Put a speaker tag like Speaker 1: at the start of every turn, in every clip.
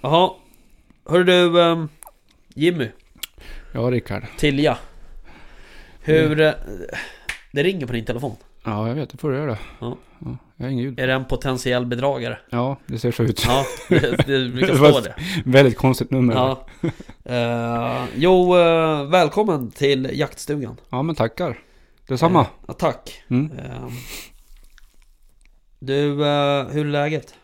Speaker 1: Jaha. Hör du ehm, Jimmy,
Speaker 2: Ja, Rickard.
Speaker 1: Tilja. Hur... eh,
Speaker 2: Mm.
Speaker 1: Det ringer på din telefon.
Speaker 2: Ja, jag vet. Det får du göra.
Speaker 1: Ja.
Speaker 2: ja. Jag har ingen ljud.
Speaker 1: Är det en potentiell bedragare?
Speaker 2: Ja, det ser så ut.
Speaker 1: Ja, det, det brukar
Speaker 2: Det
Speaker 1: stå
Speaker 2: var-
Speaker 1: det.
Speaker 2: Väldigt konstigt nummer. Ja.
Speaker 1: Ja. Eh, jo, eh, välkommen till jaktstugan.
Speaker 2: men tackar. Detsamma.
Speaker 1: Eh, tack.
Speaker 2: Mm.
Speaker 1: Eh, du, eh, hur är läget?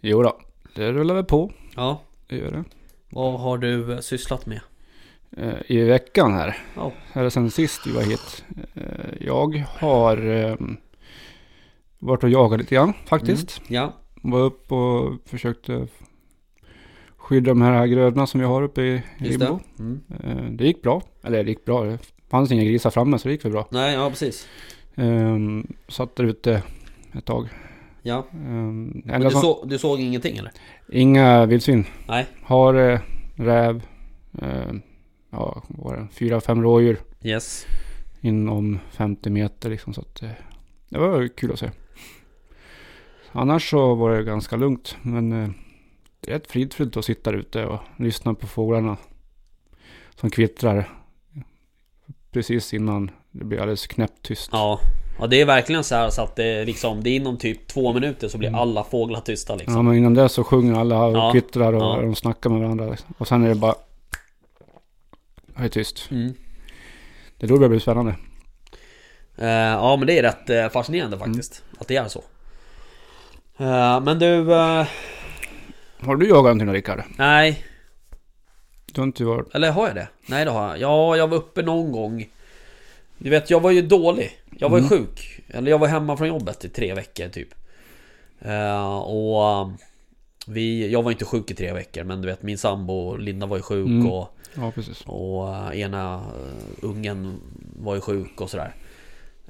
Speaker 2: Jo då. det rullar väl på.
Speaker 1: Ja.
Speaker 2: Det gör det.
Speaker 1: Vad har du eh, sysslat med?
Speaker 2: Eh, I veckan här.
Speaker 1: Ja.
Speaker 2: Eller sen sist vi var hit. Eh, Jag har ehm, varit och jagat lite grann faktiskt.
Speaker 1: Mm. Ja.
Speaker 2: Var upp och försökte skydda de här grödorna som vi har uppe i
Speaker 1: Just
Speaker 2: Rimbo.
Speaker 1: det. Mm.
Speaker 2: Eh, Det gick bra. Eller det gick bra. Det fanns inga grisar framme så det gick väl bra.
Speaker 1: Nej, ja precis.
Speaker 2: Ehm, satt där ute ett tag.
Speaker 1: Ja.
Speaker 2: Ehm,
Speaker 1: Men
Speaker 2: enda
Speaker 1: du,
Speaker 2: som-
Speaker 1: så, du såg ingenting eller?
Speaker 2: Inga vildsvin.
Speaker 1: Nej.
Speaker 2: Hare, räv, eh, ja, vad var det? Fyra, fem rådjur
Speaker 1: Yes.
Speaker 2: inom 50 meter liksom. Så att, eh, det var kul att se. Annars så var det ganska lugnt. Men eh, det är rätt fridfullt att sitta där ute och lyssna på fåglarna. Som kvittrar. Precis innan det blir alldeles knäpptyst.
Speaker 1: Ja. Ja det är verkligen så här så att det liksom, det är inom typ två minuter så blir alla fåglar tysta
Speaker 2: Ja
Speaker 1: liksom.
Speaker 2: men innan det så sjunger alla och
Speaker 1: Ja.
Speaker 2: kvittrar och
Speaker 1: Ja.
Speaker 2: de snackar med varandra. liksom. Och sen är det bara... Det är tyst.
Speaker 1: Mm.
Speaker 2: Det är då det börjar bli spännande.
Speaker 1: Eh, ja men det är rätt eh, fascinerande faktiskt. Att det är så. Eh, men du... eh,
Speaker 2: Har du jagat någonting då Rickard?
Speaker 1: nej.
Speaker 2: Du har inte varit...
Speaker 1: Eller har jag det? Nej det har jag. Ja, jag var uppe någon gång. Du vet, jag var ju dålig. Jag var ju sjuk. Eller jag var hemma från jobbet i tre veckor typ. Eh, och um, vi, jag var inte sjuk i tre veckor men du vet min sambo Linda var ju sjuk
Speaker 2: Mm.
Speaker 1: och,
Speaker 2: Ja precis.
Speaker 1: och eh, ena eh, ungen var ju sjuk och sådär.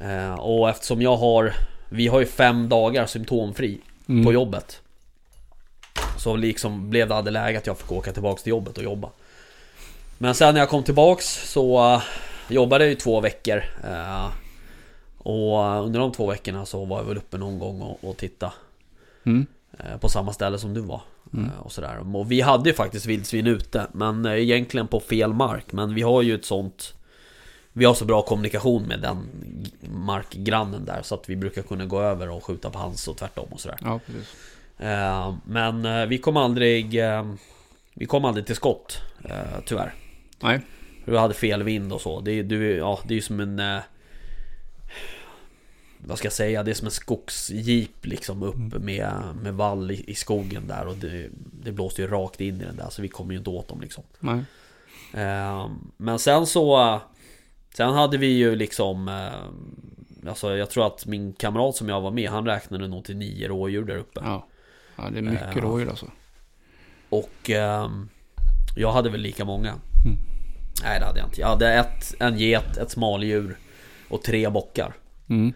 Speaker 1: Eh, och eftersom jag har, vi har ju fem dagar symptomfri
Speaker 2: Mm.
Speaker 1: på jobbet. Så liksom blev det hade läge att jag fick åka tillbaks till jobbet och jobba. Men sen när jag kom tillbaks så eh, jobbade jag ju två veckor. eh, och eh, under de två veckorna så var jag väl uppe någon gång och, och titta
Speaker 2: Mm.
Speaker 1: eh, på samma ställe som du var. eh, Och, sådär. och vi hade ju faktiskt vildsvin ute, men eh, egentligen på fel mark. Men vi har ju ett sånt... Vi har så bra kommunikation med den g- markgrannen där så att vi brukar kunna gå över och skjuta på hans och tvärtom och sådär.
Speaker 2: Ja precis.
Speaker 1: Eh, Men eh, vi kom aldrig eh, Vi kom aldrig till skott eh, Tyvärr
Speaker 2: Nej.
Speaker 1: För Du hade fel vind och så Det är, du, ja, det är ju som en eh, Vad ska jag säga? Det är som en skogsjeep liksom upp med, med vall i, i skogen där Och det, det blåste ju rakt in i den där Så vi kom ju inte åt dem liksom
Speaker 2: Nej.
Speaker 1: Eh, Men sen så eh, Sen hade vi ju liksom eh, Alltså jag tror att min kamrat som jag var med Han räknade nog till nio rådjur där uppe
Speaker 2: Ja. ja det är mycket
Speaker 1: Ja.
Speaker 2: rådjur alltså.
Speaker 1: Och ehm, jag hade väl lika många.
Speaker 2: Mm.
Speaker 1: Nej det hade jag inte. Jag hade ett, en get, ett smaldjur och tre bockar.
Speaker 2: Mm.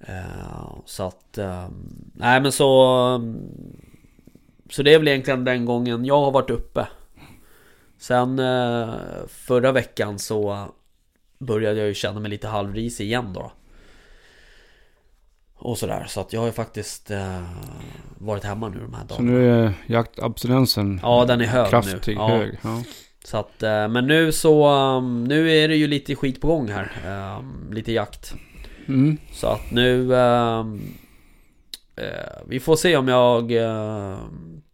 Speaker 1: Eh, så att... ehm, nej men så... ehm, Så det är väl egentligen den gången jag har varit uppe. Sen eh, förra veckan så började jag ju känna mig lite halvris igen då. Och sådär, så att jag har ju faktiskt eh, varit hemma nu de här dagarna.
Speaker 2: Så nu är jaktabstinensen
Speaker 1: Ja, den är hög
Speaker 2: kraftig,
Speaker 1: nu. Ja.
Speaker 2: hög. Ja.
Speaker 1: Så att, eh, men nu så, um, nu är det ju lite skit på gång här. um, Lite jakt.
Speaker 2: Mm.
Speaker 1: Så att nu... um, eh, Vi får se om jag eh,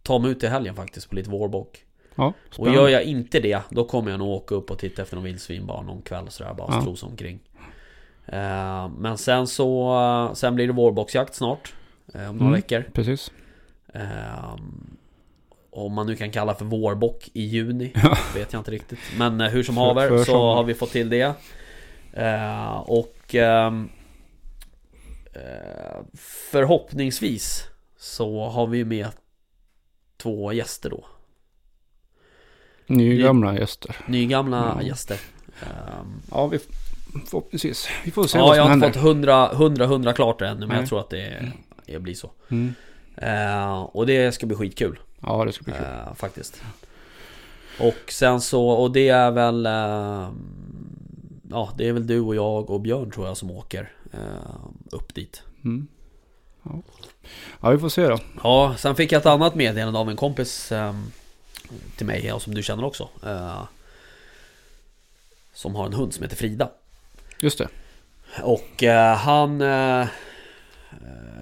Speaker 1: tar mig ut i helgen faktiskt på lite vårbock.
Speaker 2: ja
Speaker 1: Och
Speaker 2: spännande.
Speaker 1: gör jag inte det, då kommer jag nog åka upp och titta efter någon vildsvin bara någon kväll sådär. Bara
Speaker 2: Ja.
Speaker 1: strosa omkring. Eh, Men sen så, eh, sen blir det vårbocksjakt snart. eh, Om några
Speaker 2: Mm.
Speaker 1: veckor.
Speaker 2: Precis.
Speaker 1: Ehm, om man nu kan kalla för vårbock i juni
Speaker 2: Ja.
Speaker 1: Vet jag inte riktigt Men eh, hur som
Speaker 2: För-
Speaker 1: haver
Speaker 2: för
Speaker 1: så
Speaker 2: sommaren.
Speaker 1: har vi fått till det Eh, Och ehm, eh, Förhoppningsvis Så har vi med Två gäster då
Speaker 2: Nygamla gäster.
Speaker 1: Nygamla
Speaker 2: Ja.
Speaker 1: gäster Ehm,
Speaker 2: Ja, vi förhoppningsvis. Vi får se
Speaker 1: Ja
Speaker 2: vad
Speaker 1: jag
Speaker 2: som
Speaker 1: har inte
Speaker 2: händer.
Speaker 1: fått 100, 100, 100 klart ännu Men jag
Speaker 2: Nej.
Speaker 1: tror att det, det blir så
Speaker 2: Mm.
Speaker 1: Eh, Och det ska bli skitkul
Speaker 2: Ja, det ska bli kul.
Speaker 1: Eh, faktiskt. Och sen så, och det är väl... eh, ja, det är väl du och jag och Björn tror jag som åker eh, upp dit.
Speaker 2: Mm. Ja, vi får se då.
Speaker 1: Ja, sen fick jag ett annat meddelande av en kompis ehm, till mig, och som du känner också. eh, som har en hund som heter Frida.
Speaker 2: Just det.
Speaker 1: Och eh, han... eh, eh,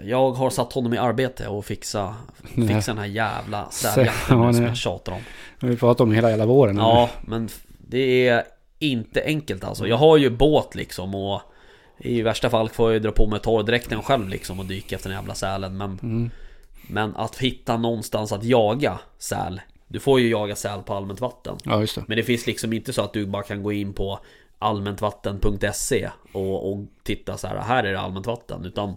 Speaker 1: jag har satt honom i arbete och fixa,
Speaker 2: Nej.
Speaker 1: fixa den här jävla stävjakten
Speaker 2: Ja,
Speaker 1: nu som
Speaker 2: nej.
Speaker 1: jag tjatar om.
Speaker 2: Vi har pratat om hela hela våren.
Speaker 1: Ja, men f- det är inte enkelt alltså. Jag har ju båt liksom och i värsta fall får jag ju dra på mig torrdräkten själv liksom och dyka efter den jävla sälen. Men, men att hitta någonstans att jaga säl. Du får ju jaga säl på allmänt vatten.
Speaker 2: Ja, just det.
Speaker 1: Men det finns liksom inte så att du bara kan gå in på allmäntvatten.se och, och titta så här, här är det allmänt vatten. Utan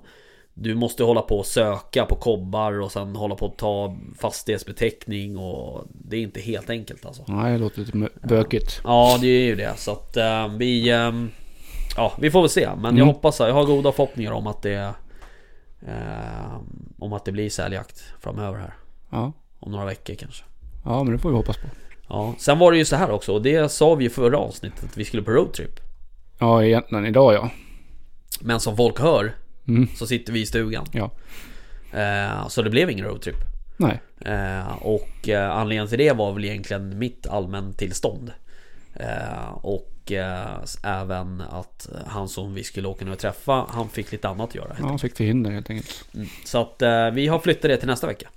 Speaker 1: du måste hålla på och söka på kobbar och sen hålla på att ta fastighetsbeteckning och det är inte helt enkelt alltså.
Speaker 2: Nej, det låter lite mö- bökigt.
Speaker 1: Ja, det är ju det. Så att eh, vi... ehm, ja, vi får väl se. Men jag hoppas, jag har goda förhoppningar om att det... Eh, om att det blir säljakt framöver här.
Speaker 2: Ja.
Speaker 1: Om några veckor kanske.
Speaker 2: ja, men det får vi hoppas på.
Speaker 1: Ja, sen var det ju så här också. Och det sa vi ju förra avsnittet att vi skulle på roadtrip.
Speaker 2: Ja, egentligen idag ja.
Speaker 1: Men som folk hör
Speaker 2: Mm.
Speaker 1: så sitter vi i stugan.
Speaker 2: Ja.
Speaker 1: Eh, så det blev ingen roadtrip.
Speaker 2: Nej.
Speaker 1: Eh, och eh, anledningen till det var väl egentligen mitt allmän tillstånd. Eh, och eh, s- även att han som vi skulle åka nu och träffa, han fick lite annat att göra.
Speaker 2: Ja, han fick förhinder helt enkelt.
Speaker 1: Så att eh, vi har flyttat det till nästa vecka.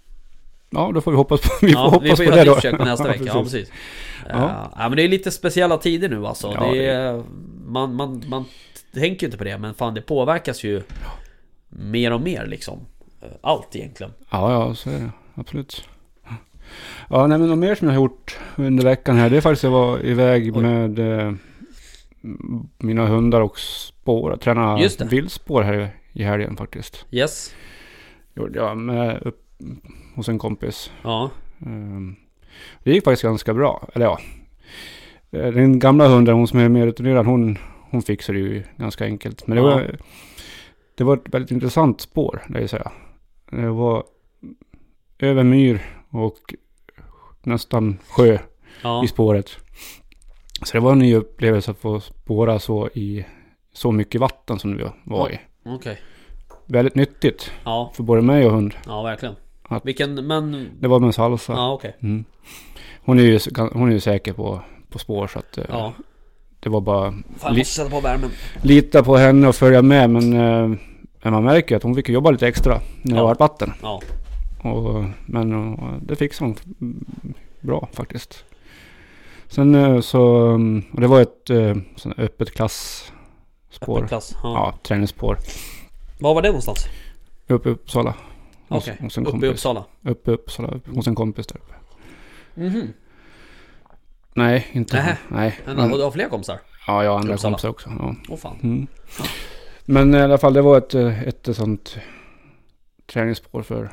Speaker 2: Ja, då får vi hoppas på, vi får
Speaker 1: ja,
Speaker 2: hoppas
Speaker 1: vi får
Speaker 2: på
Speaker 1: göra
Speaker 2: det
Speaker 1: ett
Speaker 2: då.
Speaker 1: försök nästa
Speaker 2: Ja,
Speaker 1: vecka. Ja, precis.
Speaker 2: Ja.
Speaker 1: Ja. ja, men det är lite speciella tider nu alltså. det
Speaker 2: Ja, det
Speaker 1: är, man, man, man tänker ju inte på det, men fan det påverkas ju mer och mer liksom. Eh, Allt egentligen.
Speaker 2: Ja, ja, så är det. Absolut. Ja, nej, men något mer som jag har gjort under veckan här. Det är faktiskt att jag var iväg
Speaker 1: Oj.
Speaker 2: med eh, m- mina hundar och spår. Träna
Speaker 1: Just det.
Speaker 2: viltspår här i- i helgen faktiskt.
Speaker 1: Yes.
Speaker 2: Gjorde jag med upp hos en kompis.
Speaker 1: Ja.
Speaker 2: Ehm, Det gick faktiskt ganska bra. Eller ja. Eh, Den gamla hunden, hon som är mer rutinerad, hon, hon fixade det ju ganska enkelt. Men det,
Speaker 1: Ja.
Speaker 2: var, det var ett väldigt intressant spår, det vill säga. Det var över myr och nästan sjö
Speaker 1: Ja.
Speaker 2: i spåret. Så det var en ny upplevelse att få spåra så i så mycket vatten som det var i.
Speaker 1: Okej.
Speaker 2: Väldigt nyttigt
Speaker 1: Ja,
Speaker 2: för både mig och hund.
Speaker 1: ja verkligen.
Speaker 2: Att-
Speaker 1: Vilken, men...
Speaker 2: Det var med salsa.
Speaker 1: Ja, okej.
Speaker 2: Mm. Hon, är ju, hon är ju säker på, på spår så att eh,
Speaker 1: Ja.
Speaker 2: det var bara
Speaker 1: Fan, jag
Speaker 2: Li-
Speaker 1: måste sätta på värmen.
Speaker 2: lita på henne och följa med. Men, eh, men man märker ju att hon fick jobba lite extra när det
Speaker 1: Ja.
Speaker 2: var vatten.
Speaker 1: Ja.
Speaker 2: Och, men eh, det fixade hon mm, bra faktiskt. Sen eh, så, mm, och det var ett eh, sån här öppet klassspår.
Speaker 1: Öppen klass. Ja.
Speaker 2: Ja, träningsspår.
Speaker 1: Var var det någonstans?
Speaker 2: Uppe i Uppsala. Hos,
Speaker 1: Okej.
Speaker 2: hos en
Speaker 1: Uppe i
Speaker 2: kompis.
Speaker 1: Uppsala.
Speaker 2: Uppe i Uppsala. Hos en kompis där uppe.
Speaker 1: Mhm.
Speaker 2: Nej, inte
Speaker 1: Nähä.
Speaker 2: hon. Nej.
Speaker 1: Men,
Speaker 2: men-
Speaker 1: och du har fler kompisar?
Speaker 2: ja, jag har andra
Speaker 1: Uppsala.
Speaker 2: kompisar också. Ja.
Speaker 1: Åh fan.
Speaker 2: Mm. Men i alla fall, det var ett, eh, ett sånt träningsspår för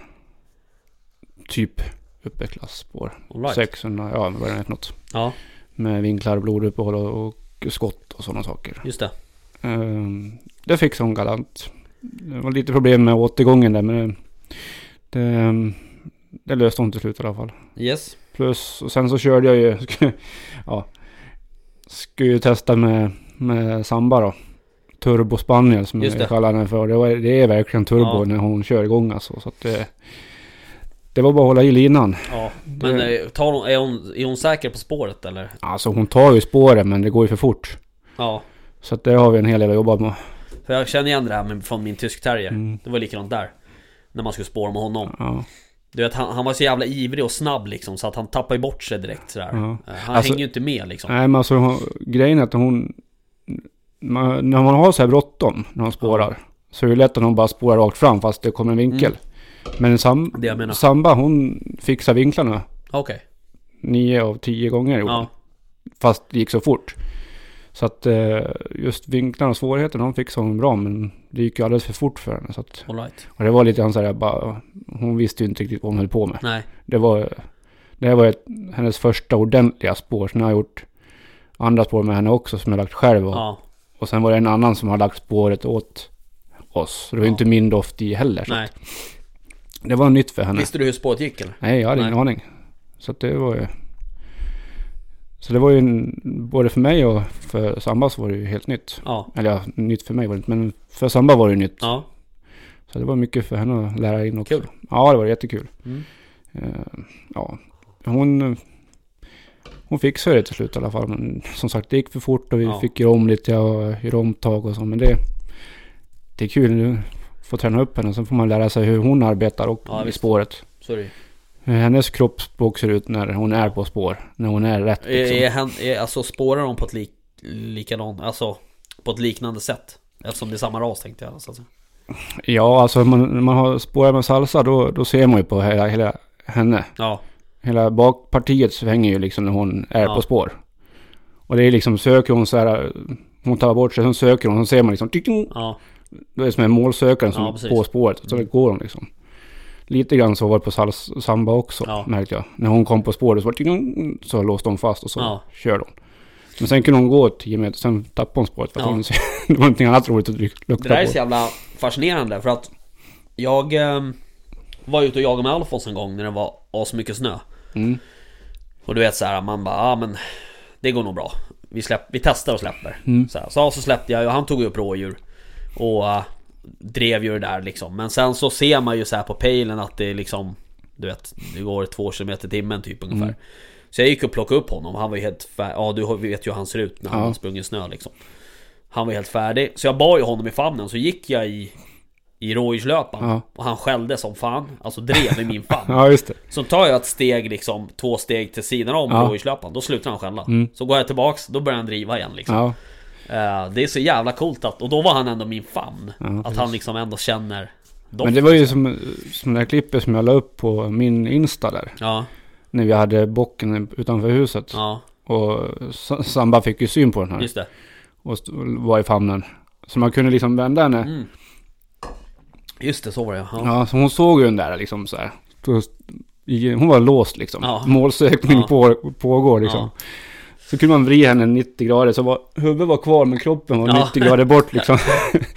Speaker 2: typ uppeklassspår.
Speaker 1: All right.
Speaker 2: 600, ja vad det är för något.
Speaker 1: Ja,
Speaker 2: Med vinklar, bloduppehåll och, och skott och sådana saker.
Speaker 1: just det.
Speaker 2: Ehm, det fick hon galant. Det var lite problem med återgången där men det, det, ehm, det löste hon till slut i alla fall.
Speaker 1: Yes.
Speaker 2: Plus, och sen så körde jag ju, ja, skulle ju testa med, med Samba då. Turbo Spaniel som
Speaker 1: Just det.
Speaker 2: jag kallar den för. Det, var, det är verkligen turbo
Speaker 1: Ja.
Speaker 2: när hon kör igång alltså. Så att det, det var bara att hålla i linan.
Speaker 1: Ja. Men
Speaker 2: Det-
Speaker 1: eh, tar hon, är, hon, är hon säker på spåret eller?
Speaker 2: Alltså hon tar ju spåren men det går ju för fort.
Speaker 1: Ja.
Speaker 2: Så att det har vi en hel del att jobba med.
Speaker 1: För jag känner igen det här med, från min tysk terrier.
Speaker 2: Mm.
Speaker 1: Det var likadant där. När man skulle spåra med honom.
Speaker 2: Ja.
Speaker 1: Du vet, han, han var så jävla ivrig och snabb liksom. Så att han tappade ju bort sig direkt sådär.
Speaker 2: Ja.
Speaker 1: Eh, Han
Speaker 2: Alltså-
Speaker 1: hänger ju inte med liksom.
Speaker 2: Nej men alltså hon, grejen är att hon... Man, när man har så här bråttom när hon spårar. Så är det lätt att hon bara spårar rakt fram fast det kommer en vinkel.
Speaker 1: Mm.
Speaker 2: Men sam,
Speaker 1: Det jag menar.
Speaker 2: Samba hon fixar vinklarna
Speaker 1: Okej.
Speaker 2: nio av tio gånger gjorde hon.
Speaker 1: Ja.
Speaker 2: Fast det gick så fort. Så att eh, just vinklarna och svårigheten, de fixade hon bra. Men det gick ju alldeles för fort för henne. Så att,
Speaker 1: All right.
Speaker 2: och det var lite grann så här, jag bara, hon visste ju inte riktigt vad hon höll på med.
Speaker 1: Nej.
Speaker 2: Det var, det här var ett, hennes första ordentliga spår. Sen har jag gjort andra spår med henne också som jag lagt själv. Och,
Speaker 1: Ja.
Speaker 2: och sen var det en annan som har lagt spåret åt oss. Så det var ju
Speaker 1: Ja.
Speaker 2: inte min doft i heller. Så
Speaker 1: Nej.
Speaker 2: det var nytt för henne.
Speaker 1: Visste du hur spåret gick eller?
Speaker 2: Nej, jag hade
Speaker 1: Nej.
Speaker 2: ingen aning. Så att det var ju... Så det var ju en, både för mig och för Samba så var det ju helt nytt.
Speaker 1: Ja.
Speaker 2: Eller ja, nytt för mig var det inte, men för Samba var det ju nytt.
Speaker 1: Ja.
Speaker 2: Så Så det var mycket för henne att lära in också.
Speaker 1: Kul.
Speaker 2: Ja, det var jättekul.
Speaker 1: Mm.
Speaker 2: Eh, ja, hon, hon fixade det till slut i alla fall. Men som sagt, det gick för fort och vi
Speaker 1: Ja.
Speaker 2: fick göra om lite och göra omtag och så. Men det, det är kul nu. Få träna upp henne. Sen får man lära sig hur hon arbetar och
Speaker 1: Ja,
Speaker 2: i
Speaker 1: visst.
Speaker 2: spåret.
Speaker 1: Så är det ju.
Speaker 2: Hur Eh, hennes kroppsspråk ser ut när hon är på spår. När hon är
Speaker 1: Eh,
Speaker 2: rätt liksom.
Speaker 1: Är han, är, alltså spårar de på ett lik, likadan, alltså på ett liknande sätt? Eftersom det är samma ras tänkte jag alltså.
Speaker 2: Ja, alltså man, när man har spårar med salsa då, då ser man ju på hela, hela henne.
Speaker 1: Ja,
Speaker 2: Hela bakpartiet svänger ju liksom när hon är
Speaker 1: Ja.
Speaker 2: på spår. Och det är liksom, söker hon så här, hon tar bort sig, sen söker hon, så ser man liksom, tick, tick.
Speaker 1: ja,
Speaker 2: det är som en målsökare som
Speaker 1: Ja, precis.
Speaker 2: på spåret. Så
Speaker 1: Mm.
Speaker 2: går hon liksom. Lite grann så var det på sals, samba också,
Speaker 1: Ja.
Speaker 2: märkte jag. När hon kom på spåret så, var det tick, tick, så låste hon fast och så
Speaker 1: Ja.
Speaker 2: körde hon. Men sen kunde hon gå 10 meter, sen tappade hon spåret. För att
Speaker 1: Ja.
Speaker 2: hon, det var någonting annat roligt att luk-
Speaker 1: det
Speaker 2: lukta
Speaker 1: där är
Speaker 2: på.
Speaker 1: så jävla fascinerande för att jag eh, var ute och jagade med Alfons en gång när det var asmycket snö.
Speaker 2: Mm.
Speaker 1: Och du vet så här, man bara, ja ah, men det går nog bra. Vi, släpp, vi testar och släpper.
Speaker 2: Mm.
Speaker 1: Så, här, så, så släppte jag och han tog upp rådjur. Och eh, drev ju det där liksom. Men sen så ser man ju så här på pejlen att det är liksom, du vet, det går två kilometer i timmen typ
Speaker 2: Mm.
Speaker 1: ungefär. Så jag gick och plockade upp honom, han var ju helt färdig. Ja du har- vi vet ju hur han ser ut när han
Speaker 2: Ja.
Speaker 1: har sprungit snö liksom. Han var helt färdig. Så jag bar ju honom i famnen, så gick jag i, i rådjurslöpan.
Speaker 2: Ja.
Speaker 1: Och han skällde som fan, alltså drev i min famn.
Speaker 2: Ja, just det.
Speaker 1: Så tar jag ett steg liksom, två steg till sidan om
Speaker 2: Ja. Mm.
Speaker 1: rådjurslöparen, då slutar han skälla. Så går jag tillbaks, då börjar han driva igen liksom.
Speaker 2: Ja.
Speaker 1: Eh, Det är så jävla coolt att, och då var han ändå min famn. att
Speaker 2: precis.
Speaker 1: han liksom ändå känner doften.
Speaker 2: Men det var ju som, som det här klippet som jag la upp på min Insta där.
Speaker 1: Ja,
Speaker 2: När vi hade bocken utanför huset.
Speaker 1: ja,
Speaker 2: Och S- Samba fick ju syn på den här.
Speaker 1: just det.
Speaker 2: Och st- var i famnen. Så man kunde liksom vända henne.
Speaker 1: Just det, så var det ja.
Speaker 2: Ja, så hon såg ju den där liksom så här. Då st- i- Hon var låst liksom.
Speaker 1: Ja.
Speaker 2: Målsökning
Speaker 1: Ja.
Speaker 2: på, pågår liksom.
Speaker 1: Ja.
Speaker 2: Så kunde man vrida henne 90 grader. Så var, huvudet var kvar men kroppen var
Speaker 1: Ja.
Speaker 2: 90 grader bort liksom.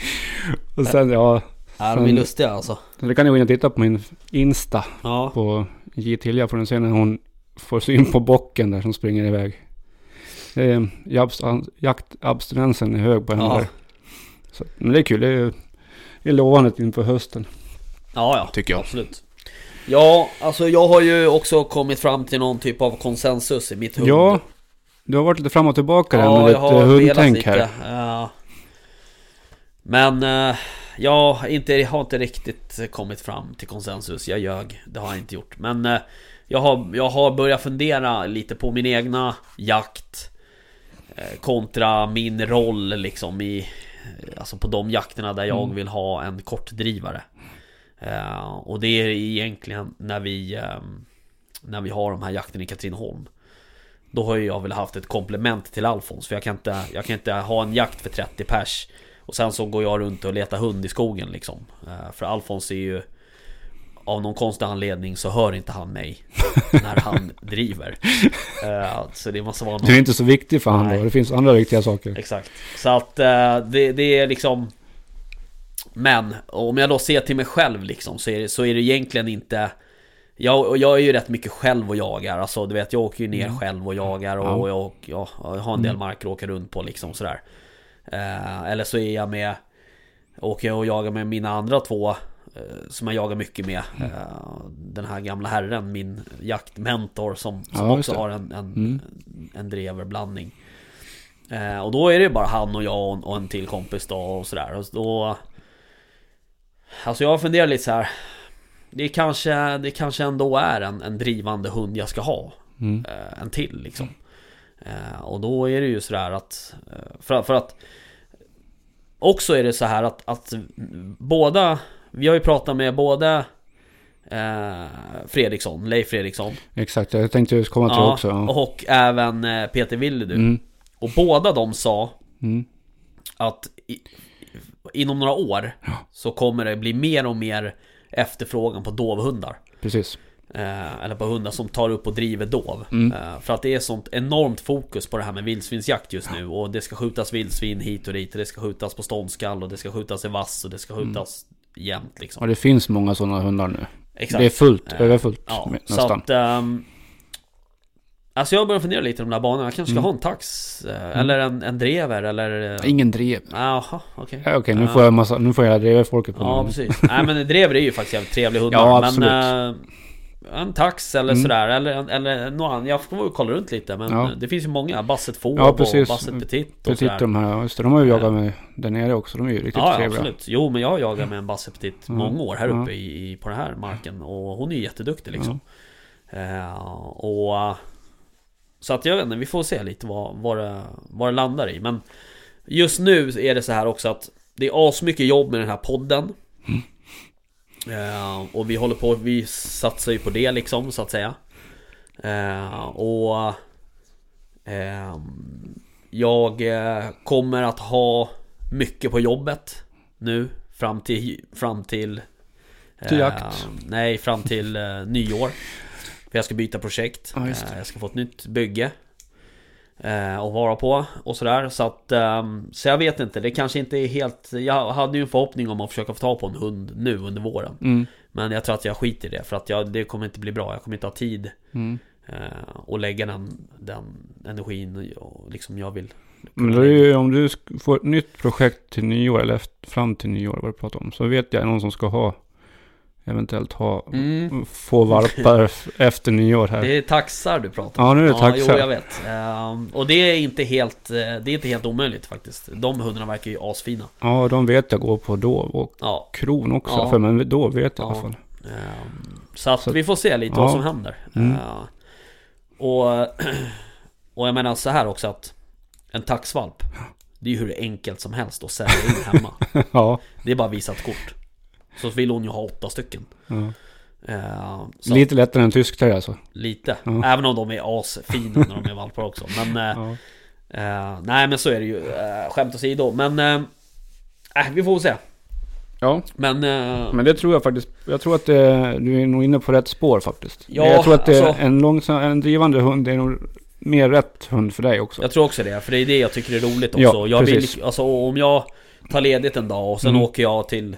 Speaker 2: och sen ja.
Speaker 1: ja.
Speaker 2: Mm.
Speaker 1: De är lustiga alltså.
Speaker 2: Så det kan ni gå in och titta på min Insta.
Speaker 1: Ja,
Speaker 2: på J. Tilja får den se när hon får syn på bocken där som springer iväg. Det är- jabs- an- Jaktabstinensen är hög på henne
Speaker 1: Ja.
Speaker 2: där. Så, men det är kul. Det är, det är lovandet inför hösten.
Speaker 1: ja, ja.
Speaker 2: Tycker jag.
Speaker 1: absolut. Ja, alltså jag har ju också kommit fram till någon typ av konsensus i mitt huvud.
Speaker 2: Ja, du har varit lite fram och tillbaka där med
Speaker 1: jag har
Speaker 2: ditt
Speaker 1: velat
Speaker 2: hundtänk
Speaker 1: lite.
Speaker 2: eh, här.
Speaker 1: Ja. Men eh, jag inte, jag har inte riktigt kommit fram till konsensus. Jag ljög, det har jag inte gjort. Men eh, jag, har, jag har börjat fundera lite på min egna jakt eh, kontra min roll liksom i Alltså på de jakterna där jag
Speaker 2: Mm.
Speaker 1: vill ha en kortdrivare. Eh, och det är egentligen när vi ehm, När vi har de här jakten i Katrineholm. Då har ju jag väl haft ett komplement till Alfons för jag kan inte, jag kan inte ha en jakt för 30 pers Och sen så går jag runt och letar hund i skogen liksom Eh, För Alfons är ju Av någon konstig anledning så hör inte han mig När han driver Eh, Så det måste vara någon
Speaker 2: Du är inte så viktig för honom
Speaker 1: Nej.
Speaker 2: då. Det finns andra viktiga saker.
Speaker 1: Exakt. Så att eh, det, det är liksom... Men om jag då ser till mig själv liksom så är det, så är det egentligen inte... Jag, och jag är ju rätt mycket själv och jagar. Alltså du vet jag åker ju ner själv och jagar och, och jag, åker- ja, Mm. jag har en del marker att åka runt på liksom sådär. Eh, eller så är jag med... Åker jag och jagar med mina andra två eh, som jag jagar mycket med.
Speaker 2: Mm.
Speaker 1: Eh, Den här gamla herren, min jaktmentor som, som
Speaker 2: Ja, just
Speaker 1: också
Speaker 2: det. Mm.
Speaker 1: har en, en, en dreverblandning. Eh, och då är det ju bara han och jag och en, och en till kompis då och sådär. Och då... Alltså jag funderar lite så här. Det kanske, det kanske ändå är en, en drivande hund jag ska ha.
Speaker 2: Mm.
Speaker 1: Eh, en till liksom. Eh, och då är det ju sådär att... eh, För, att- för att... Också är det så här att, att båda... Vi har ju pratat med både eh, Fredriksson, Leif Fredriksson.
Speaker 2: Exakt, jag tänkte just komma till det också. Ja.
Speaker 1: Och även eh, Peter Willedu.
Speaker 2: Mm.
Speaker 1: Och båda de sa
Speaker 2: Mm.
Speaker 1: att i, inom några år så kommer det bli mer och mer efterfrågan på dovhundar.
Speaker 2: Precis.
Speaker 1: Eh, eller på hundar som tar upp och driver dov.
Speaker 2: Mm.
Speaker 1: Eh, för att det är sånt enormt fokus på det här med vildsvinsjakt just nu. Och det ska skjutas vildsvin hit och dit. Och det ska skjutas på ståndskall och det ska skjutas i vass och det ska
Speaker 2: Mm.
Speaker 1: skjutas jämt liksom.
Speaker 2: Ja, det finns många sådana hundar nu.
Speaker 1: Exakt.
Speaker 2: Det är fullt,
Speaker 1: Eh,
Speaker 2: överfullt
Speaker 1: Ja,
Speaker 2: med-
Speaker 1: så
Speaker 2: nästan.
Speaker 1: att... ehm, Alltså jag börjar fundera lite om de där banorna. Jag kanske ska ha en tax? eh, Eller en, en drever eller... eh,
Speaker 2: Mm. Ingen Eh, drev.
Speaker 1: Jaha, okej.
Speaker 2: Ja, Okej, nu får jag massa, nu får jag driva folket på
Speaker 1: Ja,
Speaker 2: mig.
Speaker 1: precis. Nej men drever är ju faktiskt jävligt trevlig hund.
Speaker 2: Ja, absolut.
Speaker 1: men, eh, en tax eller
Speaker 2: Mm.
Speaker 1: sådär, eller, eller någon annan. Jag får väl kolla runt lite, men
Speaker 2: Ja.
Speaker 1: eh, det finns ju många. Basset Fåb
Speaker 2: Ja,
Speaker 1: och
Speaker 2: precis.
Speaker 1: Basset Petit och
Speaker 2: Petit
Speaker 1: sådär.
Speaker 2: de här, ja, just det, de har ju jagat med där nere också. De är ju riktigt
Speaker 1: Ja, ja,
Speaker 2: trevliga.
Speaker 1: absolut. Jo, men jag har jagat med en Basset Petit
Speaker 2: Mm.
Speaker 1: många år här
Speaker 2: Ja.
Speaker 1: uppe i, i- på den här marken. Och hon är ju jätteduktig liksom.
Speaker 2: Mm.
Speaker 1: Eh, och... Så att jag vet inte, vi får se lite vad, vad, det, vad det landar i. Men just nu är det så här också att det är asmycket jobb med den här podden.
Speaker 2: Mm.
Speaker 1: Eh, och vi håller på, vi satsar ju på det liksom så att säga. Eh, och ehm, jag eh, kommer att ha mycket på jobbet nu fram till... Fram till,
Speaker 2: Till
Speaker 1: eh,
Speaker 2: jakt.
Speaker 1: Nej, fram till eh, nyår. För jag ska byta projekt.
Speaker 2: Ja, just det.
Speaker 1: Eh, jag ska få ett nytt bygge. Eh, att vara på och sådär. Så att... ehm, så jag vet inte. Det kanske inte är helt... Jag hade ju en förhoppning om att försöka få tag på en hund nu under våren.
Speaker 2: Mm.
Speaker 1: Men jag tror att jag skiter i det. För att jag, det kommer inte bli bra. Jag kommer inte ha tid.
Speaker 2: Mm.
Speaker 1: Eh, och lägga den, den energin och liksom jag vill.
Speaker 2: Men då är ju, om du sk- får ett nytt projekt till nyår eller efter, fram till nyår vad du pratar om. Så vet jag någon som ska ha, eventuellt ha, få varpar f- efter nyår här.
Speaker 1: Det är taxar du pratar om.
Speaker 2: Ja, nu är det
Speaker 1: Ja, jo, jag
Speaker 2: taxar.
Speaker 1: vet. Ehm, och det är inte helt, eh, det är inte helt omöjligt faktiskt. De hundarna verkar ju asfina.
Speaker 2: Ja, de vet jag går på då. Och
Speaker 1: Ja.
Speaker 2: kron också.
Speaker 1: Ja.
Speaker 2: För, men då vet jag i alla
Speaker 1: Ja.
Speaker 2: fall.
Speaker 1: ehm, så att
Speaker 2: Så-
Speaker 1: vi får se lite
Speaker 2: Ja.
Speaker 1: vad som händer.
Speaker 2: Mm.
Speaker 1: Ehm, och, och jag menar så här också att en taxvalp, det är ju hur enkelt som helst att sälja in hemma.
Speaker 2: ja.
Speaker 1: Det är bara att visa ett kort. Så vill hon ju ha åtta stycken.
Speaker 2: ja.
Speaker 1: Ehm, så
Speaker 2: Lite lättare än tyskterrier alltså.
Speaker 1: Lite.
Speaker 2: Ja.
Speaker 1: Även om de är asfina när de är valpar också. Men, eh,
Speaker 2: Ja.
Speaker 1: eh, nej men så är det ju. Eh, skämt åsido. Men, eh, eh, vi får väl se.
Speaker 2: ja.
Speaker 1: Men, eh,
Speaker 2: Men det tror jag faktiskt. Jag tror att det, du är nog inne på rätt spår faktiskt.
Speaker 1: Ja,
Speaker 2: jag tror att det,
Speaker 1: alltså-
Speaker 2: en, långsam, en drivande hund är nog mer rätt hund för dig också.
Speaker 1: jag tror också det. För det är det jag tycker är roligt också.
Speaker 2: Ja,
Speaker 1: jag
Speaker 2: precis.
Speaker 1: vill, alltså, om jag tar ledigt en dag och sen
Speaker 2: Mm.
Speaker 1: åker jag till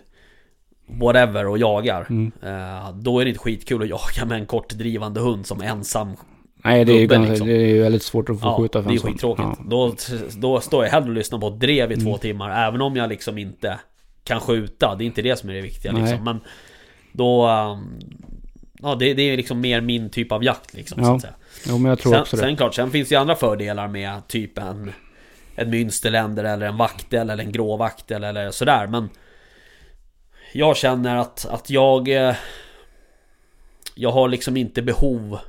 Speaker 1: whatever och jagar.
Speaker 2: Mm.
Speaker 1: Eh, då är det inte skitkul att jaga med en kortdrivande hund som ensam.
Speaker 2: Nej, det är, ju
Speaker 1: Gubben,
Speaker 2: ganska,
Speaker 1: liksom.
Speaker 2: det är ju väldigt svårt att få
Speaker 1: Ja, det
Speaker 2: skjuta för
Speaker 1: är
Speaker 2: en sån.
Speaker 1: skittråkigt. Då, då står jag hellre och lyssnar på ett drev i två
Speaker 2: Mm.
Speaker 1: timmar. Även om jag liksom inte kan skjuta. Det är inte det som är det viktiga
Speaker 2: Nej.
Speaker 1: liksom. Men då... ehm, Ja, det, det är liksom mer min typ av jakt liksom. Så
Speaker 2: Ja,
Speaker 1: att säga.
Speaker 2: Jo, men jag tror
Speaker 1: Sen,
Speaker 2: också det.
Speaker 1: sen klart, sen finns det ju andra fördelar med typ en... En mynsterländer eller en vaktel eller en gråvaktel eller sådär. Men... Jag känner att, att jag... eh, Jag har liksom inte behov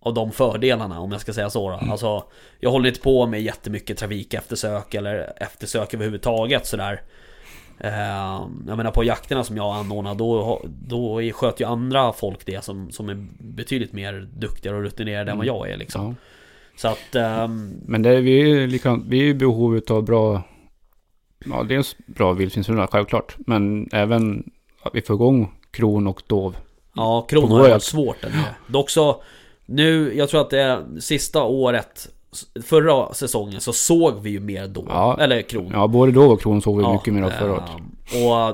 Speaker 1: av de fördelarna om jag ska säga så då.
Speaker 2: Mm.
Speaker 1: Alltså, jag håller inte på med jättemycket trafik eftersök eller eftersök överhuvudtaget sådär. Eh, jag menar på jakterna som jag anordnar då, ha- då är- sköt ju andra folk det som, som är betydligt mer duktiga och rutinerade än
Speaker 2: Mm.
Speaker 1: vad jag är liksom.
Speaker 2: Ja.
Speaker 1: Så att... ehm,
Speaker 2: Men det är, vi är ju likadant. Vi är ju i behov av bra... Ja, dels bra vildsvinshundar självklart. Men även att vi får igång kron och dov.
Speaker 1: Ja, Kron
Speaker 2: På
Speaker 1: har ju
Speaker 2: vår
Speaker 1: varit
Speaker 2: jakt.
Speaker 1: svårt ändå. Dock så, nu, jag tror att det är sista året Förra säsongen så såg vi ju mer då,
Speaker 2: Ja.
Speaker 1: eller Kron
Speaker 2: Ja, både dov och kron såg vi mycket mer av
Speaker 1: eh,
Speaker 2: förra året.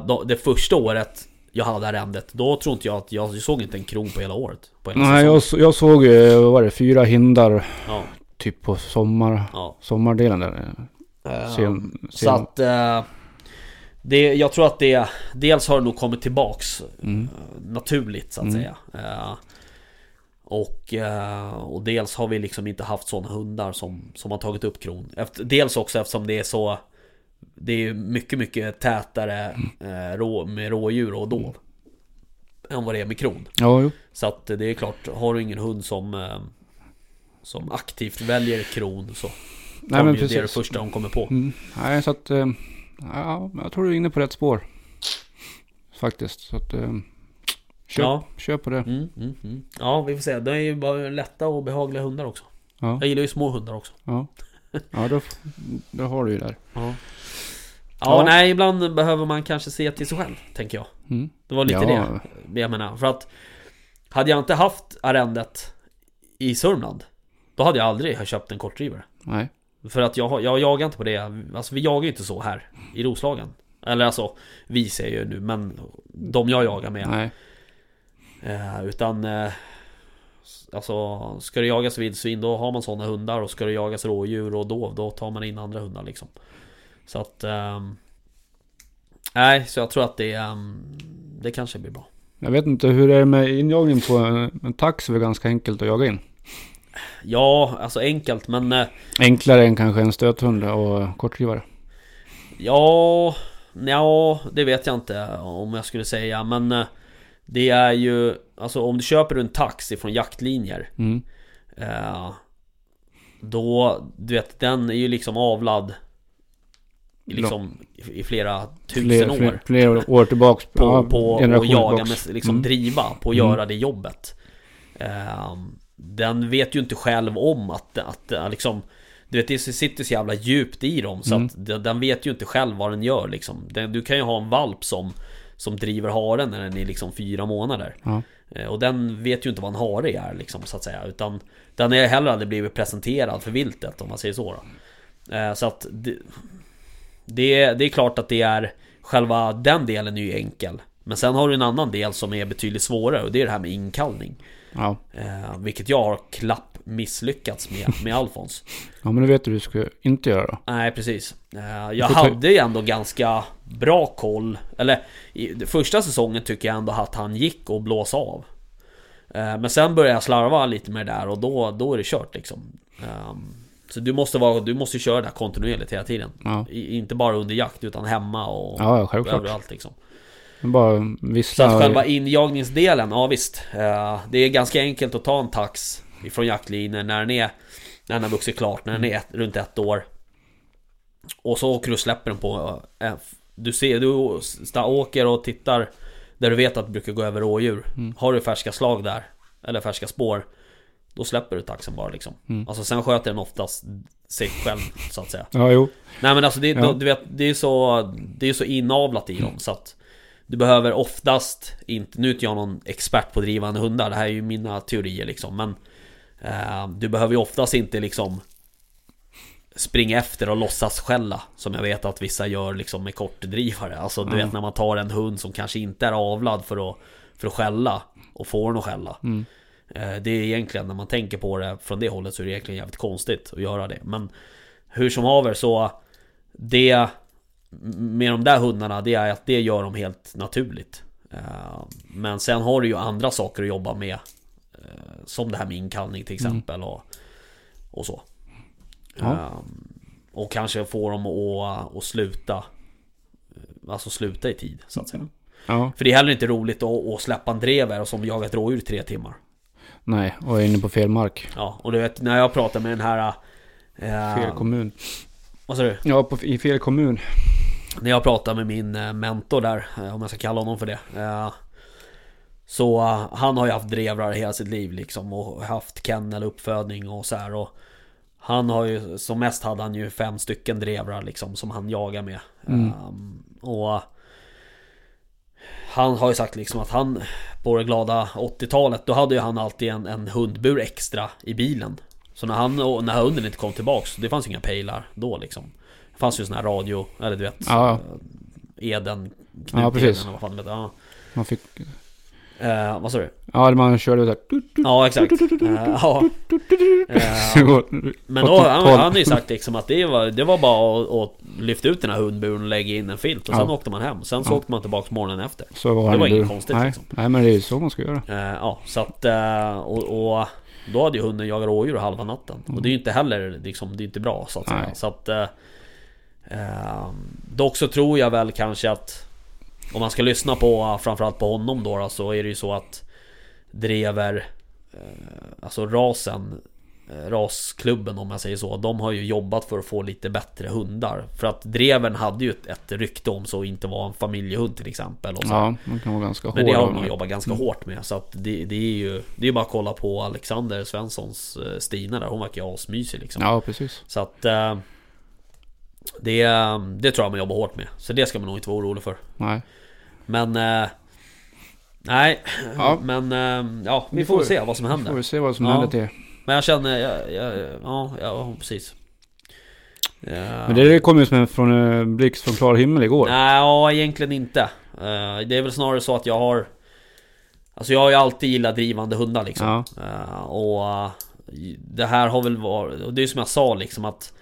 Speaker 1: Och då, det första året jag hade arrendet, då tror inte jag att jag såg inte en kron på hela året. På hela
Speaker 2: Nej,
Speaker 1: säsongen.
Speaker 2: jag, så- jag såg ju, vad var det, fyra hindar
Speaker 1: Ja,
Speaker 2: typ på sommar,
Speaker 1: ja.
Speaker 2: sommardelen där.
Speaker 1: Eh,
Speaker 2: Sen,
Speaker 1: Så
Speaker 2: sen,
Speaker 1: att... eh, Det, jag tror att det... Dels har det nog kommit tillbaks
Speaker 2: mm,
Speaker 1: eh, naturligt så att
Speaker 2: Mm.
Speaker 1: säga. Eh, Och, eh, och dels har vi liksom inte haft sådana hundar som, som har tagit upp kron. Efter, dels också eftersom det är så Det är ju mycket, mycket tätare eh, rå, med rådjur och dov. Än vad det är med kron.
Speaker 2: ja, jo.
Speaker 1: Så att eh, det är klart, har du ingen hund som eh, Som aktivt väljer kron så
Speaker 2: Nej,
Speaker 1: tar
Speaker 2: men
Speaker 1: ju det är det
Speaker 2: precis.
Speaker 1: första de kommer på.
Speaker 2: Mm, nej, så att... eh, Ja, men jag tror du är inne på rätt spår. Faktiskt. Så att... eh, Köp,
Speaker 1: Ja.
Speaker 2: köp på det.
Speaker 1: Mm, mm, mm. Ja, vi får se. Det är ju bara lätta och behagliga hundar också.
Speaker 2: Ja,
Speaker 1: Jag gillar ju små hundar också.
Speaker 2: ja. ja då, f- då har du ju där.
Speaker 1: Ja. Ja,
Speaker 2: Ja.
Speaker 1: nej, ibland behöver man kanske se till sig själv, tänker jag.
Speaker 2: Mm.
Speaker 1: Det var lite
Speaker 2: Ja.
Speaker 1: det jag menar. För att hade jag inte haft arrendet i Sörmland, då hade jag aldrig köpt en kortdrivare.
Speaker 2: Nej.
Speaker 1: För att jag, har- jag jagar inte på det. Alltså vi jagar ju inte så här i Roslagen. Eller alltså, vi säger ju nu, men de jag jagar med.
Speaker 2: Nej.
Speaker 1: Eh, utan eh, Alltså ska det jagas vildsvin då har man sådana hundar och ska det jagas rådjur och dov då tar man in andra hundar liksom. Så att... ehm, nej, så jag tror att det... ehm, det kanske blir bra.
Speaker 2: Jag vet inte, hur är det med injagning på en, en tax? är väl ganska enkelt att jaga in.
Speaker 1: Ja, alltså enkelt men... eh,
Speaker 2: Enklare än kanske en stöthund och kortdrivare.
Speaker 1: Ja, ja, det vet jag inte om jag skulle säga men eh, Det är ju, alltså om du köper en tax ifrån jaktlinjer
Speaker 2: Mm.
Speaker 1: eh, Då, du vet den är ju liksom avlad i liksom, i- i flera tusen
Speaker 2: Fler,
Speaker 1: år
Speaker 2: fler, fler år tillbaks.
Speaker 1: På,
Speaker 2: ja,
Speaker 1: på att
Speaker 2: generationer
Speaker 1: jaga,
Speaker 2: tillbaks.
Speaker 1: med, liksom
Speaker 2: Mm.
Speaker 1: driva, på att
Speaker 2: Mm.
Speaker 1: göra det jobbet eh, Den vet ju inte själv om att, att eh, liksom du vet, det sitter så jävla djupt i dem så
Speaker 2: Mm.
Speaker 1: att den, den vet ju inte själv vad den gör liksom. den, Du kan ju ha en valp som, som driver haren när den är liksom fyra månader
Speaker 2: Ja.
Speaker 1: Eh, Och den vet ju inte vad en hare är liksom så att säga Utan den är heller aldrig blivit presenterad för viltet om man säger så då. Eh, Så att det, det, är- det är klart att det är Själva den delen är ju enkel Men sen har du en annan del som är betydligt svårare och det är det här med inkallning
Speaker 2: Ja.
Speaker 1: Eh, Vilket jag har klapp misslyckats med med Alfons
Speaker 2: ja, men du vet du hur du ska inte göra då.
Speaker 1: Nej precis Eh, Jag
Speaker 2: får ta-
Speaker 1: hade ju ändå ganska bra koll Eller i den första säsongen tycker jag ändå att han gick och blåsa av Eh, Men sen började jag slarva lite med det där och då, då är det kört liksom Eh, Så du måste, vara, du måste ju köra det här kontinuerligt hela tiden
Speaker 2: Ja,
Speaker 1: I, Inte bara under jakt utan hemma och
Speaker 2: ja ja, självklart.
Speaker 1: överallt liksom
Speaker 2: Bara
Speaker 1: så
Speaker 2: vissla.
Speaker 1: att själva injagningsdelen, ja visst. Eh, Det är ganska enkelt att ta en tax ifrån jaktlinjen när den är när den har vuxit klart, när den är ett, runt ett år. Och så åker du och släpper den på... eh, Du ser, du sta- åker och tittar där du vet att det brukar gå över rådjur. Har du färska slag där, eller färska spår, då släpper du taxen bara liksom. Alltså sen sköter den oftast sig själv så att säga.
Speaker 2: Ja, jo.
Speaker 1: Nej men alltså det,
Speaker 2: Ja.
Speaker 1: du vet, det är så Det är så inavlat i dem så att Du behöver oftast inte Nu är inte jag någon expert på drivande hundar Det här är ju mina teorier liksom men eh, Du behöver ju oftast inte liksom Springa efter och låtsas skälla Som jag vet att vissa gör liksom med kortdrivare Alltså du vet när man tar en hund som kanske inte är avlad för att För att skälla Och får den att skälla Eh, Det är egentligen när man tänker på det från det hållet så är det egentligen jävligt konstigt att göra det Men hur som haver så Det Med de där hundarna det är att det gör de helt naturligt Eh, Men sen har du ju andra saker att jobba med eh, Som det här med inkallning till exempel och, och så
Speaker 2: Ja.
Speaker 1: Eh, Och kanske få dem att, att sluta Alltså sluta i tid så att säga
Speaker 2: Ja,
Speaker 1: För det är heller inte roligt att, att släppa en drever och som jagat rådjur i tre timmar
Speaker 2: nej. Och är inne på fel mark.
Speaker 1: Ja, och du vet när jag pratar med den här... Eh,
Speaker 2: Fel kommun.
Speaker 1: vad sa du?
Speaker 2: Ja, på, i fel kommun.
Speaker 1: När jag pratar med min eh, mentor där, eh, om jag ska kalla honom för det. Eh, så eh, han har ju haft drevrar hela sitt liv liksom och haft kennel, uppfödning och så här. Och han har ju, som mest hade han ju fem stycken drevrar liksom som han jagar med. Eh, och eh, han har ju sagt liksom att han på det glada 80-talet då hade ju han alltid en, en hundbur extra i bilen. Så när, han, och när hunden inte kom tillbaks, det fanns ju inga pejlar då liksom. Det fanns ju sån här radio, eller du vet
Speaker 2: Ja,
Speaker 1: Eden Knut
Speaker 2: Ja, precis.
Speaker 1: Eden, eller vad fan det heter. Ja.
Speaker 2: man fick...
Speaker 1: Eh, vad sa du?
Speaker 2: Ja, man körde där. Tut, tut,
Speaker 1: Ja exakt Eh, ja.
Speaker 2: tut, tut, tut.
Speaker 1: Eh,
Speaker 2: Så går-
Speaker 1: Men då,
Speaker 2: åt
Speaker 1: han,
Speaker 2: håll.
Speaker 1: han har ju sagt liksom att det var, det var bara att, att lyfta ut den här hundburen och lägga in en filt och sen
Speaker 2: Ja.
Speaker 1: åkte man hem Sen så åkte man tillbaka morgonen efter
Speaker 2: Så var han
Speaker 1: var
Speaker 2: i
Speaker 1: inget
Speaker 2: bur.
Speaker 1: konstigt,
Speaker 2: nej.
Speaker 1: liksom.
Speaker 2: nej, men det är ju så man ska göra.
Speaker 1: Eh, Ja så att eh, och, och då hade ju hunden jagat rådjur halva natten Och det är ju inte heller liksom, det är inte bra så att säga
Speaker 2: Nej.
Speaker 1: Så att eh, eh, Dock så tror jag väl kanske att Om man ska lyssna på framförallt på honom då, då så är det ju så att Drever eh, Alltså rasen eh, Rasklubben om jag säger så De har ju jobbat för att få lite bättre hundar För att Dreven hade ju ett, ett rykte om sig att inte vara en familjehund till exempel och så här.
Speaker 2: Ja, man kan vara ganska hård.
Speaker 1: Men det har
Speaker 2: av
Speaker 1: man
Speaker 2: dem. Mm.
Speaker 1: jobbat ganska hårt med så att det, det är ju Det är ju bara att kolla på Alexander Svenssons eh, Stina där, hon verkar ju asmysig liksom
Speaker 2: Ja, precis.
Speaker 1: Så att eh, det, det tror jag man jobbar hårt med Så det ska man nog inte vara orolig för
Speaker 2: Nej.
Speaker 1: Men eh, Nej
Speaker 2: Ja.
Speaker 1: Men eh, ja, vi
Speaker 2: Vi
Speaker 1: får
Speaker 2: får-
Speaker 1: väl se vad som
Speaker 2: Då får
Speaker 1: händer
Speaker 2: vi se vad som
Speaker 1: Ja.
Speaker 2: händer till.
Speaker 1: Men jag känner, jag, jag, ja, ja precis Ja.
Speaker 2: Men det kom ju som en från eh, blixt från klar himmel igår.
Speaker 1: Eh, Nej, ja, egentligen inte. Eh, Det är väl snarare så att jag har Alltså jag har ju alltid gillat drivande hundar liksom.
Speaker 2: Ja.
Speaker 1: Eh, och eh, det här har väl varit, och det är som jag sa liksom att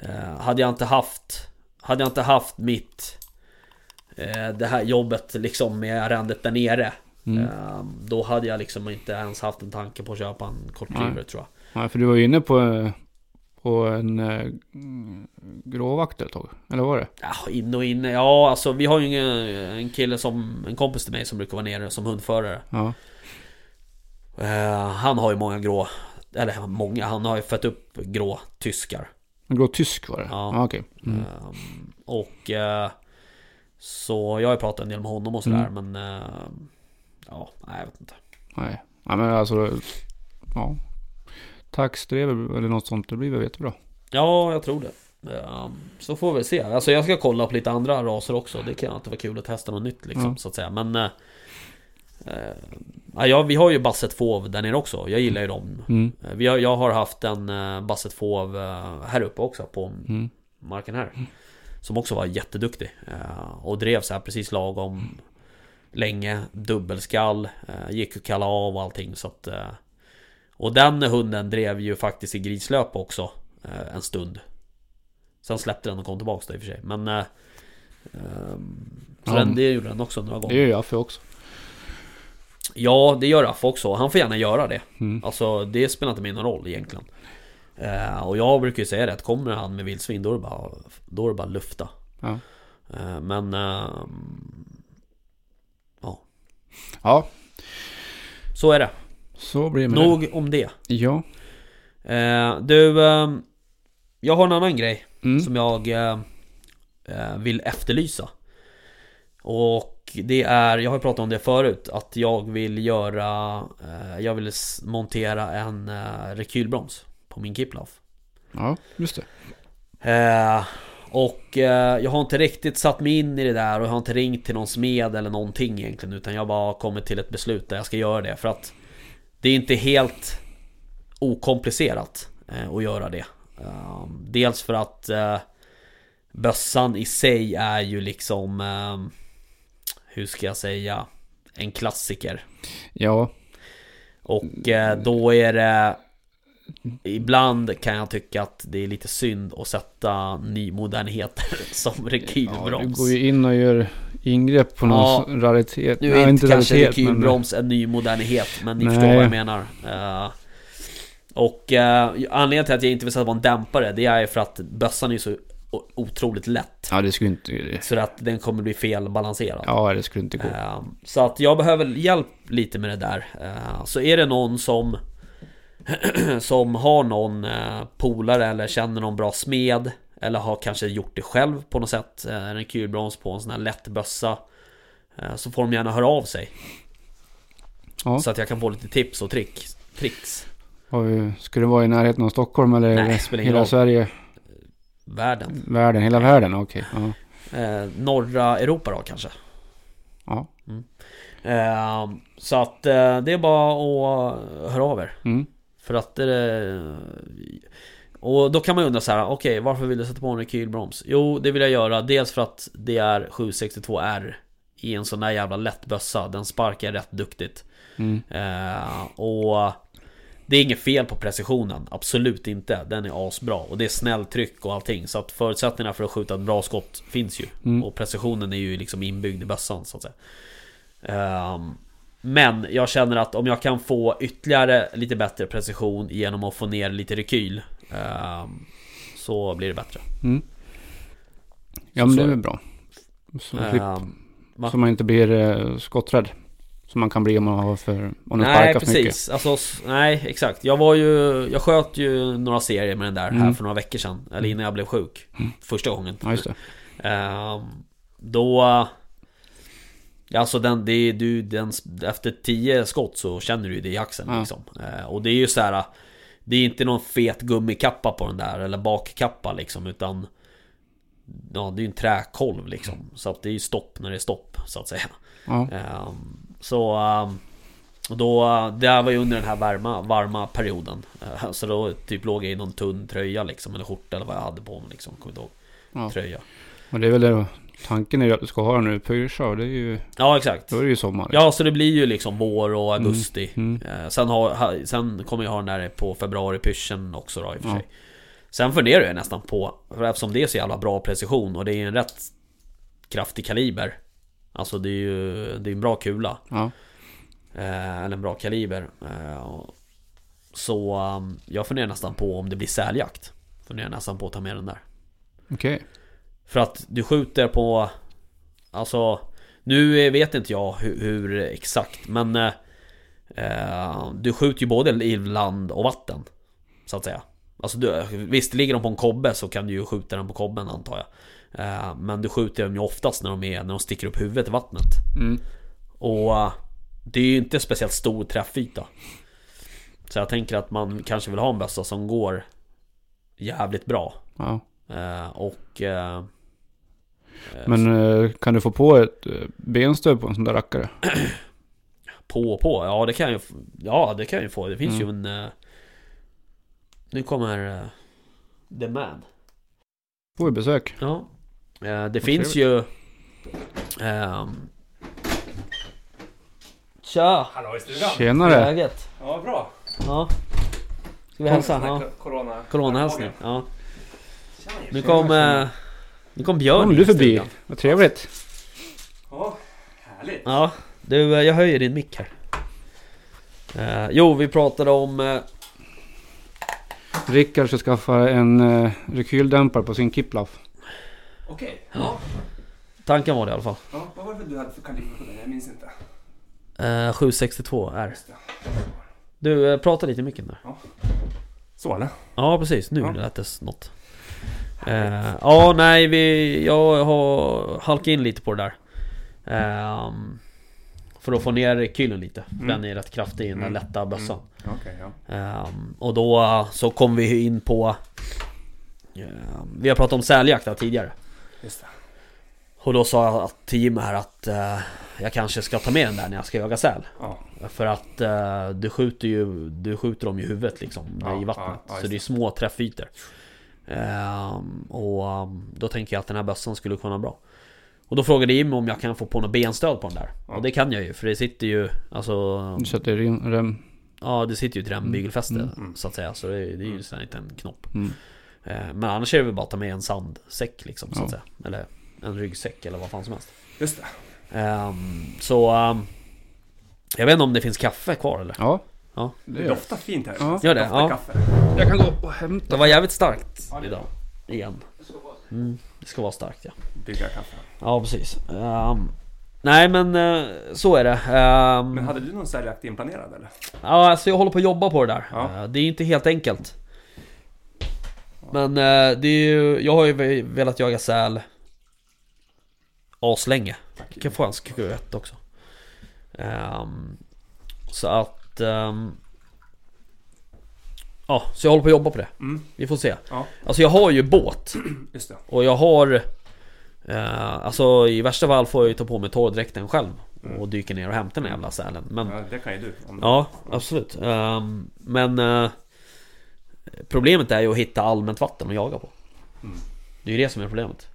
Speaker 1: eh, Hade jag inte haft Hade jag inte haft mitt eh, Det här jobbet liksom med arrendet där nere
Speaker 2: Mm.
Speaker 1: eh, Då hade jag liksom inte ens haft en tanke på att köpa en kortdriver
Speaker 2: Nej.
Speaker 1: tror jag
Speaker 2: ja, för du var ju inne på, eh, på en eh, mm, gråvakt ett tag. Eller vad var det?
Speaker 1: Ja, in och inne, ja alltså vi har ju en, en kille som En kompis till mig som brukar vara nere som hundförare
Speaker 2: Ja.
Speaker 1: eh, Han har ju många grå Eller många, han har ju fött upp grå tyskar
Speaker 2: En grå tysk var det?
Speaker 1: Ja.
Speaker 2: ja okej. Mm.
Speaker 1: Ehm, och eh, så jag har ju pratat en del med honom och sådär men eh, ja, nej jag vet inte.
Speaker 2: Nej. Ja, men alltså, ja. Taxdrever eller något sånt, det blir väl jättebra.
Speaker 1: Ja, jag tror det. Ehm, så får vi se. Alltså jag ska kolla på lite andra raser också. Det kan alltid vara kul att testa något nytt liksom
Speaker 2: Mm.
Speaker 1: så att säga. Men eh, eh, ja, ja, vi har ju Basset Fauve där nere också. Jag gillar ju dem.
Speaker 2: Mm.
Speaker 1: Eh, Vi har, jag har haft en eh, Basset Fauve eh, här uppe också på
Speaker 2: Mm.
Speaker 1: marken här. Som också var jätteduktig. eh, Och drev så här precis lagom länge. Dubbelskall. eh, Gick att kalla av och allting. Så att, eh, och den hunden drev ju faktiskt i grislöp också. eh, En stund. Sen släppte den och kom tillbaka då i och för sig. Men... eh, ehm, Så
Speaker 2: Ja.
Speaker 1: den, det gjorde den också några
Speaker 2: Det gör
Speaker 1: gånger.
Speaker 2: ju Affe också.
Speaker 1: Ja, det gör Affe också. Han får gärna göra det.
Speaker 2: Mm.
Speaker 1: Alltså det spelar inte mig någon roll egentligen. Eh, och jag brukar ju säga det att kommer han med vildsvin då är det bara, då är det bara lufta.
Speaker 2: Ja.
Speaker 1: Eh, men... Eh, ja,
Speaker 2: ja,
Speaker 1: så är det.
Speaker 2: så blir det med
Speaker 1: Nog om det.
Speaker 2: det. Ja.
Speaker 1: Eh, du, eh, jag har en annan grej
Speaker 2: Mm.
Speaker 1: som jag eh, eh, vill efterlysa. Och det är, jag har pratat om det förut, att jag vill göra, eh, jag vill s- montera en eh, rekylbroms på min Kiplav.
Speaker 2: Ja, just det.
Speaker 1: Eh, och eh, jag har inte riktigt satt mig in i det där och jag har inte ringt till någon smed eller någonting egentligen Utan jag har bara kommit till ett beslut där jag ska göra det för att Det är inte helt okomplicerat eh, att göra det Eh, Dels för att eh, Bössan i sig är ju liksom eh, Hur ska jag säga En klassiker
Speaker 2: Ja,
Speaker 1: och eh, då är det Ibland kan jag tycka att det är lite synd att sätta nymodernheter som
Speaker 2: ja du
Speaker 1: rekylbroms
Speaker 2: går ju in och gör ingrepp på någon
Speaker 1: Ja.
Speaker 2: s- raritet.
Speaker 1: Nu är
Speaker 2: Nej,
Speaker 1: inte, kanske
Speaker 2: men-
Speaker 1: rekylbroms en ny modernhet men ni förstår
Speaker 2: Nej.
Speaker 1: vad jag menar Eh, Och eh, anledningen till att jag inte vill sätta på en dämpare det är ju för att bössan är så o- otroligt lätt
Speaker 2: Ja, det skulle inte...
Speaker 1: Så att den kommer bli felbalanserad
Speaker 2: Ja, det skulle inte gå.
Speaker 1: Eh, Så att jag behöver hjälp lite med det där. Eh, Så är det någon som som har någon eh, polare eller känner någon bra smed eller har kanske gjort det själv på något sätt. eh, En kulbroms på en sån här lätt bössa. eh, Så får de gärna höra av sig.
Speaker 2: Ja.
Speaker 1: Så att jag kan få lite tips och trick, tricks.
Speaker 2: Har vi, ska det vara i närheten av Stockholm eller
Speaker 1: Nej, det spelar ingen
Speaker 2: hela
Speaker 1: roll.
Speaker 2: Sverige?
Speaker 1: Världen.
Speaker 2: Världen, hela världen? Okej. Ja.
Speaker 1: Eh, Norra Europa då kanske.
Speaker 2: ja.
Speaker 1: Eh, Så att eh, det är bara att höra av er.
Speaker 2: Mm.
Speaker 1: För att eh, Och då kan man ju undra så här, okej varför vill du sätta på en rekylbroms? Jo, det vill jag göra dels för att det är 762R I en sån där jävla lätt bössa, den sparkar rätt duktigt
Speaker 2: Mm.
Speaker 1: eh, Och Det är inget fel på precisionen, absolut inte Den är asbra och det är snälltryck och allting Så att förutsättningarna för att skjuta ett bra skott finns ju
Speaker 2: Mm.
Speaker 1: Och precisionen är ju liksom inbyggd i bössan så att säga Ehm, men jag känner att om jag kan få ytterligare lite bättre precision genom att få ner lite rekyl ehm, Så blir det bättre
Speaker 2: Mm. Ja, men
Speaker 1: Så-
Speaker 2: det är väl bra. Så, man slipper-
Speaker 1: Ehm, va?
Speaker 2: så man inte blir eh, skotträdd. Som man kan bli om man har för... Om den
Speaker 1: Nej
Speaker 2: sparkar för mycket.
Speaker 1: precis, alltså, s- nej exakt Jag var ju, jag sköt ju några serier med den där här
Speaker 2: Mm.
Speaker 1: för några veckor sedan Eller innan jag blev sjuk Första gången
Speaker 2: Ja, just det.
Speaker 1: Ehm, Då... Ja, Alltså den, det, är- du, den, efter 10 skott så känner du ju det i axeln
Speaker 2: Ja.
Speaker 1: liksom. Eh, Och det är ju så här. Det är inte någon fet gummikappa på den där eller bakkappa liksom utan Ja det är ju en träkolv
Speaker 2: Mm.
Speaker 1: liksom Så att det är ju stopp när det är stopp så att säga
Speaker 2: Ja.
Speaker 1: Ehm, Så ehm, och då, det här var ju under den här varma, varma perioden Eh, Så då typ låg jag i någon tunn tröja liksom Eller skjorta eller vad jag hade på mig liksom, kommer inte ihåg
Speaker 2: Ja.
Speaker 1: Tröja
Speaker 2: Och det är väl det Tanken är ju att du ska ha den nu pyrsa och det är ju,
Speaker 1: Ja, exakt.
Speaker 2: då är det ju sommar.
Speaker 1: Ja, så det blir ju liksom vår och augusti.
Speaker 2: Mm.
Speaker 1: Eh, Sen, har, ha- sen kommer jag ha den där på februari-pyrschen också då i och för
Speaker 2: Ja.
Speaker 1: sig. Sen funderar jag nästan på, för eftersom det är så jävla bra precision och det är en rätt kraftig kaliber. Alltså det är ju det är en bra kula.
Speaker 2: Ja.
Speaker 1: Eh, eller en bra kaliber. Eh, och- så um, jag funderar nästan på om det blir säljakt. Funderar nästan på att ta med den där.
Speaker 2: Okej.
Speaker 1: För att du skjuter på... Alltså... Nu eh, vet inte jag hur, hur exakt men... eh, Eh, du skjuter ju både i land och vatten. Så att säga. Alltså du, visst, ligger de på en kobbe så kan du ju skjuta den på kobben antar jag. Eh, men du skjuter dem ju oftast när de, är, när de sticker upp huvudet i vattnet.
Speaker 2: Mm.
Speaker 1: Och eh, det är ju inte speciellt stor träffyta. Så jag tänker att man kanske vill ha en bössa som går jävligt bra.
Speaker 2: Ja.
Speaker 1: Eh, och... Eh,
Speaker 2: Men eh, kan du få på ett eh, benstöd på en sån där rackare?
Speaker 1: På och på, ja det kan jag ju f- Ja det kan jag ju få, det finns ju en... eh, Nu kommer... eh, The Man
Speaker 2: Får vi besök?
Speaker 1: Ja Eh, Det finns ju... ehm, Tja!
Speaker 3: Hallå i stugan!
Speaker 2: Tjenare!
Speaker 1: Läget?
Speaker 3: Ja, bra!
Speaker 1: Ja Ska vi hälsa? Ja,
Speaker 3: Corona.
Speaker 1: coronahälsning ja.
Speaker 3: Tjena.
Speaker 1: Nu kom...
Speaker 2: tjena.
Speaker 1: eh, Nu kom Björn
Speaker 2: Kom
Speaker 1: in i
Speaker 2: du förbi?
Speaker 1: stugan.
Speaker 2: Vad trevligt!
Speaker 3: Ja, härligt.
Speaker 1: Ja Du, eh, jag höjer din mick här Eh, Jo, vi pratade om... eh,
Speaker 2: Rickard ska skaffa en eh, rekyldämpare på sin Kiplaff.
Speaker 3: Okej. Ja.
Speaker 1: Tanken var det i alla fall
Speaker 3: ja. Vad var det för du hade för kaliber på den? Jag minns inte.
Speaker 1: Eh, 762 är
Speaker 3: Just det.
Speaker 1: Du, eh, prata lite i micken där
Speaker 3: Så eller?
Speaker 1: Ja precis, nu
Speaker 3: Ja.
Speaker 1: lät det något Eh, Ja nej, vi, jag har halkat in lite på det där Ehm, För att få ner rekylen lite, för
Speaker 3: Mm.
Speaker 1: den är rätt kraftig i den där
Speaker 3: Mm.
Speaker 1: lätta bössan
Speaker 3: Okej, ja.
Speaker 1: Ehm, Och då eh, så kom vi in på ehm, Vi har pratat om säljakt här tidigare
Speaker 3: Just det.
Speaker 1: Och då sa jag att- till Jim här att eh, Jag kanske ska ta med den där när jag ska jaga säl
Speaker 3: Ja.
Speaker 1: För att eh, du skjuter ju du skjuter dem i huvudet liksom
Speaker 3: Ja,
Speaker 1: i vattnet.
Speaker 3: ja, ja, just
Speaker 1: så det är
Speaker 3: det.
Speaker 1: små träffytor. Ehm, och ehm, då tänker jag att den här bössan skulle kunna vara bra. Och då frågade Jim om jag kan få på något benstöd på den där.
Speaker 3: Ja.
Speaker 1: Och det kan jag ju för det sitter ju alltså
Speaker 2: Du sätter in rem.
Speaker 1: Ja det sitter ju ett rembygelfäste
Speaker 2: Mm,
Speaker 3: mm.
Speaker 1: så att säga. Så det, är- det är ju en sån här liten knopp.
Speaker 2: Mm.
Speaker 1: Eh, men annars är det väl bara att ta med en sandsäck liksom så
Speaker 2: Ja.
Speaker 1: att säga. Eller en ryggsäck eller vad fan som helst.
Speaker 3: Just det.
Speaker 1: Ehm, så ehm, jag vet inte om det finns kaffe kvar eller?
Speaker 2: Ja.
Speaker 1: Ja.
Speaker 3: Det
Speaker 2: Det
Speaker 3: doftar fint här.
Speaker 2: Ja.
Speaker 1: Gör det?
Speaker 3: Doftar
Speaker 1: Ja.
Speaker 3: kaffe.
Speaker 2: Jag kan gå och
Speaker 1: Det
Speaker 2: hämta.
Speaker 1: var jävligt starkt
Speaker 3: Ja, det-
Speaker 1: idag. Igen. Mm, det ska vara starkt ja.
Speaker 3: Bygga kaffe.
Speaker 1: Ja precis. Ehm, nej men eh, så är det. Ehm,
Speaker 3: Men hade du någon säljakt inplanerad eller?
Speaker 1: ja, alltså jag håller på att jobba på det där.
Speaker 3: Ja.
Speaker 1: Eh, det är ju inte helt enkelt. Men eh, det är ju, jag har ju ve- velat jaga säl aslänge.
Speaker 3: Tack.
Speaker 1: Jag kan få en skruett också. Ehm, så att... ehm, ja, så jag håller på att jobba på det.
Speaker 3: Mm.
Speaker 1: Vi får se.
Speaker 3: Ja.
Speaker 1: Alltså jag har ju båt.
Speaker 3: Just det.
Speaker 1: Och jag har eh, Alltså i värsta fall får jag ju ta på mig torrdräkten själv
Speaker 3: Mm.
Speaker 1: Och dyka ner och hämta den jävla sälen Men
Speaker 3: Ja, det kan ju du. Om...
Speaker 1: ja, absolut Ehm, Men eh, Problemet är ju att hitta allmänt vatten att jaga på
Speaker 3: Mm.
Speaker 1: Det är ju det som är problemet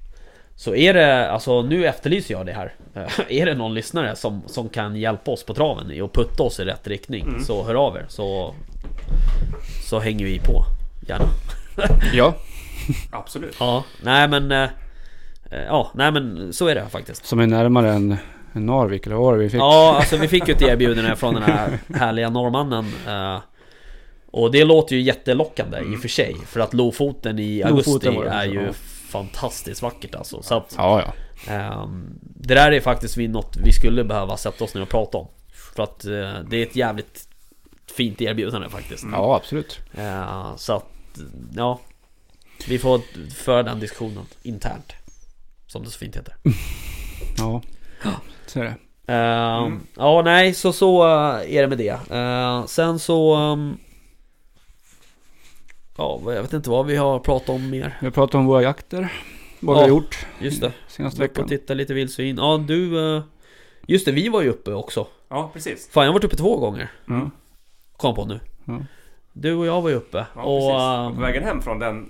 Speaker 1: Så är det, alltså nu efterlyser jag det här Eh, Är det någon lyssnare som, som kan hjälpa oss på traven i och putta oss i rätt riktning
Speaker 3: Mm.
Speaker 1: Så hör av er så Så hänger vi på Gärna
Speaker 2: Ja.
Speaker 3: Absolut.
Speaker 1: Ja, nej men... eh, eh, Ja, nej men så är det faktiskt.
Speaker 2: Som är närmare än, än Narvik eller vad var det vi fick?
Speaker 1: Ja, alltså vi fick ju ett erbjudande från den här härliga norrmannen. eh, Och det låter ju jättelockande i och för sig. För att Lofoten i augusti
Speaker 2: Lofoten var det,
Speaker 1: är ju
Speaker 2: ja.
Speaker 1: fantastiskt vackert alltså. Så att,
Speaker 2: Ja, ja.
Speaker 1: ehm, det där är faktiskt vi- något vi skulle behöva sätta oss ner och prata om. För att eh, det är ett jävligt fint erbjudande faktiskt.
Speaker 2: Ja, absolut.
Speaker 1: Eh, Så att, ja. Vi får föra den diskussionen internt. Som det så fint heter.
Speaker 2: Ja. Så är det.
Speaker 1: Ehm,
Speaker 3: Mm.
Speaker 1: Ja, nej, så så eh, är det med det. Eh, sen så... ehm, ja, vad- jag vet inte vad vi har pratat om mer.
Speaker 2: Vi pratar om våra jakter. Vad vi
Speaker 1: Ja.
Speaker 2: har gjort
Speaker 1: Just det,
Speaker 2: senaste
Speaker 1: vi upp och
Speaker 2: veckan.
Speaker 1: titta lite vildsvin. Ja, du... eh, just det, vi var ju uppe också.
Speaker 3: Ja, precis.
Speaker 1: Fan, jag har varit uppe två gånger.
Speaker 2: Ja.
Speaker 1: Kom jag på nu.
Speaker 2: Ja.
Speaker 1: Du och jag var ju uppe.
Speaker 3: Ja,
Speaker 1: och...
Speaker 3: precis. Och
Speaker 1: ehm,
Speaker 3: på vägen hem från den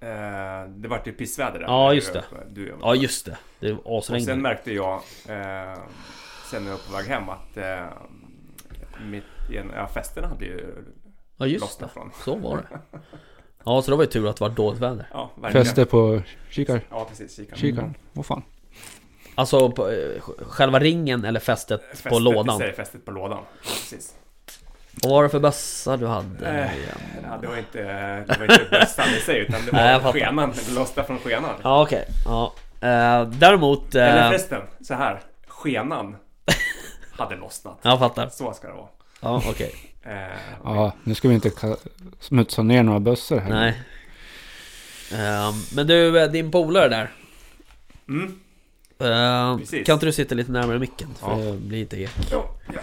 Speaker 3: Eh, det vart ju pissväder där.
Speaker 1: Ja, just det.
Speaker 3: Du, och jag.
Speaker 1: Ja just det, det var
Speaker 3: och sen
Speaker 1: asregn.
Speaker 3: märkte jag eh, sen när jag var på väg hem att eh, mitt, ja, festerna hade ju
Speaker 1: Ja just det,
Speaker 3: lossnat från.
Speaker 1: så var det. Ja så det var ju tur att det var dåligt väder.
Speaker 3: Ja, verkligen.
Speaker 2: Fäste på kikar.
Speaker 3: Ja, precis. Mm. Kikaren.
Speaker 2: Kikaren. Vad fan.
Speaker 1: Alltså på, eh, sj- själva ringen eller fästet
Speaker 3: Fästet
Speaker 1: på
Speaker 3: i
Speaker 1: lådan.
Speaker 3: Sig, fästet på lådan. Ja, Precis.
Speaker 1: Vad var det för bössa du hade?
Speaker 3: Eh,
Speaker 1: igen?
Speaker 3: Ja, det var inte, det var inte bössan i sig utan det var
Speaker 1: Nej, jag fattar.
Speaker 3: skenan. Det lossnade från skenan.
Speaker 1: Ja okej. Ja. Eh, däremot...
Speaker 3: Eller
Speaker 1: Eh,
Speaker 3: förresten, så här. Skenan hade lossnat.
Speaker 1: jag fattar.
Speaker 3: Så ska det vara.
Speaker 1: Ja okej.
Speaker 3: Eh,
Speaker 2: Ja, nu ska vi inte ka- smutsa ner några bössor här.
Speaker 1: Nej. Ehm, men du, eh, din polare där.
Speaker 3: Mm.
Speaker 1: Ehm,
Speaker 3: Precis.
Speaker 1: kan inte du sitta lite närmare micken? För
Speaker 3: Ja.
Speaker 1: det blir lite ek.
Speaker 3: ja, ja.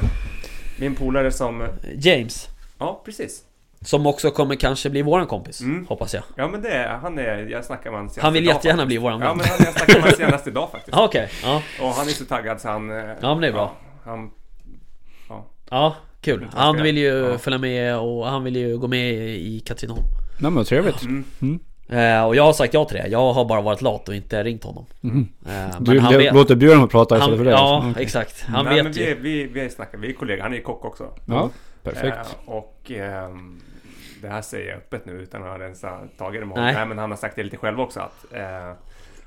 Speaker 3: Min polare som...
Speaker 1: James.
Speaker 3: Ja, precis.
Speaker 1: Som också kommer kanske bli våran kompis.
Speaker 3: Mm.
Speaker 1: Hoppas jag.
Speaker 3: Ja, men det är... Han är... Jag snackade med honom senast
Speaker 1: Han vill
Speaker 3: idag,
Speaker 1: jättegärna
Speaker 3: faktiskt.
Speaker 1: bli våran
Speaker 3: Ja,
Speaker 1: vän.
Speaker 3: men han, jag snackade med honom senast idag faktiskt.
Speaker 1: Ja, okej. Ja.
Speaker 3: Och han är så taggad så han... eh,
Speaker 1: ja, men det är bra.
Speaker 3: han...
Speaker 1: Ja, kul. Han vill ju
Speaker 3: Ja.
Speaker 1: följa med och han vill ju gå med i Katrineholm.
Speaker 2: Nej men vad trevligt.
Speaker 3: Mm.
Speaker 1: Eh, och jag har sagt ja till det. Jag har bara varit lat och inte ringt honom. Eh, men
Speaker 2: Mhm. Du
Speaker 1: han vet...
Speaker 2: låter Björn prata istället
Speaker 1: Han,
Speaker 2: för dig.
Speaker 1: ja,
Speaker 2: alltså.
Speaker 1: exakt. Han
Speaker 3: Nej, men
Speaker 1: vet
Speaker 3: vi,
Speaker 1: ju.
Speaker 3: är- vi, vi, är snackar, vi är kollegor. Han är kock också.
Speaker 2: ja, perfekt.
Speaker 3: Eh, och ehm, det här säger jag öppet nu utan att ha ens tagit det med
Speaker 1: Nej.
Speaker 3: Nej. Nej, men han har sagt det lite själv också att eh,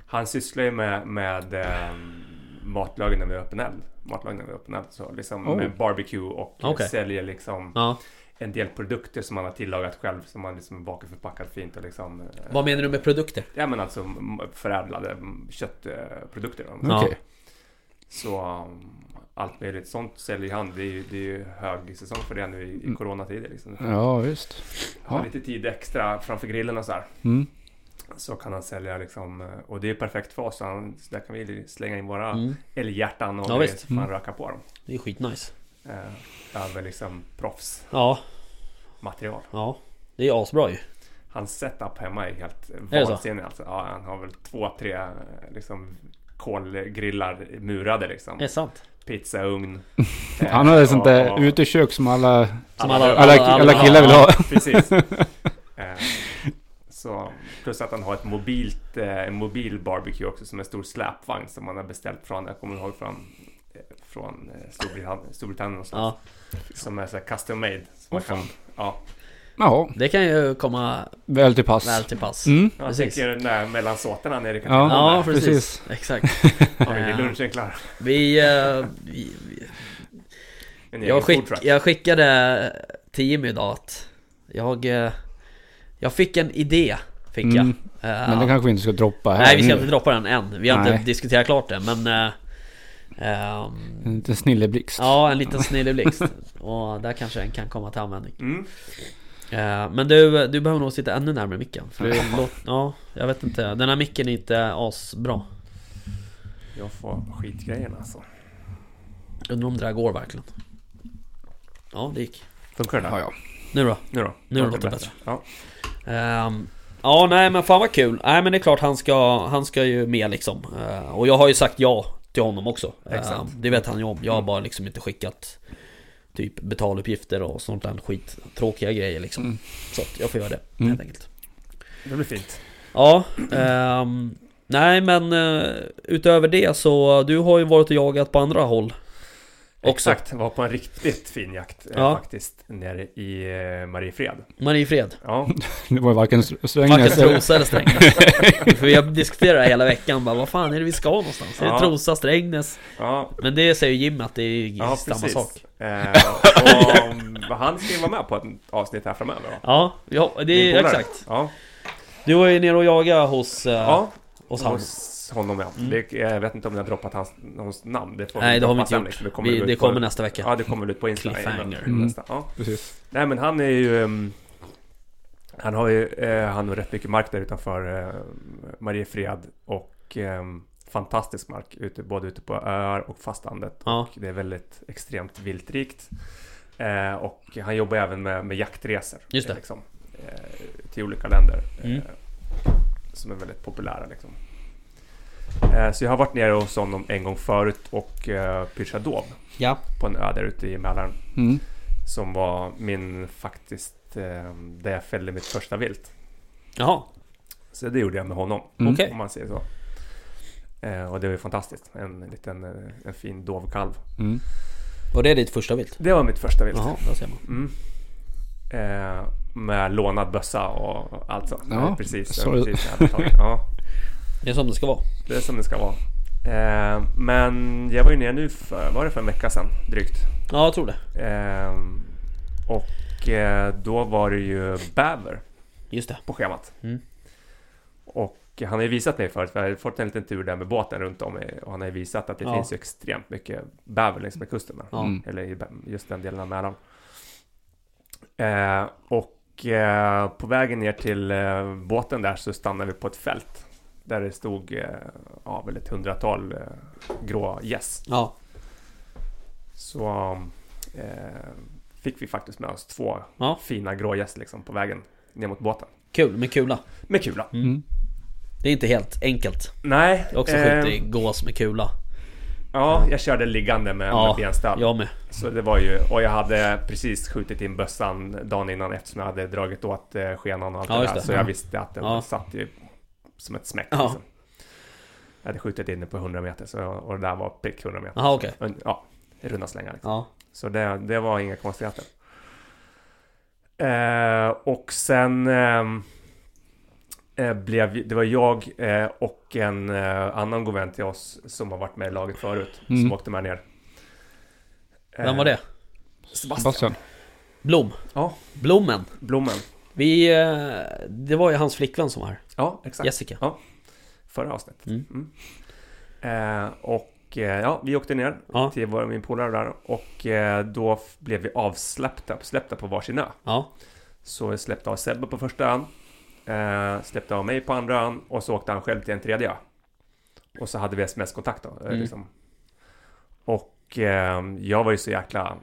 Speaker 3: han sysslar ju med, med ehm, matlagning över öppen eld. Matlagning över öppen eld. Så liksom
Speaker 2: Oh.
Speaker 3: med barbecue och eh,
Speaker 1: Okej.
Speaker 3: säljer liksom
Speaker 1: Ja.
Speaker 3: en del produkter som han har tillagat själv som han liksom bakar förpackat fint och liksom eh,
Speaker 1: Vad menar du med produkter?
Speaker 3: Ja men alltså m- förädlade mm, köttprodukter. då.
Speaker 1: Ja.
Speaker 2: Okej.
Speaker 3: Så um, allt möjligt sånt säljer han. Det är ju, det är ju högsäsong för det nu i,
Speaker 1: Mm.
Speaker 3: i coronatider. Liksom.
Speaker 2: Ja, visst.
Speaker 3: Har
Speaker 2: Ja.
Speaker 3: lite tid extra framför grillen och så här.
Speaker 2: Mm.
Speaker 3: Så kan han sälja liksom. eh, Och det är perfekt för oss. så Han, så där kan vi slänga in våra
Speaker 1: Mm.
Speaker 3: älghjärtan och
Speaker 1: Ja,
Speaker 3: ja,
Speaker 1: visst.
Speaker 3: fan
Speaker 2: Mm.
Speaker 3: röka på dem.
Speaker 1: Det är skitnice.
Speaker 3: Eh, Över liksom proffsmaterial.
Speaker 1: Ja, ja. Det är asbra ju.
Speaker 3: Hans setup hemma är helt
Speaker 1: det så?
Speaker 3: vansinnig. Alltså, ja, han har väl två, tre eh, liksom, kolgrillar murade liksom.
Speaker 1: Det är sant.
Speaker 3: Pizzaugn.
Speaker 2: Han har liksom ett sånt där
Speaker 3: Ja,
Speaker 2: utekök som alla,
Speaker 1: Som
Speaker 3: alla-
Speaker 2: alla, alla killar vill ha.
Speaker 3: Precis. Eh, Så, plus att han har ett mobilt, eh, en mobil barbecue också som är en stor släpvagn som han har beställt från, jag kommer ihåg från, eh, från eh, Storbritannien, Storbritannien någonstans.
Speaker 1: Ja,
Speaker 3: Som är så här custom made. Som man kan, ja,
Speaker 2: Ja,
Speaker 1: det kan ju komma
Speaker 2: väl till pass.
Speaker 1: väl till pass.
Speaker 2: Mm.
Speaker 3: jag
Speaker 1: Precis.
Speaker 3: tänker när, mellan såterna nere i
Speaker 2: Ja.
Speaker 3: Katrineholm.
Speaker 1: Ja,
Speaker 3: Ja.
Speaker 1: precis.
Speaker 2: precis.
Speaker 1: Exakt. Eh,
Speaker 3: Har vi lunchen klar?
Speaker 1: Vi, eh, vi, vi
Speaker 3: En egen
Speaker 1: jag, skick,
Speaker 3: food truck.
Speaker 1: jag skickade till Jimmy idag att jag, eh, jag fick en idé. Fick jag.
Speaker 2: Mm.
Speaker 1: Eh,
Speaker 2: Men det kanske vi inte ska droppa här
Speaker 1: nej, vi ska
Speaker 2: nu.
Speaker 1: inte droppa den än. Vi har
Speaker 2: Nej.
Speaker 1: inte diskuterat klart det, men... eh, ehm,
Speaker 2: En liten Mm. snilleblixt.
Speaker 1: Ja, en liten snilleblixt. Och där kanske den kan komma till användning.
Speaker 3: Mm.
Speaker 1: Eh, Men du, du behöver nog sitta ännu närmare micken. För det låt, ja, jag vet inte. Den här micken är inte asbra.
Speaker 3: Jag får skitgrejerna alltså.
Speaker 1: Undrar om det där går verkligen. Ja, det gick.
Speaker 3: Funkar det?
Speaker 2: Ja, ja.
Speaker 1: Nu då?
Speaker 3: Nu då?
Speaker 1: Nu låter det bättre.
Speaker 3: Ja.
Speaker 1: Ehm, ja, nej men fan vad kul. Nej men det är klart han ska, han ska ju med liksom. Eh, och jag har ju sagt ja till honom också. Ehm,
Speaker 3: Exakt. Mm.
Speaker 1: det vet han ju om. Jag har bara liksom inte skickat typ betaluppgifter och sånt där skit. Tråkiga grejer liksom.
Speaker 2: Mm.
Speaker 1: Så att jag får göra det
Speaker 2: Mm.
Speaker 1: helt enkelt.
Speaker 3: Det blir fint.
Speaker 1: Ja, ehm, nej men eh, utöver det så du har ju varit och jagat på andra håll. Också.
Speaker 3: Exakt, var på en riktigt fin jakt eh,
Speaker 1: Ja.
Speaker 3: faktiskt nere i eh, Mariefred.
Speaker 1: Mariefred.
Speaker 3: Ja,
Speaker 2: Det var ju varken s-
Speaker 1: Varken
Speaker 2: Strängnäs eller...
Speaker 1: Trosa eller Strängnäs. För vi har diskuterat det här hela veckan. Bara, vad fan är det vi ska någonstans? Är det
Speaker 3: Ja.
Speaker 1: Trosa, Strängnäs?
Speaker 3: ja,
Speaker 1: Men det säger ju Jim att det är
Speaker 3: ja
Speaker 1: samma
Speaker 3: precis.
Speaker 1: sak.
Speaker 3: Eh, och mm, han ska ju vara med på ett avsnitt här framöver. va?
Speaker 1: Ja, ja det
Speaker 3: Min
Speaker 1: är
Speaker 3: polare.
Speaker 1: exakt.
Speaker 3: Ja,
Speaker 1: Du var ju nere och jagade hos, eh,
Speaker 3: ja
Speaker 1: hos han. Mm.
Speaker 3: hos honom ja. Det, jag vet inte om ni har droppat hans, hans namn. Det får
Speaker 1: Nej, det har vi
Speaker 3: droppa
Speaker 1: inte
Speaker 3: sen,
Speaker 1: gjort.
Speaker 3: liksom.
Speaker 1: Det
Speaker 3: kommer
Speaker 1: kommer, vi,
Speaker 3: ut
Speaker 1: det
Speaker 3: på-
Speaker 1: kommer nästa vecka.
Speaker 3: Ja, det kommer väl ut på Instagram.
Speaker 1: Cliffhanger.
Speaker 2: Mm.
Speaker 3: Nästa, ja.
Speaker 2: Precis.
Speaker 3: Nej, men han är ju... ehm, han har ju eh, han har rätt mycket mark där utanför eh, Mariefred och ehm, fantastisk mark, ute, både ute på öar och fastlandet.
Speaker 1: Ja.
Speaker 3: Och det är väldigt extremt viltrikt. Eh, och han jobbar även med, med jaktresor.
Speaker 1: Just det.
Speaker 3: eh, Liksom, eh, till olika länder.
Speaker 1: Mm.
Speaker 3: Eh, som är väldigt populära liksom. Eh, så jag har varit nere hos honom en gång förut och eh, pyschat dov
Speaker 1: Ja.
Speaker 3: på en ö där ute i Mälaren.
Speaker 2: Mm.
Speaker 3: Som var min faktiskt eh, där jag fällde mitt första vilt.
Speaker 1: Jaha.
Speaker 3: Så det gjorde jag med honom,
Speaker 2: Mm.
Speaker 1: Okej.
Speaker 3: om man säger så. Eh, och det var ju fantastiskt. En liten eh, en fin dovkalv.
Speaker 2: Mm.
Speaker 1: Var det ditt första vilt?
Speaker 3: Det var mitt första vilt.
Speaker 1: Jaha, där ser man.
Speaker 3: Mm. Eh, med lånad bössa och allt sånt.
Speaker 2: Ja,
Speaker 3: Eh, precis.
Speaker 2: så-
Speaker 3: eh, precis jag hade tagit. ja,
Speaker 1: Det är som det ska vara.
Speaker 3: det är som det ska vara. Eh, men jag var ju nere nu för, var det för en vecka sedan drygt?
Speaker 1: Ja, jag tror det.
Speaker 3: Eh, och eh, då var det ju bäver
Speaker 1: Just det.
Speaker 3: på schemat.
Speaker 1: Mm.
Speaker 3: Och han har ju visat mig förut, för jag har fått en liten tur där med båten runt om eh, och han har ju visat att det
Speaker 1: Ja.
Speaker 3: finns ju extremt mycket bäver längs med kusten där.
Speaker 1: Ja.
Speaker 2: Mm.
Speaker 3: Eller i Bä- just den delen av Mälaren. Eh, och eh, på vägen ner till eh, båten där så stannade vi på ett fält. Där det stod eh, ja, väl ett hundratal eh, grå gäss.
Speaker 1: Ja,
Speaker 3: Så eh, fick vi faktiskt med oss två
Speaker 1: Ja.
Speaker 3: fina grå gäss liksom på vägen ner mot båten.
Speaker 1: kul med kula.
Speaker 3: Med kula.
Speaker 2: Mm.
Speaker 1: Det är inte helt enkelt.
Speaker 3: Nej.
Speaker 1: Jag har också
Speaker 3: eh,
Speaker 1: skjutit gås med kula.
Speaker 3: Ja, jag körde liggande med,
Speaker 1: Ja,
Speaker 3: med benstall.
Speaker 1: Jag med.
Speaker 3: Så det var ju, och jag hade precis skjutit in bössan dagen innan eftersom jag hade dragit åt eh, skenan och allt
Speaker 1: Ja,
Speaker 3: det
Speaker 1: just
Speaker 3: där.
Speaker 1: det.
Speaker 3: Så
Speaker 1: Ja.
Speaker 3: jag visste att den
Speaker 1: Ja.
Speaker 3: satt ju som ett smäck.
Speaker 1: Ja.
Speaker 3: Liksom. Jag hade skjutit in den på 100 meter så, och det där var prick 100 meter.
Speaker 1: Jaha, okej.
Speaker 3: Un- Ja, i runda slängar. Liksom.
Speaker 1: Ja.
Speaker 3: Så det, det var inga konstigheter. Eh, och sen ehm, eh, blev det var jag eh, och en eh, annan god vän till oss som har varit med i laget förut
Speaker 2: Mm.
Speaker 3: som åkte med ner. Eh,
Speaker 1: Vem var det?
Speaker 3: Sebastian.
Speaker 2: Bassen.
Speaker 1: Blom.
Speaker 3: Ja.
Speaker 1: Blommen.
Speaker 3: Blommen.
Speaker 1: Vi... eh, Det var ju hans flickvän som var här.
Speaker 3: Ja, exakt.
Speaker 1: Jessica.
Speaker 3: Förra avsnittet.
Speaker 1: Mm.
Speaker 3: Mm. Eh, och eh, ja, vi åkte ner
Speaker 1: Ja.
Speaker 3: till vår, min polare där och eh, då f- blev vi avsläppta släppta på varsin ö.
Speaker 1: Ja.
Speaker 3: Så jag släppte av Sebbe på första ön. Eh, släppte av mig på andra ön och så åkte han själv till en tredje ö. Och så hade vi sms-kontakt då. eh,
Speaker 1: Mm.
Speaker 3: Liksom. Och eh, jag var ju så jäkla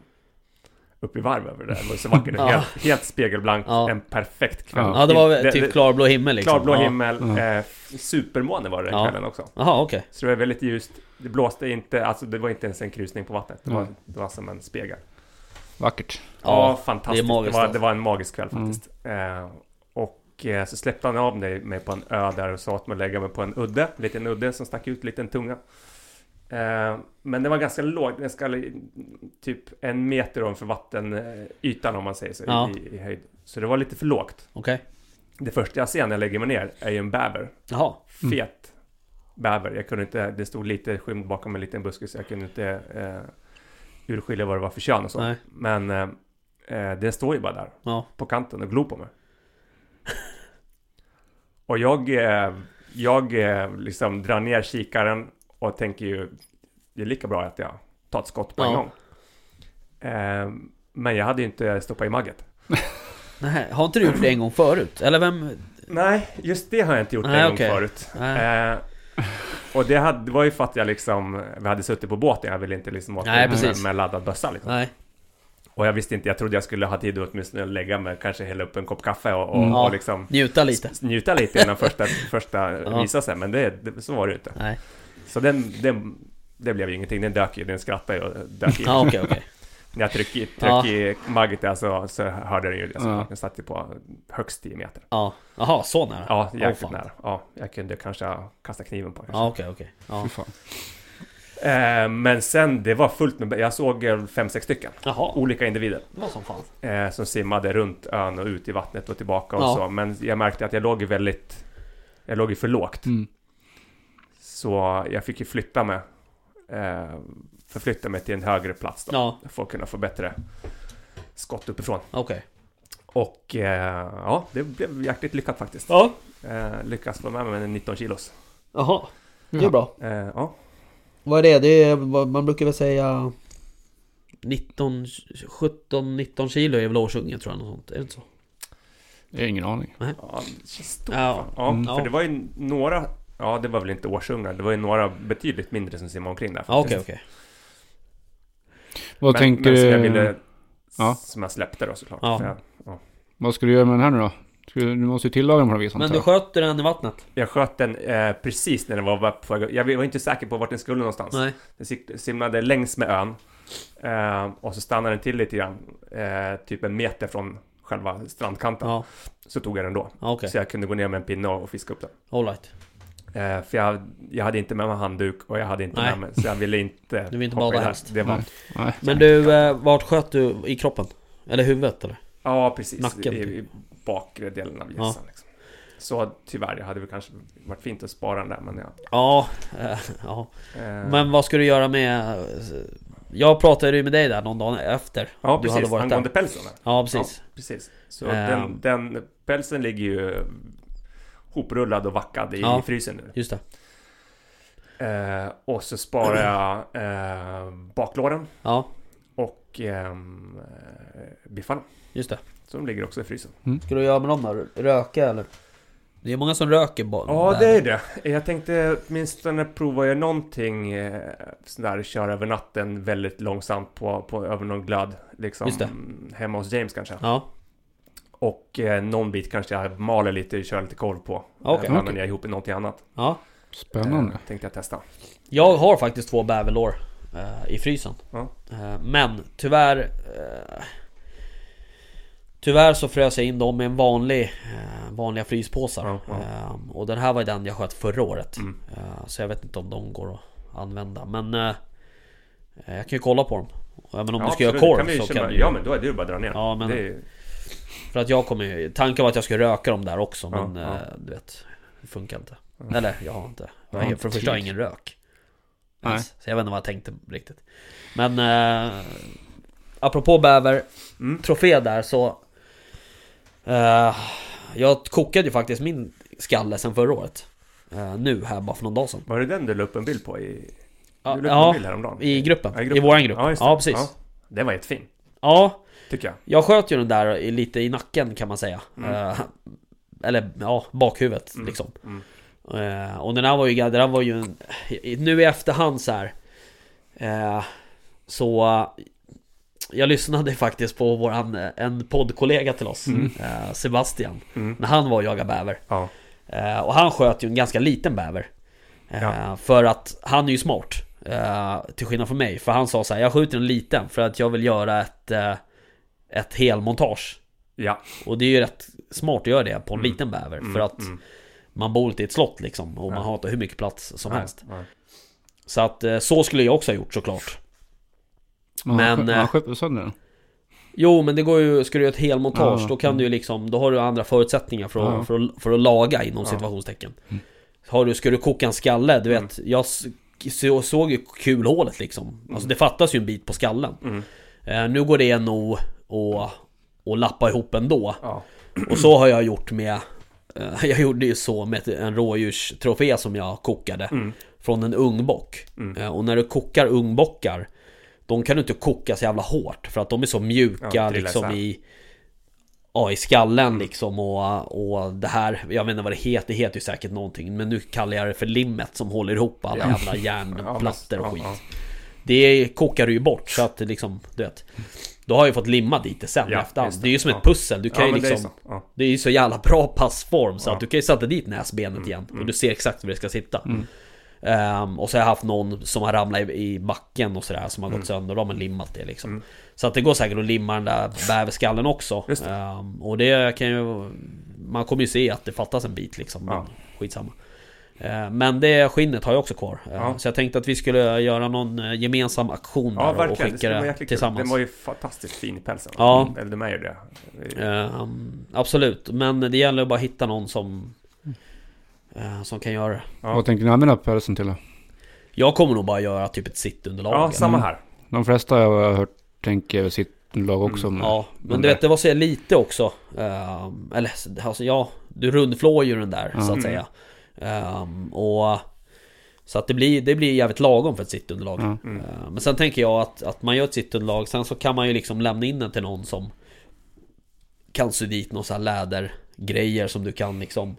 Speaker 3: upp i varv över det där. Det var så vackert.
Speaker 1: Ja.
Speaker 3: helt, helt spegelblank.
Speaker 1: Ja.
Speaker 3: En perfekt kväll.
Speaker 1: Ja, det var väl typ klarblå himmel liksom.
Speaker 3: Klarblå
Speaker 1: ja.
Speaker 3: himmel.
Speaker 2: Ja.
Speaker 3: Eh, f- supermåne var det den
Speaker 1: Ja.
Speaker 3: kvällen också.
Speaker 1: Jaha, okej.
Speaker 3: Så det var väldigt ljust. Det blåste inte, alltså det var inte ens en krusning på vattnet. Det var,
Speaker 2: Mm.
Speaker 3: det var som en spegel.
Speaker 2: Vackert.
Speaker 3: Ja,
Speaker 1: Ja.
Speaker 3: fantastiskt.
Speaker 1: det
Speaker 3: Det,
Speaker 1: är magiskt
Speaker 3: var,
Speaker 1: alltså.
Speaker 3: det var en magisk kväll faktiskt. Eh, och eh, så släppte han av mig, mig på en ö där och sa att man lägger mig på en udde, en liten udde som stack ut, en liten tunga. Eh, men det var ganska lågt, ganska li- typ en meter ovanför vattenytan om man säger så,
Speaker 1: Ja.
Speaker 3: i, i höjd. Så det var lite för lågt.
Speaker 1: Okej.
Speaker 3: Det första jag ser när jag lägger mig ner är ju en bäver.
Speaker 1: Jaha.
Speaker 2: Mm.
Speaker 3: Fet bäver. Jag kunde inte, det stod lite skymd bakom en liten buske så jag kunde inte eh, urskilja vad det var för kön och så.
Speaker 1: Nej.
Speaker 3: Men eh, eh, det står ju bara där
Speaker 1: Ja.
Speaker 3: på kanten och glor på mig. och jag, eh, jag eh, liksom drar ner kikaren och tänker ju, det är lika bra att jag tar ett skott på en
Speaker 1: Ja.
Speaker 3: gång. Eh, men jag hade ju inte stoppat i magget.
Speaker 1: Nej, har inte du gjort det en gång förut? Eller vem?
Speaker 3: Nej, just det har jag inte gjort
Speaker 1: Nej,
Speaker 3: en
Speaker 1: okej.
Speaker 3: gång förut.
Speaker 1: Nej.
Speaker 3: Eh, och det, hade, det var ju för att jag liksom, vi hade suttit på båten, jag ville inte liksom åka
Speaker 1: Nej,
Speaker 3: ut med,
Speaker 1: precis.
Speaker 3: med laddad bössa liksom.
Speaker 1: Nej.
Speaker 3: Och jag visste inte, jag trodde jag skulle ha tid att åtminstone lägga mig, kanske hälla upp en kopp kaffe och, och,
Speaker 2: Mm.
Speaker 1: Ja.
Speaker 3: och liksom
Speaker 1: Njuta lite.
Speaker 3: s- njuta lite innan första, första
Speaker 1: Ja.
Speaker 3: visade sig, men det, det, så var det ju inte.
Speaker 1: Nej.
Speaker 3: Så den, den, det blev ju ingenting, den dök ju, den skrattade ju och dök i.
Speaker 1: Ja, okej, okej.
Speaker 3: När jag tryckte, i- tryckte
Speaker 1: Ja.
Speaker 3: i magget där så, så hörde den ju det, så
Speaker 2: Ja.
Speaker 3: den satt ju på högst 10 meter.
Speaker 1: Ja. Jaha, så nära?
Speaker 3: Ja,
Speaker 1: Åh,
Speaker 3: jäkligt
Speaker 1: fan.
Speaker 3: nära. Ja, jag kunde kanske ha kastat kniven på den.
Speaker 1: Ja, okej, okej. Ja.
Speaker 2: Fy fan.
Speaker 3: Eh, men sen, det var fullt med... Jag såg eh, fem, sex stycken.
Speaker 1: Jaha,
Speaker 3: Olika individer.
Speaker 1: det var som fan.
Speaker 3: Eh, som simmade runt ön och ut i vattnet och tillbaka och
Speaker 1: Ja.
Speaker 3: så. Men jag märkte att jag låg ju väldigt... Jag låg ju för lågt.
Speaker 2: Mm.
Speaker 3: Så jag fick ju flytta mig. Eh, förflytta mig till en högre plats då.
Speaker 1: Ja,
Speaker 3: För att kunna få bättre skott uppifrån.
Speaker 1: okej.
Speaker 3: Och eh, ja, det blev jäkligt lyckat faktiskt.
Speaker 1: Ja.
Speaker 3: Eh, lyckas få med mig 19 kilos.
Speaker 1: Jaha,
Speaker 2: det är
Speaker 1: bra.
Speaker 3: Eh, ja,
Speaker 1: Vad är det? det är, vad man brukar väl säga... 19, 17, 19 kilo är väl årsungen tror jag, något sånt. Är det inte så?
Speaker 2: Jag har ingen aning.
Speaker 3: ja, det känns stort.
Speaker 1: Ja.
Speaker 3: Ja,
Speaker 2: Mm.
Speaker 3: för det var ju några, ja det var väl inte årsungar, det var ju några betydligt mindre som simmade omkring där
Speaker 1: Ja,
Speaker 3: faktiskt.
Speaker 1: Ah, okej, okej.
Speaker 2: Vad
Speaker 3: men,
Speaker 2: tänker
Speaker 3: men som jag
Speaker 2: du-
Speaker 3: ville,
Speaker 2: Ja.
Speaker 3: som jag släppte då såklart.
Speaker 1: Ja.
Speaker 3: För jag, ja.
Speaker 2: Vad ska du göra med den här nu då? Ska Du du måste ju tillaga den på något vis
Speaker 1: Men
Speaker 2: antar
Speaker 1: du
Speaker 2: jag.
Speaker 1: sköter den i vattnet?
Speaker 3: jag sköt den eh, precis när den var var på väg, jag var inte säker på vart den skulle någonstans.
Speaker 1: Nej.
Speaker 3: Den sik- simmade längs med ön eh, och så stannade den till lite grann, eh, typ en meter från själva strandkanten.
Speaker 1: Ja,
Speaker 3: Så tog jag den då.
Speaker 1: ja, okej.
Speaker 3: Så jag kunde gå ner med en pinne och fiska upp den.
Speaker 1: All right.
Speaker 3: Eh, för jag, jag hade inte med mig handduk och jag hade inte
Speaker 1: Nej.
Speaker 3: med mig, så jag ville inte...
Speaker 1: Du vill inte
Speaker 3: hoppa
Speaker 1: bada
Speaker 3: i den.
Speaker 1: häst.
Speaker 3: Det var,
Speaker 2: Nej.
Speaker 1: Men du, eh, vart sköt du i kroppen? Eller huvudet eller?
Speaker 3: ja, precis.
Speaker 1: Nacken,
Speaker 3: I,
Speaker 1: typ.
Speaker 3: I bakre delen av hjässan. Liksom. Så tyvärr, det hade väl kanske varit fint att spara den där, men jag...
Speaker 1: Ja, eh, ja.
Speaker 3: eh,
Speaker 1: Men vad ska du göra med... eh, Jag pratade ju med dig där någon dag efter
Speaker 3: ja,
Speaker 1: du
Speaker 3: precis.
Speaker 1: hade varit där.
Speaker 3: Angående pälsen. där.
Speaker 1: Ja, precis.
Speaker 3: Precis. Så
Speaker 1: Ehm.
Speaker 3: den, den pälsen ligger ju hoprullad och vackad i,
Speaker 1: Ja.
Speaker 3: i frysen nu.
Speaker 1: Just det.
Speaker 3: Eh, och så sparar jag eh, baklåren
Speaker 1: Ja,
Speaker 3: och ehm, eh, biffarna.
Speaker 1: just det.
Speaker 3: Så de ligger också i frysen.
Speaker 1: Ska du göra med dem då? Röka eller? Det är många som röker bara.
Speaker 3: Ja,
Speaker 1: där.
Speaker 3: det är det. Jag tänkte åtminstone prova göra någonting eh, sån där köra över natten väldigt långsamt på, på över någon glöd. Liksom
Speaker 1: Just det.
Speaker 3: hemma hos James kanske.
Speaker 1: Ja,
Speaker 3: Och eh, någon bit kanske jag maler lite och kör lite korv på.
Speaker 1: Okej.
Speaker 3: Okay. Men jag ihop i någonting annat.
Speaker 1: ja.
Speaker 2: Spännande.
Speaker 3: Eh, tänkte jag testa.
Speaker 1: Jag har faktiskt två bäverlår eh, i frysen.
Speaker 3: Ja.
Speaker 1: Eh, men tyvärr... Eh, tyvärr så frös jag in dem i en vanlig, eh, vanliga fryspåsar.
Speaker 3: Ja, ja.
Speaker 1: Eh, och den här var ju den jag sköt förra året.
Speaker 3: Mm.
Speaker 1: Eh, så jag vet inte om de går att använda. Men eh, eh, jag kan ju kolla på dem. Ja, men om du ska
Speaker 3: absolut.
Speaker 1: göra
Speaker 3: Kan vi
Speaker 1: korv så
Speaker 3: köra-
Speaker 1: kan du ju...
Speaker 3: Ja, men då är det ju bara att dra ner.
Speaker 1: Ja, men-
Speaker 3: det är, ju-
Speaker 1: För att jag kommer ju... Tanken var att jag skulle röka dem där också
Speaker 3: Ja,
Speaker 1: men
Speaker 3: ja.
Speaker 1: eh, du vet... Det funkar inte. Eller jag har inte. Jag
Speaker 2: har
Speaker 1: har,
Speaker 2: inte
Speaker 1: för det första har jag
Speaker 2: tid.
Speaker 1: ingen rök.
Speaker 2: Nej.
Speaker 1: Ens. Så jag vet inte vad jag tänkte riktigt. Men... Eh, apropå bäver,
Speaker 3: Mm.
Speaker 1: trofé där så... Eh, jag kokade ju faktiskt min skalle sen förra året. Eh, nu här bara för någon dag sedan.
Speaker 3: Var det den du la upp en bild på i...
Speaker 1: Ja,
Speaker 3: du la upp
Speaker 1: ja,
Speaker 3: en bild häromdagen?
Speaker 1: I gruppen,
Speaker 3: Ja,
Speaker 1: i, våran grupp. Ja,
Speaker 3: just det.
Speaker 1: precis. Ja.
Speaker 3: Det var jättefin, tycker jag.
Speaker 1: jag sköt ju den där i- lite i nacken kan man säga.
Speaker 3: Mm.
Speaker 1: Eh, eller ja, bakhuvudet
Speaker 3: Mm.
Speaker 1: liksom.
Speaker 3: Mm.
Speaker 1: Eh, och den här var ju, den här var ju en, i- nu i efterhand så här. Eh, så eh, jag lyssnade faktiskt på våran, eh, en poddkollega till oss, eh, Sebastian.
Speaker 3: Mm.
Speaker 1: När han var och jagade bäver.
Speaker 3: Ja.
Speaker 1: Eh, och han sköt ju en ganska liten bäver. Eh,
Speaker 3: Ja.
Speaker 1: För att han är ju smart. Eh, till skillnad från mig. För han sa så här, jag skjuter en liten för att jag vill göra ett, eh, ett helmontage.
Speaker 3: Ja.
Speaker 1: Och det är ju rätt smart att göra det på en
Speaker 3: Mm.
Speaker 1: liten bäver.
Speaker 3: Mm,
Speaker 1: För att
Speaker 3: mm.
Speaker 1: man bor inte i ett slott liksom. Och man
Speaker 3: Ja.
Speaker 1: har inte hur mycket plats som
Speaker 3: Nej,
Speaker 1: helst.
Speaker 3: nej.
Speaker 1: Så att eh, så skulle jag också ha gjort såklart.
Speaker 2: Men
Speaker 1: Men,
Speaker 2: han sköt-
Speaker 1: eh,
Speaker 2: han sköt väl sönder den?
Speaker 1: Jo men det går ju, ska du göra ett helmontage
Speaker 2: Ja.
Speaker 1: då kan du ju liksom, då har du andra förutsättningar för att,
Speaker 2: Ja.
Speaker 1: för att, för att laga inom
Speaker 3: Ja.
Speaker 1: situationstecken. Har du, ska du koka en skalle, du vet, jag s- så, såg ju kulhålet liksom. Alltså det fattas ju en bit på skallen.
Speaker 3: Mm.
Speaker 1: Eh, nu går det nog och, och lappa ihop ändå.
Speaker 3: Ja.
Speaker 1: Och så har jag gjort med eh, Jag gjorde ju så med ett- en rådjurstrofé som jag kokade
Speaker 3: Mm.
Speaker 1: Från en ungbock Eh, Och när du kokar ungbockar De kan du inte koka så jävla hårt För att de är så mjuka
Speaker 3: Ja, trillar
Speaker 1: liksom
Speaker 3: isär.
Speaker 1: i Ja i
Speaker 3: Mm.
Speaker 1: skallen liksom och, och det här Jag vet inte vad det heter, det heter ju säkert någonting Men nu kallar jag det för limmet som håller ihop alla jävla
Speaker 3: Ja. Ja, men-
Speaker 1: järnplattor och
Speaker 3: ja,
Speaker 1: skit
Speaker 3: ja.
Speaker 1: det kokar du ju bort så att det liksom, du vet Då har jag ju fått limma dit det sen
Speaker 3: Ja,
Speaker 1: i efterhand
Speaker 3: just
Speaker 1: det.
Speaker 3: det.
Speaker 1: är ju som ett
Speaker 3: Ja.
Speaker 1: pussel, du kan
Speaker 3: Ja,
Speaker 1: ju
Speaker 3: men det är
Speaker 1: liksom
Speaker 3: så. Ja.
Speaker 1: det är ju så jävla bra passform så
Speaker 3: Ja. Mm.
Speaker 1: att du kan ju sätta dit näsbenet igen och du ser exakt var det ska sitta. Ehm, och så har jag haft någon som har ramlat i, i backen och sådär som har
Speaker 3: Mm.
Speaker 1: gått sönder och de har limmat det liksom. Så att det går säkert att limma den där bäverskallen också.
Speaker 3: Just det.
Speaker 1: Ehm, och det kan ju... Man kommer ju se att det fattas en bit liksom.
Speaker 3: Ja.
Speaker 1: Men skitsamma. Ehm, Men det skinnet har jag också kvar. Ehm,
Speaker 3: Ja.
Speaker 1: Så jag tänkte att vi skulle göra någon eh, gemensam aktion
Speaker 3: Ja,
Speaker 1: där och
Speaker 3: verkligen.
Speaker 1: skicka
Speaker 3: Det skulle vara
Speaker 1: det,
Speaker 3: jäkligt kul. Den
Speaker 1: tillsammans.
Speaker 3: var ju fantastiskt fin i pälsen.
Speaker 1: Ja.
Speaker 3: Mm, Eller de är ju det.
Speaker 1: Ehm, absolut, men det gäller att bara hitta någon som eh, Som kan göra det.
Speaker 3: ja.
Speaker 2: Vad tänker ni använda pälsen till då?
Speaker 1: Jag kommer nog bara göra typ ett sittunderlag
Speaker 3: Ja,
Speaker 1: eller-
Speaker 3: samma här.
Speaker 2: De flesta jag har hört tänker sitt lag också. Men,
Speaker 1: Ja, men
Speaker 2: Men
Speaker 1: du
Speaker 2: det-
Speaker 1: vet det var så jag lite också Ehm, Eller alltså ja, du rundflår ju den där så att
Speaker 2: Mm.
Speaker 1: säga Ehm, Och Så att det blir, det blir jävligt lagom för ett sittunderlag
Speaker 2: Ja.
Speaker 3: Mm.
Speaker 1: Ehm, Men sen tänker jag att, att man gör ett sittunderlag Sen så kan man ju liksom lämna in den till någon som Kan sy dit någon sån här lädergrejer som du kan liksom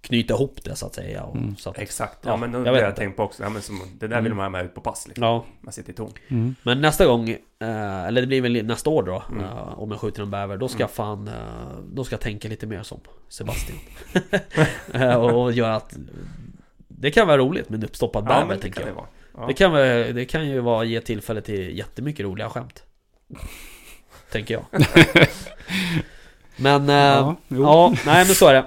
Speaker 1: Knyta ihop det så att säga och, så att,
Speaker 3: Exakt. Ja,
Speaker 1: Ja,
Speaker 3: men det
Speaker 1: jag
Speaker 3: har
Speaker 1: vet
Speaker 3: jag
Speaker 1: inte. Mm.
Speaker 3: tänkt på också. Ja, men som, det där vill man ha med ut på pass. Liksom.
Speaker 1: Ja,
Speaker 3: Man sitter i torn.
Speaker 2: Mm.
Speaker 1: Men nästa gång, eh, eller det blir väl nästa år då,
Speaker 3: Mm.
Speaker 1: eh, om jag skjuter en bäver, då ska jag fan, eh, då ska jag tänka lite mer som Sebastian. Eh, och göra att det kan vara roligt med en uppstoppad
Speaker 3: Ja,
Speaker 1: bäver
Speaker 3: men det
Speaker 1: tänker
Speaker 3: kan
Speaker 1: jag.
Speaker 3: det vara. Ja.
Speaker 1: Det, kan, vara- det kan ju vara, ge tillfälle till jättemycket roliga skämt. tänker jag. Men... eh,
Speaker 2: Ja,
Speaker 1: Ja,
Speaker 2: jo.
Speaker 1: nej men så är det.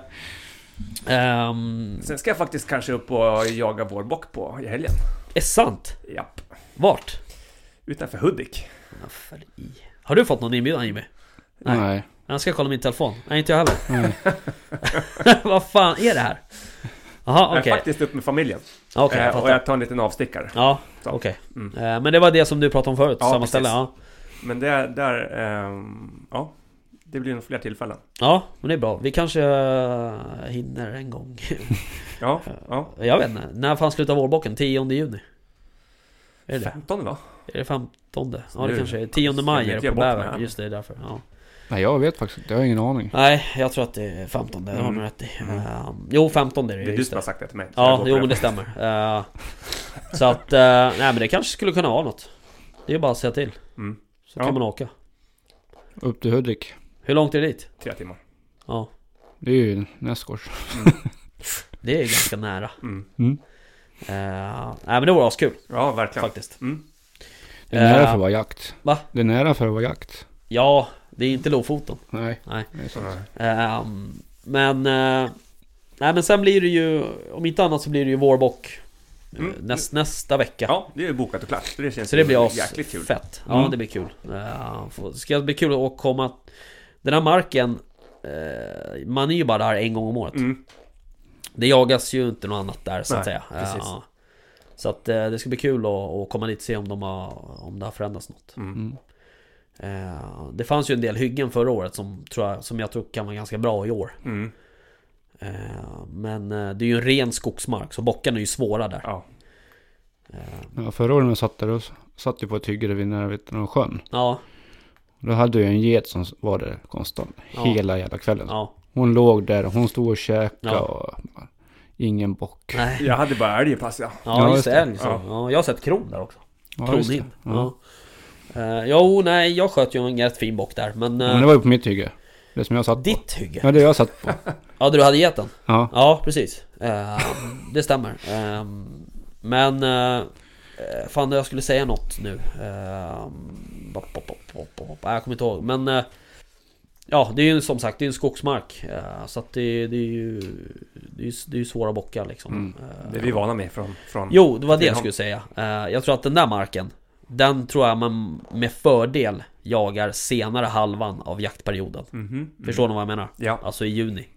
Speaker 1: Ehm,
Speaker 3: Sen ska jag faktiskt kanske upp och jaga vårbock på i helgen.
Speaker 1: är sant?
Speaker 3: Japp.
Speaker 1: Vart?
Speaker 3: Utanför Hudik.
Speaker 1: Varför i- Har du fått någon inbjudan Jimmy? Nej.
Speaker 2: Nej.
Speaker 1: Jag ska kolla min telefon. Nej inte jag heller.
Speaker 2: Nej.
Speaker 1: Vad fan är det här? Jaha
Speaker 3: Jag är
Speaker 1: okej.
Speaker 3: faktiskt upp med familjen.
Speaker 1: Okej jag
Speaker 3: Eh, och
Speaker 1: fattar.
Speaker 3: jag tar en liten avstickare.
Speaker 1: Ja,
Speaker 3: Så.
Speaker 1: okej.
Speaker 3: Mm.
Speaker 1: Eh, Men det var det som du pratade om förut,
Speaker 3: Ja,
Speaker 1: samma
Speaker 3: precis.
Speaker 1: ställe? Ja.
Speaker 3: Men det, där, ehm, ja. Det blir nog fler tillfällen.
Speaker 1: ja, men det är bra. Vi kanske eh, hinner en gång.
Speaker 3: Ja, ja.
Speaker 1: jag vet inte, när fan slutar vårbocken? 10 juni? Är det det?
Speaker 3: 15 va?
Speaker 1: Är det 15? Ja det
Speaker 3: Nu-
Speaker 1: kanske är 10
Speaker 3: Jag
Speaker 1: maj är det
Speaker 3: vet
Speaker 1: på
Speaker 3: jag bort mig
Speaker 1: Bäver.
Speaker 3: här.
Speaker 1: Just det, det är därför. Ja.
Speaker 2: Nej, jag vet faktiskt inte. Jag har ingen aning.
Speaker 1: Nej, jag tror att det är 15, det har du
Speaker 3: Mm.
Speaker 1: rätt i.
Speaker 3: Mm.
Speaker 1: Ehm, jo, 15 är det
Speaker 3: Det är
Speaker 1: ju.
Speaker 3: du
Speaker 1: just
Speaker 3: som har
Speaker 1: det.
Speaker 3: sagt det till mig. så jag
Speaker 1: Ja,
Speaker 3: går på
Speaker 1: jo men det stämmer. Eh, så att, eh, nej men det kanske skulle kunna vara något. Det är bara att säga till.
Speaker 3: Mm.
Speaker 1: Så
Speaker 3: Ja.
Speaker 1: kan man åka.
Speaker 2: Upp till Hudik.
Speaker 1: Hur långt är det dit?
Speaker 3: Tre timmar.
Speaker 1: Ja,
Speaker 2: Det är ju nästgårds.
Speaker 1: det är ganska nära.
Speaker 3: Mm.
Speaker 2: Mm.
Speaker 1: Eh, nej men det vore askul
Speaker 3: Ja, verkligen.
Speaker 1: faktiskt.
Speaker 3: Mm.
Speaker 2: Det är nära
Speaker 1: Eh,
Speaker 2: för att vara jakt.
Speaker 1: va?
Speaker 2: Det är nära för att vara jakt.
Speaker 1: Ja, det är inte Lofoten.
Speaker 2: Nej.
Speaker 1: Nej.
Speaker 2: Det är sant.
Speaker 3: Ja.
Speaker 1: Ehm, men... eh, nej men sen blir det ju, om inte annat så blir det ju vårbock eh,
Speaker 3: Mm.
Speaker 1: näst, nästa vecka.
Speaker 3: ja, det är ju bokat och klart. Så det känns
Speaker 1: Så det blir
Speaker 3: ju
Speaker 1: as
Speaker 3: jäkligt kul.
Speaker 1: fett. Ja,
Speaker 2: Mm.
Speaker 1: det blir kul. Eh, får- ska det bli kul att komma... Den här marken, eh, man är ju bara där en gång om året.
Speaker 3: Mm.
Speaker 1: Det jagas ju inte något annat där så att
Speaker 3: Nej,
Speaker 1: säga. Eh,
Speaker 3: precis.
Speaker 1: så att eh, det ska bli kul att, att komma dit och se om, de har, om det har förändrats något.
Speaker 3: Mm.
Speaker 2: Mm.
Speaker 1: Eh, det fanns ju en del hyggen förra året som, tror jag, som jag tror kan vara ganska bra i år.
Speaker 3: Mm.
Speaker 1: Eh, men eh, det är ju en ren skogsmark så bockarna är ju svåra där.
Speaker 3: Ja.
Speaker 1: Eh,
Speaker 2: Ja, förra året när jag satt där, då satt jag på ett hygge där vid nära vid någon sjön.
Speaker 1: ja,
Speaker 2: Då hade jag en get som var där konstant.
Speaker 1: Ja.
Speaker 2: Hela jävla kvällen.
Speaker 1: ja,
Speaker 2: Hon låg där och hon stod och käkade
Speaker 1: Ja.
Speaker 2: och... Ingen bock.
Speaker 1: nej.
Speaker 3: Jag hade bara älg i pass, ja.
Speaker 1: Ja, just
Speaker 2: just
Speaker 1: det.
Speaker 2: det.
Speaker 1: Älg, så.
Speaker 3: Ja.
Speaker 1: Ja, jag har sett kron där också.
Speaker 2: Ja, just det.
Speaker 1: Kronhind. Ja.
Speaker 2: Ja.
Speaker 1: Eh, jo, nej, jag sköt ju en rätt fin bock där. Men, eh,
Speaker 2: Men det var ju på mitt hygge. Det som jag satt på.
Speaker 1: ditt hygge?
Speaker 2: Ja, det jag satt på.
Speaker 1: Ja, där du hade gett den?
Speaker 2: Ja.
Speaker 1: Ja, precis. Eh, det stämmer. Eh, men... Eh, fan, jag skulle säga något nu. Eh, bop, bop, bop, bop, bop. Nej, Jag kommer inte ihåg. Men... Eh, ja, det är ju som sagt, det är en skogsmark. Eh, så att det, det är ju... Det är ju det är ju svåra bockar liksom.
Speaker 2: Mm.
Speaker 1: Eh,
Speaker 3: Det är vi vana med från... från
Speaker 1: Jo, det var det jag
Speaker 3: Katrineholm.
Speaker 1: skulle säga. Eh, Jag tror att den där marken, den tror jag man med fördel jagar senare halvan av jaktperioden.
Speaker 3: Mhm, mm.
Speaker 1: Förstår ni vad jag menar?
Speaker 3: Ja.
Speaker 1: Alltså i juni.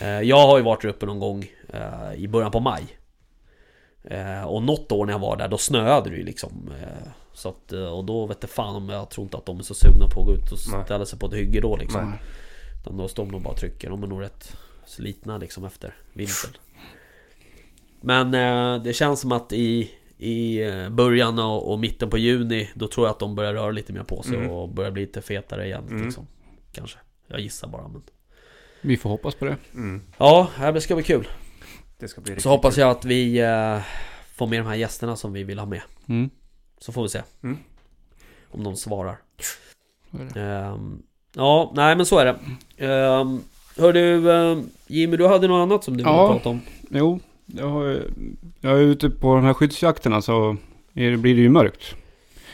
Speaker 1: Eh, Jag har ju varit där uppe någon gång eh, i början på maj. Eh, Och något år när jag var där, då snöade det ju liksom. Eh, Så att, eh, och då vet jag fan om jag tror inte att de är så sugna på att gå ut och
Speaker 3: Nej.
Speaker 1: ställa sig på ett hygge då liksom.
Speaker 3: Nej.
Speaker 1: Utan då står de nog bara och trycker, de är nog rätt slitna liksom efter vintern Men eh, det känns som att i, i eh, början och, och mitten på juni Då tror jag att de börjar röra lite mer på sig
Speaker 3: Mm.
Speaker 1: och börjar bli lite fetare igen
Speaker 3: Mm.
Speaker 1: liksom. Kanske, jag gissar bara men...
Speaker 2: Vi får hoppas på det.
Speaker 3: Mm.
Speaker 1: Ja, det här ska bli kul
Speaker 3: Det ska bli
Speaker 1: Så
Speaker 3: riktigt
Speaker 1: hoppas jag att vi eh, får med de här gästerna som vi vill ha med
Speaker 2: Mm.
Speaker 1: Så får vi se
Speaker 3: Mm.
Speaker 1: Om de svarar
Speaker 2: Så är det.
Speaker 1: Ehm, Ja, nej men så är det um, Hör du eh, Jimmy, du hade något annat som du ville
Speaker 2: Ja.
Speaker 1: prata om?
Speaker 2: Jo, jag, har, ju- jag är ute på de här skyddsjakterna så är, det- blir det ju mörkt.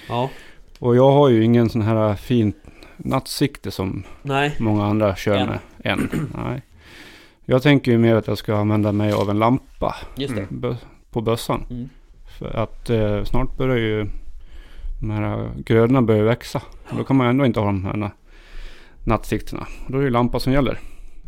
Speaker 1: Ja,
Speaker 2: Och jag har ju ingen sån här fin nattsikte som
Speaker 1: nej.
Speaker 2: många andra kör
Speaker 1: Än.
Speaker 2: med än. Nej. Jag tänker ju mer att jag ska använda mig av en lampa
Speaker 1: Just det.
Speaker 3: Mm.
Speaker 2: bö- på bössan.
Speaker 1: Mm.
Speaker 2: För att eh, snart börjar ju de här grödorna börja växa. Och då kan man ändå inte ha de här na- nattsikterna. Och Då är det ju lampa som gäller.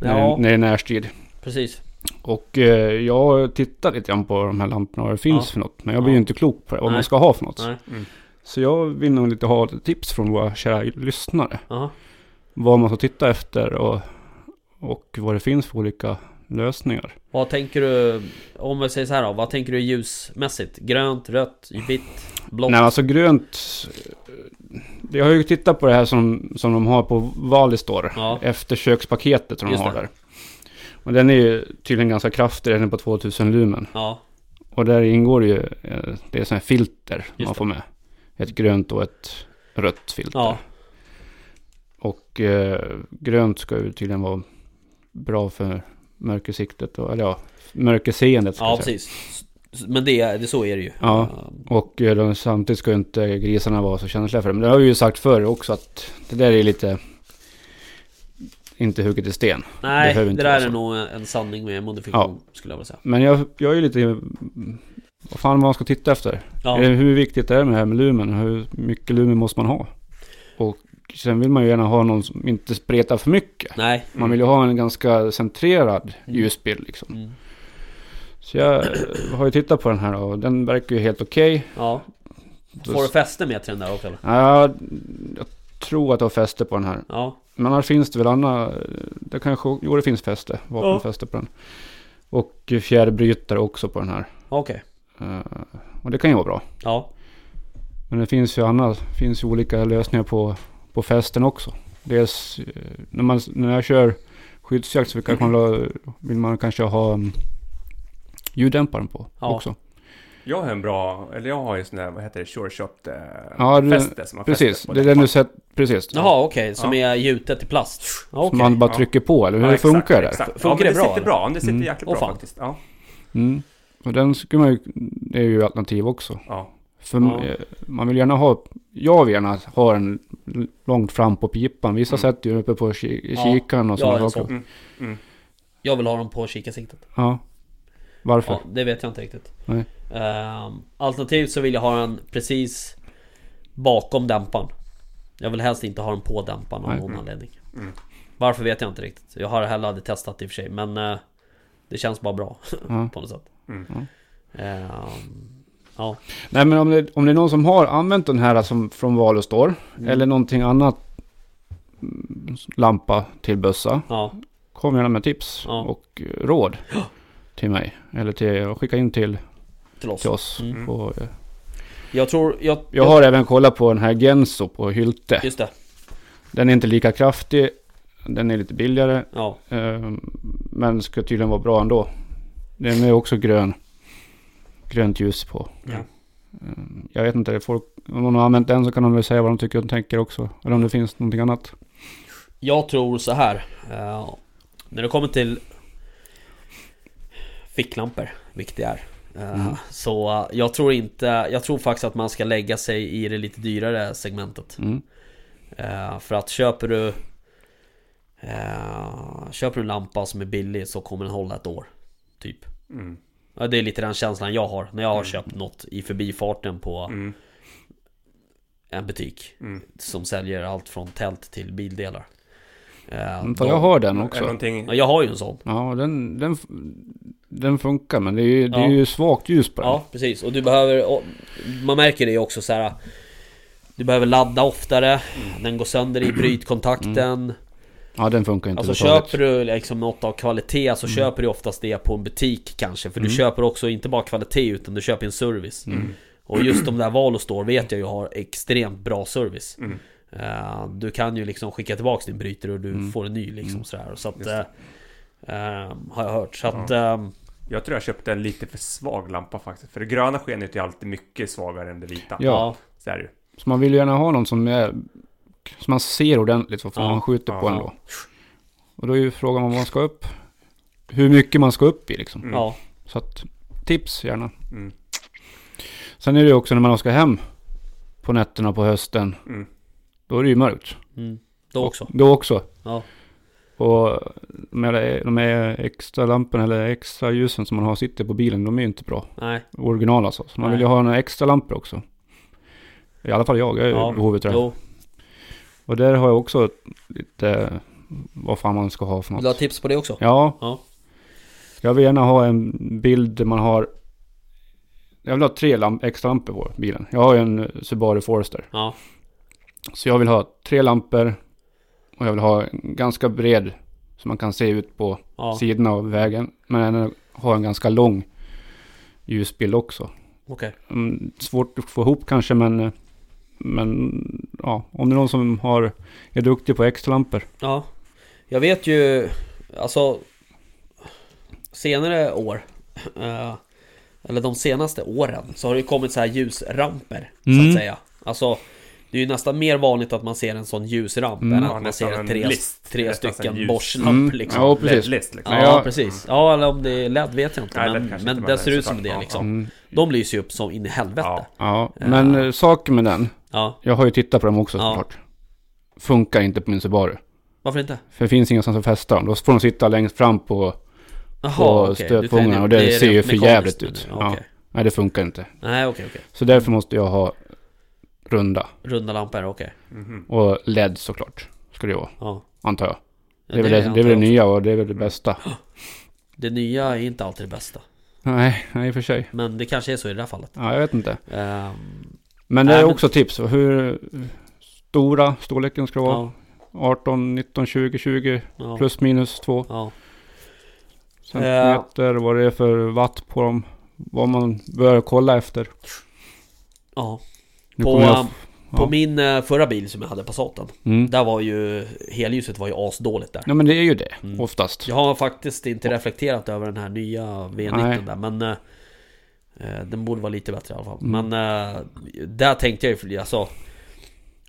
Speaker 2: När, det-
Speaker 1: Ja.
Speaker 2: när det är närstrid.
Speaker 1: Precis.
Speaker 2: Och eh, jag tittar lite grann på de här lamporna vad det finns
Speaker 1: Ja.
Speaker 2: för något. Men jag blir ju
Speaker 1: Ja.
Speaker 2: inte klok på det, vad
Speaker 1: Nej.
Speaker 2: man ska ha för något.
Speaker 1: Nej.
Speaker 2: Så jag vill nog lite ha lite tips från våra kära lyssnare.
Speaker 1: Jaha.
Speaker 2: Vad man ska titta efter och, och vad det finns för olika lösningar.
Speaker 1: Vad tänker du, om vi säger så här då, vad tänker du ljusmässigt? Grönt, rött, vitt, blått?
Speaker 2: Nej, alltså grönt. eh, Jag har ju tittat på det här som, som de har på Valistor.
Speaker 1: Ja.
Speaker 2: Eftersökspaketet som de
Speaker 1: Just
Speaker 2: har
Speaker 1: det.
Speaker 2: där. Och den är ju tydligen ganska kraftig, den är på 2000 lumen.
Speaker 1: Ja,
Speaker 2: Och där ingår ju, eh, det är sådana här filter man
Speaker 1: det.
Speaker 2: får med. Ett grönt och ett rött filter.
Speaker 1: ja,
Speaker 2: Och eh, grönt ska ju tydligen vara bra för mörkersiktet, och, eller ja, mörkerseendet. Ska
Speaker 1: ja
Speaker 2: jag säga.
Speaker 1: precis. S- Men det, det, så är det ju.
Speaker 2: Ja.
Speaker 1: Ehm,
Speaker 2: Och eh, de, samtidigt ska ju inte grisarna vara så känsliga för det. Men det har vi ju sagt förr också att det där är lite inte hugget i sten.
Speaker 1: Nej,
Speaker 2: behöver
Speaker 1: det,
Speaker 2: inte
Speaker 1: där
Speaker 2: vara
Speaker 1: är
Speaker 2: så.
Speaker 1: nog en sanning med modifikation skulle jag vilja säga.
Speaker 2: Men jag, jag är ju lite... Vad fan man ska titta efter.
Speaker 1: Ja,
Speaker 2: Eh, Hur viktigt är det med det här med lumen? Hur mycket lumen måste man ha? Och sen vill man ju gärna ha någon som inte spretar för mycket.
Speaker 1: nej.
Speaker 2: Man vill ju ha en ganska centrerad
Speaker 1: Mm.
Speaker 2: ljusbild liksom.
Speaker 1: Mm.
Speaker 2: Så jag eh, har ju tittat på den här och den verkar ju helt okej.
Speaker 1: Ja. Får du fäste med till den där också eller?
Speaker 2: Ja, jag tror att jag har fäste på den här.
Speaker 1: Ja.
Speaker 2: Men annars finns det väl annat. Det kanske, jo det finns fäste, vapenfäste på den. Och fjärrbrytare också på den här.
Speaker 1: Okej.
Speaker 2: Eh, Och det kan ju vara bra.
Speaker 1: Ja.
Speaker 2: Men det finns ju annat. Det finns ju olika lösningar på, på fästen också. Dels eh, när, man, när jag kör skyddsjakt så kanske man, la- vill man kanske ha um, ljuddämparen på
Speaker 1: Ja.
Speaker 2: också.
Speaker 3: Jag har en bra, eller jag har ju sån där, vad heter det, sure shot eh,
Speaker 2: Ja, du-
Speaker 3: fäste som man
Speaker 2: Precis,
Speaker 3: fäster på
Speaker 2: det är den
Speaker 3: däckmann.
Speaker 2: du sett. Precis.
Speaker 1: Jaha okej, som är gjutet i plast. Ja,
Speaker 2: Som
Speaker 1: Okej.
Speaker 2: man bara
Speaker 3: ja.
Speaker 2: trycker på eller hur
Speaker 3: Ja, exakt,
Speaker 2: funkar det?
Speaker 3: exakt.
Speaker 1: Funkar
Speaker 3: ja, men
Speaker 1: det
Speaker 3: det
Speaker 1: bra,
Speaker 3: sitter
Speaker 1: eller?
Speaker 3: bra, det sitter
Speaker 2: Mm.
Speaker 3: jäkligt
Speaker 1: Åh,
Speaker 3: bra
Speaker 1: fan.
Speaker 3: faktiskt. Ja,
Speaker 2: Mm. Och den skulle man ju, det är ju alternativ också.
Speaker 3: ja.
Speaker 2: För
Speaker 1: Ja.
Speaker 2: eh, man vill gärna ha, jag vill gärna ha den l- långt fram på pipan. Vissa
Speaker 3: Mm.
Speaker 2: sätter ju den uppe på ki- i
Speaker 1: Ja.
Speaker 2: kikaren
Speaker 1: Ja,
Speaker 2: och sådana
Speaker 1: en
Speaker 2: saker.
Speaker 1: sån.
Speaker 3: Mm, mm.
Speaker 1: Jag vill ha dem på kikarsiktet.
Speaker 2: Ja. Varför?
Speaker 1: Ja, det vet jag inte riktigt.
Speaker 2: Nej.
Speaker 1: Ehm, alternativt så vill jag ha den precis bakom dämparen. Jag vill helst inte ha den på dämparen av
Speaker 2: Nej.
Speaker 1: någon
Speaker 3: Mm.
Speaker 1: anledning.
Speaker 3: Mm.
Speaker 1: Varför vet jag inte riktigt. Jag har heller aldrig testat i och för sig men eh, det känns bara bra
Speaker 2: Ja.
Speaker 1: på något sätt.
Speaker 3: Mm.
Speaker 2: Ja.
Speaker 1: Ehm, ja.
Speaker 2: Nej men om det, om det är någon som har använt den här som, från Valus då, eller någonting annat mm, lampa till bössa,
Speaker 1: ja,
Speaker 2: kom gärna med tips
Speaker 1: Ja.
Speaker 2: och eh, råd till mig. Eller till, skicka in till,
Speaker 1: till oss.
Speaker 2: till oss.
Speaker 1: Mm.
Speaker 2: På, eh,
Speaker 1: Jag tror... Jag,
Speaker 2: jag har även kollat på den här Genso på Hylte.
Speaker 1: Just det.
Speaker 2: Den är inte lika kraftig, den är lite billigare,
Speaker 1: Ja.
Speaker 2: eh, men ska tydligen vara bra ändå. Den är också grön, grönt ljus på.
Speaker 3: Ja.
Speaker 2: Eh, Jag vet inte, folk, om någon har använt den så kan de väl säga vad de tycker och tänker också. Eller om det finns någonting annat.
Speaker 1: Jag tror så här. eh, när det kommer till ficklampor, vilket det är. eh,
Speaker 2: Mm.
Speaker 1: Så eh, jag tror inte, jag tror faktiskt att man ska lägga sig i det lite dyrare segmentet.
Speaker 2: Mm.
Speaker 1: Eh, för att köper du eh, Köper du en lampa som är billig så kommer den hålla ett år. Typ.
Speaker 3: Mm.
Speaker 1: Ja, Det är lite den känslan jag har när jag har
Speaker 3: Mm.
Speaker 1: köpt något i förbifarten på
Speaker 3: Mm.
Speaker 1: en butik.
Speaker 3: Mm.
Speaker 1: Som säljer allt från tält till bildelar. Eh,
Speaker 2: Mm, För
Speaker 1: de-
Speaker 2: jag har den
Speaker 3: Är det
Speaker 2: också.
Speaker 3: någonting...
Speaker 1: Ja, jag har ju en sån.
Speaker 2: Ja, den, den, f- den funkar men det är ju, det är
Speaker 1: Ja.
Speaker 2: ju svagt ljus på den.
Speaker 1: Ja, precis. Och du behöver... och Man märker det ju också så här. Du behöver ladda oftare, den går sönder i brytkontakten.
Speaker 2: Ja, den funkar inte
Speaker 1: Alltså
Speaker 2: överhuvudtaget.
Speaker 1: köper du liksom något av kvalitet så köper du oftast det på en butik kanske. För du
Speaker 2: Mm.
Speaker 1: köper också inte bara kvalitet utan du köper en service.
Speaker 3: Mm.
Speaker 1: Och just de där Valostor vet jag ju har extremt bra service.
Speaker 3: Mm.
Speaker 1: Eh, du kan ju liksom skicka tillbaka din brytare och du
Speaker 2: Mm.
Speaker 1: får en ny liksom
Speaker 2: Mm.
Speaker 1: sådär. Så att,
Speaker 3: Just det.
Speaker 1: eh, eh, har jag hört. Så att... eh,
Speaker 3: Jag tror jag köpte en lite för svag lampa faktiskt. För det gröna skenet är alltid mycket svagare än det vita.
Speaker 2: Ja.
Speaker 3: Så är det ju.
Speaker 2: Så man vill ju gärna ha någon som, är, som man ser ordentligt vad fan
Speaker 1: Ja,
Speaker 2: man skjuter på
Speaker 3: ja.
Speaker 2: ändå. Och då är ju frågan vad man ska upp. Hur mycket man ska upp i liksom.
Speaker 3: Mm.
Speaker 1: ja,
Speaker 2: Så att tips gärna.
Speaker 3: Mm.
Speaker 2: Sen är det ju också när man ska hem på nätterna på hösten.
Speaker 3: Mm.
Speaker 2: Då är det ju mörkt.
Speaker 1: mm, då också.
Speaker 2: Då också.
Speaker 1: Ja.
Speaker 2: Och de här, de här extra lamporna eller extra ljusen som man har sitter på bilen, de är ju inte bra.
Speaker 1: Nej.
Speaker 2: Original alltså. Så man
Speaker 1: Nej.
Speaker 2: vill ju ha några extra lampor också. I alla fall jag, jag är
Speaker 1: Ja,
Speaker 2: ja, behovet där.
Speaker 1: Jo,
Speaker 2: Och där har jag också lite vad fan man ska ha för
Speaker 1: vill du ha
Speaker 2: något.
Speaker 1: tips på det också?
Speaker 2: Ja.
Speaker 1: Ja.
Speaker 2: Jag vill gärna ha en bild där man har... Jag vill ha tre lamp, extra lampor på bilen. Jag har ju en Subaru Forester.
Speaker 1: Ja,
Speaker 2: Så jag vill ha tre lampor och jag vill ha en ganska bred så man kan se ut på
Speaker 1: ja
Speaker 2: sidorna av vägen. Men även ha en ganska lång ljusbild också.
Speaker 1: okej.
Speaker 2: Mm, Svårt att få ihop kanske men... eh, Men ja, om det är någon som har, är duktig på extra lampor.
Speaker 1: Ja. Jag vet ju, alltså senare år, eh, eller de senaste åren, så har det ju kommit så här ljusramper, så
Speaker 2: Mm.
Speaker 1: att säga. Alltså, det är ju nästan mer vanligt att man ser en sån ljusramp
Speaker 2: Mm.
Speaker 1: än
Speaker 3: Ja,
Speaker 1: att man
Speaker 3: nästan
Speaker 1: ser
Speaker 3: en
Speaker 1: tre,
Speaker 3: list.
Speaker 1: tre
Speaker 3: Nästan en
Speaker 1: stycken
Speaker 3: ljus-
Speaker 1: Bosch-lamp
Speaker 2: Mm.
Speaker 1: liksom.
Speaker 2: Ja, precis.
Speaker 3: LED-list liksom.
Speaker 1: Ja,
Speaker 2: men jag-
Speaker 1: precis. Ja, eller om det är LED vet jag inte.
Speaker 3: Nej, LED
Speaker 1: men
Speaker 3: kanske
Speaker 1: men
Speaker 3: inte,
Speaker 1: det
Speaker 3: men
Speaker 1: ser ut
Speaker 3: såklart.
Speaker 1: som det
Speaker 3: Ja,
Speaker 1: liksom.
Speaker 2: Mm.
Speaker 1: De lyser ju upp som in i helvete. Ja.
Speaker 3: Ja.
Speaker 2: Ja, men eh, saken med den. Jag har ju tittat på dem också
Speaker 1: Ja.
Speaker 2: såklart. Funkar inte på min Subaru.
Speaker 1: Varför inte?
Speaker 2: För det finns ingenstans att fästa dem. Då får de sitta längst fram på...
Speaker 1: Jaha,
Speaker 2: På
Speaker 1: okej.
Speaker 2: stötfångarna,
Speaker 1: Du tänkte-
Speaker 2: och det
Speaker 1: är
Speaker 2: ser ju
Speaker 1: rent
Speaker 2: för jävligt
Speaker 1: mekaniskt
Speaker 2: ut.
Speaker 1: nu, okej.
Speaker 2: Nej, det funkar inte.
Speaker 1: Nej, okej, okej.
Speaker 2: Så därför måste jag ha runda.
Speaker 1: Runda lampor, okej.
Speaker 3: Mhm.
Speaker 2: Och LED såklart. Ska det ju vara,
Speaker 1: Ja.
Speaker 2: antar jag.
Speaker 1: Ja,
Speaker 2: Det är väl det, det,
Speaker 1: antar
Speaker 2: är väl det
Speaker 1: jag också.
Speaker 2: nya och det är väl det bästa.
Speaker 1: Det nya är inte alltid det bästa.
Speaker 2: Nej, nej i och för sig.
Speaker 1: Men det kanske är så i det här fallet.
Speaker 2: Ja, jag vet inte.
Speaker 1: Ehm,
Speaker 2: Men det
Speaker 1: Nej,
Speaker 2: är
Speaker 1: men-
Speaker 2: också tips. Hur stora storleken ska vara.
Speaker 1: ja,
Speaker 2: 18, 19, 20, 20
Speaker 1: ja,
Speaker 2: plus minus 2
Speaker 1: ja.
Speaker 2: centimeter. Vad det är för watt på dem. Vad man bör kolla efter.
Speaker 1: ja.
Speaker 2: Nu
Speaker 1: På, ehm,
Speaker 2: kommer jag f-
Speaker 1: på
Speaker 2: ja.
Speaker 1: min eh, förra bil som jag hade, Passaten.
Speaker 2: Mm.
Speaker 1: Där var ju helljuset var ju asdåligt där.
Speaker 2: Ja men det är ju det
Speaker 1: Mm.
Speaker 2: oftast.
Speaker 1: Jag har faktiskt inte reflekterat över den här nya V19
Speaker 2: Nej.
Speaker 1: där men eh, eh, Den borde vara lite bättre i alla fall
Speaker 2: Mm.
Speaker 1: Men eh, där tänkte jag ju, alltså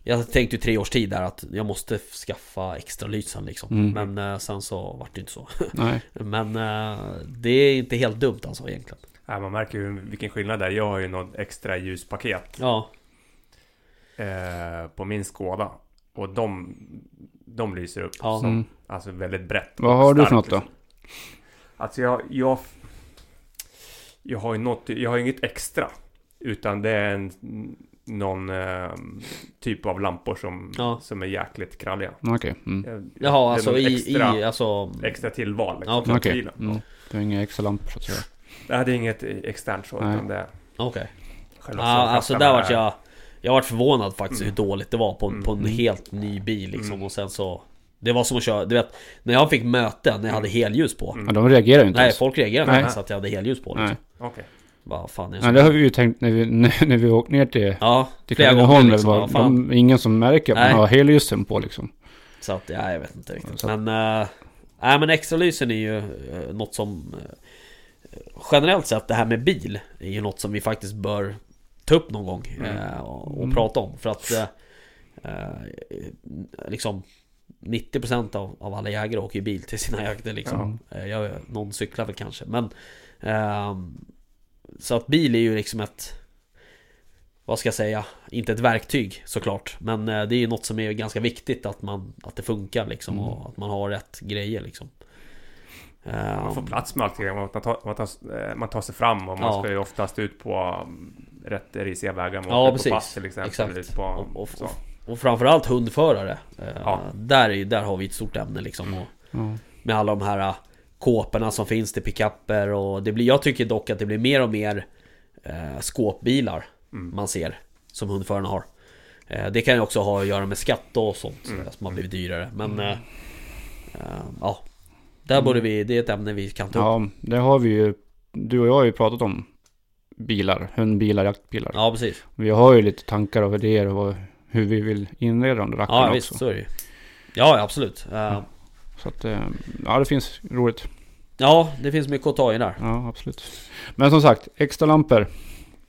Speaker 1: Jag tänkte ju tre års tid där att jag måste skaffa extra lysen liksom
Speaker 2: Mm.
Speaker 1: Men eh, sen så vart det inte så
Speaker 2: Nej.
Speaker 1: Men eh, det är inte helt dumt alltså egentligen
Speaker 3: Ja, man märker ju vilken skillnad det är. Jag har ju något extra ljuspaket
Speaker 1: Ja,
Speaker 3: eh, på min skåda. Och de, de lyser upp.
Speaker 1: Ja.
Speaker 3: Så,
Speaker 2: Mm.
Speaker 3: Alltså väldigt brett.
Speaker 2: Vad har du för
Speaker 3: Starkt,
Speaker 2: något då?
Speaker 3: liksom. Alltså jag... Jag, jag har ju något... Jag har ju inget extra. Utan det är en... Någon eh, typ av lampor som,
Speaker 1: Ja.
Speaker 3: som är jäkligt kralliga.
Speaker 2: Mm, Okej. Mm.
Speaker 3: Jag- det är
Speaker 1: jaha alltså
Speaker 3: något
Speaker 1: i,
Speaker 3: extra,
Speaker 1: i alltså
Speaker 3: extra tillval liksom,
Speaker 1: Ja, okej.
Speaker 3: från
Speaker 2: Okej.
Speaker 3: bilen.
Speaker 2: Mm. Du har inga extra lampor så att säga.
Speaker 3: Nej, det är inget externt så,
Speaker 2: Nej.
Speaker 3: utan det är
Speaker 1: Okej
Speaker 3: själva
Speaker 1: Ja, alltså där vart jag Jag vart förvånad faktiskt
Speaker 3: Mm.
Speaker 1: hur dåligt det var på, på en
Speaker 2: Mm.
Speaker 1: helt ny bil liksom
Speaker 3: Mm.
Speaker 1: och sen så Det var som att köra, du vet När jag fick möten när jag hade helljus på
Speaker 3: Mm.
Speaker 2: Ja, de reagerar ju inte
Speaker 1: Nej
Speaker 2: ens.
Speaker 1: folk reagerade
Speaker 2: Nej.
Speaker 1: inte ens att jag hade helljus på liksom.
Speaker 2: Nej.
Speaker 3: Okej.
Speaker 1: Vad fan är det
Speaker 2: Nej,
Speaker 1: som-
Speaker 2: det har vi ju tänkt när vi, när, när vi åkt ner till,
Speaker 1: Ja,
Speaker 2: till
Speaker 1: flera
Speaker 2: Katrineholm.
Speaker 1: gånger
Speaker 2: Liksom,
Speaker 1: liksom,
Speaker 2: var,
Speaker 1: vad fan.
Speaker 2: de, ingen som märker att
Speaker 1: Nej.
Speaker 2: man har helljusen på liksom.
Speaker 1: Så att, ja, jag vet inte riktigt
Speaker 2: Så
Speaker 1: Men, eh, nej men extralysen är ju eh, något som eh, Generellt sett det här med bil Är ju något som vi faktiskt bör Ta upp någon gång eh, och, och
Speaker 2: Mm.
Speaker 1: prata om för att eh, eh, Liksom 90% av, av alla jägare åker ju bil till sina jakter liksom Eh, jag, Någon cyklar väl kanske men ehm, Så att bil är ju liksom ett vad ska jag säga? Inte ett verktyg såklart Men eh, det är ju något som är ganska viktigt att, man, att det funkar liksom
Speaker 2: Mm.
Speaker 1: och att man har rätt grejer liksom Ehm,
Speaker 3: Man får plats med allting. Man tar, man tar, eh, man tar sig fram och man
Speaker 1: Ja.
Speaker 3: ska ju oftast ut på um, rätt risiga vägar. Man
Speaker 1: Ja,
Speaker 3: åker
Speaker 1: precis.
Speaker 3: På pass till exempel.
Speaker 1: Exakt.
Speaker 3: Ut på,
Speaker 1: Och- och-
Speaker 3: så.
Speaker 1: Och framförallt hundförare Eh,
Speaker 3: Ja. Mm.
Speaker 1: där, är, där har vi ett stort ämne liksom och
Speaker 2: Ja.
Speaker 1: Med alla de här eh, kåporna som finns till pickuper och det blir, Jag tycker dock att det blir mer och mer eh, Skåpbilar
Speaker 3: Mm.
Speaker 1: man ser Som hundförarna har eh, Det kan ju också ha att göra med skatt och sånt
Speaker 3: Mm.
Speaker 1: eh, Som har blivit dyrare men eh, eh, Ja Där borde vi, det är ett ämne vi kan ta upp
Speaker 2: ja, det har vi ju. Du och jag har ju pratat om bilar, hundbilar, jaktbilar.
Speaker 1: Ja precis,
Speaker 2: Vi har ju lite tankar och idéer och vad- hur vi vill inreda de där rackarna
Speaker 1: ja
Speaker 2: också. Mm.
Speaker 1: visst så är det ju Ja ja, absolut Eh,
Speaker 2: Så att, eh, ja det finns roligt.
Speaker 1: Ja det finns mycket att ta i där
Speaker 2: Ja, absolut. Men som sagt, extra lampor.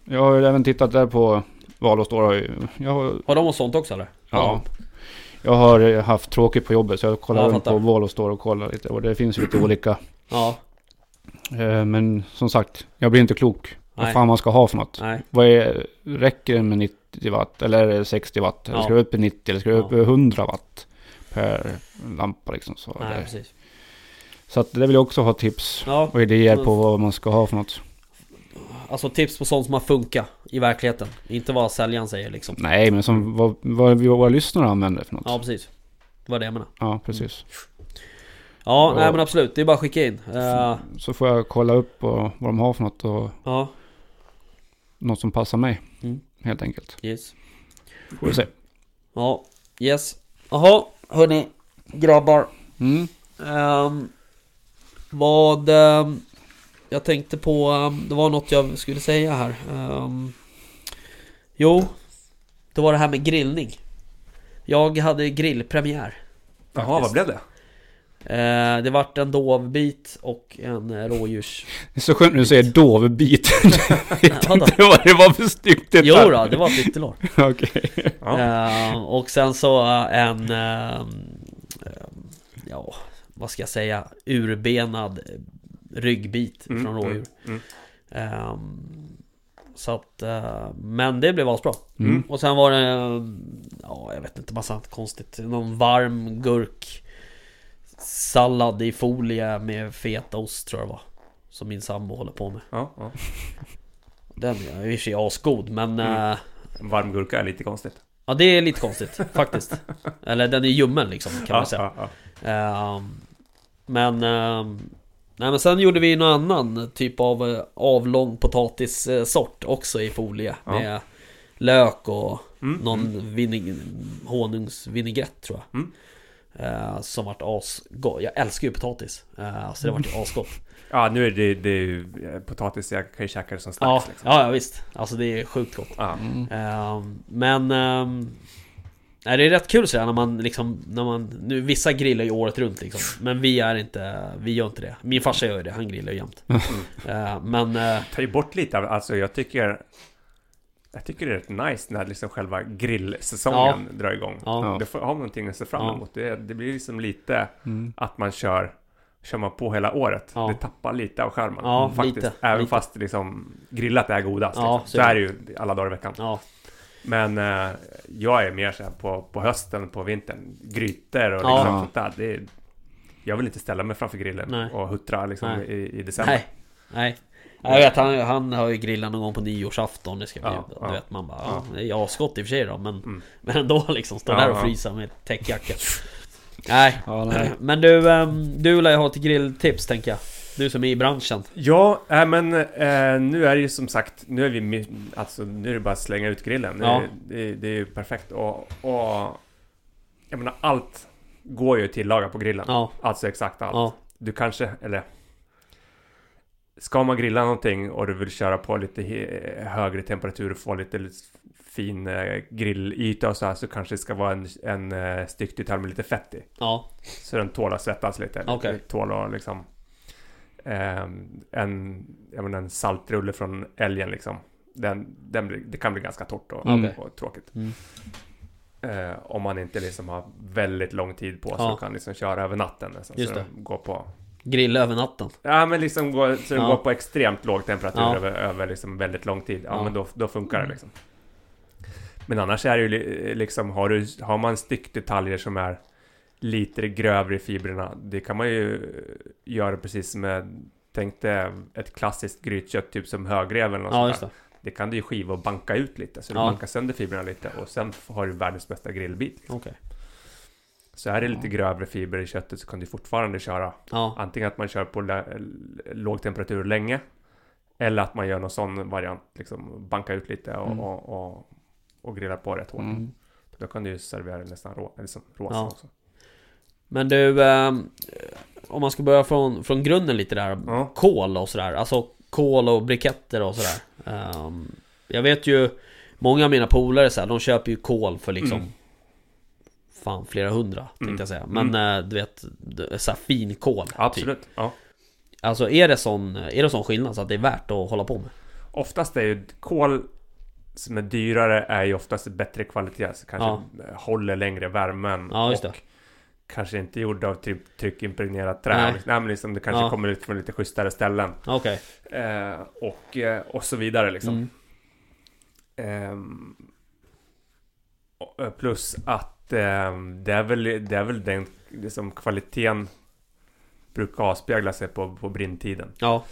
Speaker 2: Jag har ju även tittat där på Valåsdor. har ju- Jag har,
Speaker 1: Har de och sånt också eller?
Speaker 2: ja, jag har eh, haft tråkigt på jobbet så jag kollar
Speaker 1: Ja, jag
Speaker 2: runt på
Speaker 1: fattar.
Speaker 2: Valåsdor och kollar lite. Och det finns ju lite olika.
Speaker 1: Ja,
Speaker 2: Eh, Men som sagt, jag blir inte klok. Vad
Speaker 1: Nej.
Speaker 2: fan man ska ha för något.
Speaker 1: nej
Speaker 2: Vad är, räcker det med 90 watt eller är det 60 watt? Eller
Speaker 1: Ja.
Speaker 2: ska det upp i 90 eller ska det upp
Speaker 1: Ja.
Speaker 2: i 100 watt per lampa liksom? Så,
Speaker 1: Nej
Speaker 2: där.
Speaker 1: precis
Speaker 2: så att det vill jag också ha tips
Speaker 1: Ja,
Speaker 2: och idéer
Speaker 1: men-
Speaker 2: på vad man ska ha för något.
Speaker 1: alltså tips på sånt som har funkat i verkligheten Inte vad säljaren säger liksom
Speaker 2: Nej, men som vad, vad vi våra lyssnare använder för något.
Speaker 1: Ja
Speaker 2: Ja,
Speaker 1: precis Det var det jag menade
Speaker 2: precis.
Speaker 1: Ja,
Speaker 2: Ja.
Speaker 1: nej men absolut, det är bara att skicka in Eh,
Speaker 2: Så får jag kolla upp och, vad de har för något och
Speaker 1: Ja,
Speaker 2: något som passar mig.
Speaker 1: Mm.
Speaker 2: Helt enkelt.
Speaker 1: yes
Speaker 2: Får vi se.
Speaker 1: Ja, yes Jaha, hörni grabbar
Speaker 2: Mm.
Speaker 1: Ehm, vad... ehm, jag tänkte på... ehm, det var något jag skulle säga här. Ehm, jo, det var det här med grillning. Jag hade grillpremiär.
Speaker 3: Jaha, vad
Speaker 1: faktiskt.
Speaker 3: blev det?
Speaker 1: Eh, det vart en dovbit och en eh, rådjurs...
Speaker 2: Det är så skönt när du säger dovbit. jag vet
Speaker 1: Ja, då.
Speaker 2: inte vad det var för styggt det
Speaker 1: Jo
Speaker 2: där.
Speaker 1: då, det var ett ytterlår.
Speaker 2: Okej.
Speaker 3: Ja.
Speaker 1: Eh, och sen så eh, en... ehm, ehm, ja, vad ska jag säga? Urbenad eh, ryggbit
Speaker 3: Mm,
Speaker 1: från rådjur.
Speaker 3: mm, mm.
Speaker 1: Ehm, så att, eh, men det blev asbra.
Speaker 2: Mm.
Speaker 1: Och sen var det, ja jag vet inte, massa annat konstigt. Någon varm gurk sallad i folie med fetaost tror jag det var. Som min sambo håller på med.
Speaker 3: Ja, ja.
Speaker 1: Den är i och för sig asgod men...
Speaker 3: Mm.
Speaker 1: eh,
Speaker 3: Varm gurka är lite konstigt.
Speaker 1: ja det är lite konstigt faktiskt. Eller den är ljummen liksom kan man
Speaker 3: ja,
Speaker 1: säga.
Speaker 3: Ja, ja.
Speaker 1: Ehm, men... ehm, nej men sen gjorde vi någon annan typ av eh, avlång potatissort också i folie.
Speaker 3: Ja.
Speaker 1: Med lök och
Speaker 3: Mm.
Speaker 1: någon vinig- honungsvinägrett tror jag.
Speaker 3: Mm.
Speaker 1: Eh, som vart asgott. Jag älskar ju potatis. Eh, så det vart ju asgott.
Speaker 3: ja, nu är det, det är ju eh, potatis, jag kan ju käka det som
Speaker 1: Ja,
Speaker 3: snacks. liksom.
Speaker 1: ja, ja visst. Alltså det är sjukt gott.
Speaker 3: Ja.
Speaker 1: Ehm, men... ehm, nej, det är rätt kul sådär när man liksom... När man, nu, vissa grillar ju året runt liksom. Men vi är inte... Vi gör inte det. Min farsa gör ju det. Han grillar ju jämt. Eh, men... eh,
Speaker 3: tar ju bort lite av, alltså jag tycker Jag tycker det är rätt nice när liksom själva grillsäsongen drar igång
Speaker 1: ja.
Speaker 3: Då får, har man någonting att se fram
Speaker 1: Ja.
Speaker 3: emot det, det blir liksom lite
Speaker 2: Mm.
Speaker 3: att man kör Kör man på hela året
Speaker 1: Ja.
Speaker 3: Det tappar lite av skärmen
Speaker 1: Ja,
Speaker 3: Faktiskt,
Speaker 1: lite,
Speaker 3: även
Speaker 1: lite.
Speaker 3: fast liksom Grillat är godast
Speaker 1: Ja,
Speaker 3: liksom.
Speaker 1: så
Speaker 3: så,
Speaker 1: är
Speaker 3: är det ju alla dagar i veckan
Speaker 1: Ja,
Speaker 3: Men eh, jag är mer så här på, på hösten, på vintern Grytor och
Speaker 1: Ja.
Speaker 3: liksom sånt där det är, Jag vill inte ställa mig framför grillen
Speaker 1: Nej.
Speaker 3: och huttra liksom
Speaker 1: Nej.
Speaker 3: i, i december
Speaker 1: nej. Nej. Jag vet, han, han har ju grillat någon gång på nyårsafton. Det ska bli,
Speaker 3: Ja,
Speaker 1: du
Speaker 3: ja.
Speaker 1: vet, man bara...
Speaker 3: Ja.
Speaker 1: Ja, det är ju asgott i och för sig då, men...
Speaker 3: Mm.
Speaker 1: Men ändå liksom, stå
Speaker 3: Ja,
Speaker 1: där och
Speaker 3: ja.
Speaker 1: frysa med täckjacka. nej.
Speaker 2: Ja, nej.
Speaker 1: Men du, ehm, du lär ju ha ett grilltips tänker jag. Du som är i branschen.
Speaker 3: Ja, äh, men eh, nu är det ju som sagt, nu är vi, mi- alltså nu är det bara att slänga ut grillen. Nu
Speaker 1: Ja.
Speaker 3: är Det, det, är ju perfekt och, och jag menar allt går ju att tillaga på grillen.
Speaker 1: Ja,
Speaker 3: Alltså exakt allt.
Speaker 1: ja,
Speaker 3: Du kanske, eller ska man grilla någonting och du vill köra på lite he- högre temperatur och få lite, lite fin eh, grillyta och så här så kanske det ska vara en, en eh, styckdetalj med lite fett i.
Speaker 1: ja,
Speaker 3: Så den tål att svettas lite.
Speaker 1: Okej.
Speaker 3: Tål att liksom... ehm, en, jag menar, en saltrulle från älgen liksom. Den, den blir, det kan bli ganska torrt och,
Speaker 2: Okej.
Speaker 3: och tråkigt.
Speaker 1: Mm.
Speaker 3: Eh, om man inte liksom har väldigt lång tid på sig
Speaker 1: Ja.
Speaker 3: och kan liksom köra över natten. Nästan,
Speaker 1: Just
Speaker 3: så
Speaker 1: det.
Speaker 3: den går på...
Speaker 1: grilla över natten.
Speaker 3: Ja men liksom går, så den
Speaker 1: Ja.
Speaker 3: går på extremt låg temperatur
Speaker 1: Ja.
Speaker 3: över, över liksom väldigt lång tid. Ja,
Speaker 1: Ja.
Speaker 3: men då, då funkar det liksom. Men annars är det ju li- liksom, har, du, har man styckdetaljer som är lite grövre i fibrerna, det kan man ju göra precis som med, tänkte ett klassiskt grytkött, typ som högrev eller något
Speaker 1: Ja,
Speaker 3: sånt
Speaker 1: just
Speaker 3: där.
Speaker 1: det.
Speaker 3: Det kan du ju skiva och banka ut lite, så du
Speaker 1: Ja.
Speaker 3: bankar sönder fibrerna lite och sen har du världens bästa grillbit. Liksom.
Speaker 1: Okej.
Speaker 3: Så är det lite grövre fibrer i köttet så kan du fortfarande köra
Speaker 1: Ja,
Speaker 3: Antingen att man kör på lä- låg temperatur länge Eller att man gör någon sån variant liksom Banka ut lite och,
Speaker 2: Mm.
Speaker 3: och, och, och grilla på rätt hårt
Speaker 2: Mm.
Speaker 3: Då kan du ju servera det nästan rå, eller som rosa
Speaker 1: Ja.
Speaker 3: också
Speaker 1: men du, ehm, om man ska börja från, från grunden lite där.
Speaker 3: Ja,
Speaker 1: Kål och sådär. Alltså kål och briketter och sådär. Ehm, jag vet ju, många av mina polare så här, de köper ju kål för liksom
Speaker 3: Mm.
Speaker 1: Fan, flera hundra tänkte
Speaker 3: Mm.
Speaker 1: jag säga. Men eh, du vet, d- så här finkål. typ.
Speaker 3: absolut ja.
Speaker 1: Alltså är det, sån, är det sån skillnad så att det är värt att hålla på med?
Speaker 3: Oftast är ju kol som är dyrare är ju oftast bättre kvalitet så kanske håller längre värmen
Speaker 1: Ja, just
Speaker 3: och
Speaker 1: det.
Speaker 3: Kanske inte gjord av typ tryckimpregnerat trä.
Speaker 1: Nej.
Speaker 3: Nej. men liksom, det kanske
Speaker 1: Ja.
Speaker 3: kommer ut från lite schysstare ställen.
Speaker 1: Okej.
Speaker 3: Eh, och, eh, och så vidare liksom.
Speaker 1: Mm.
Speaker 3: Ehm, och- eh, plus att ehm, det, är väl, det är väl den liksom, kvaliteten brukar avspegla sig på, på brintiden.
Speaker 1: Ja,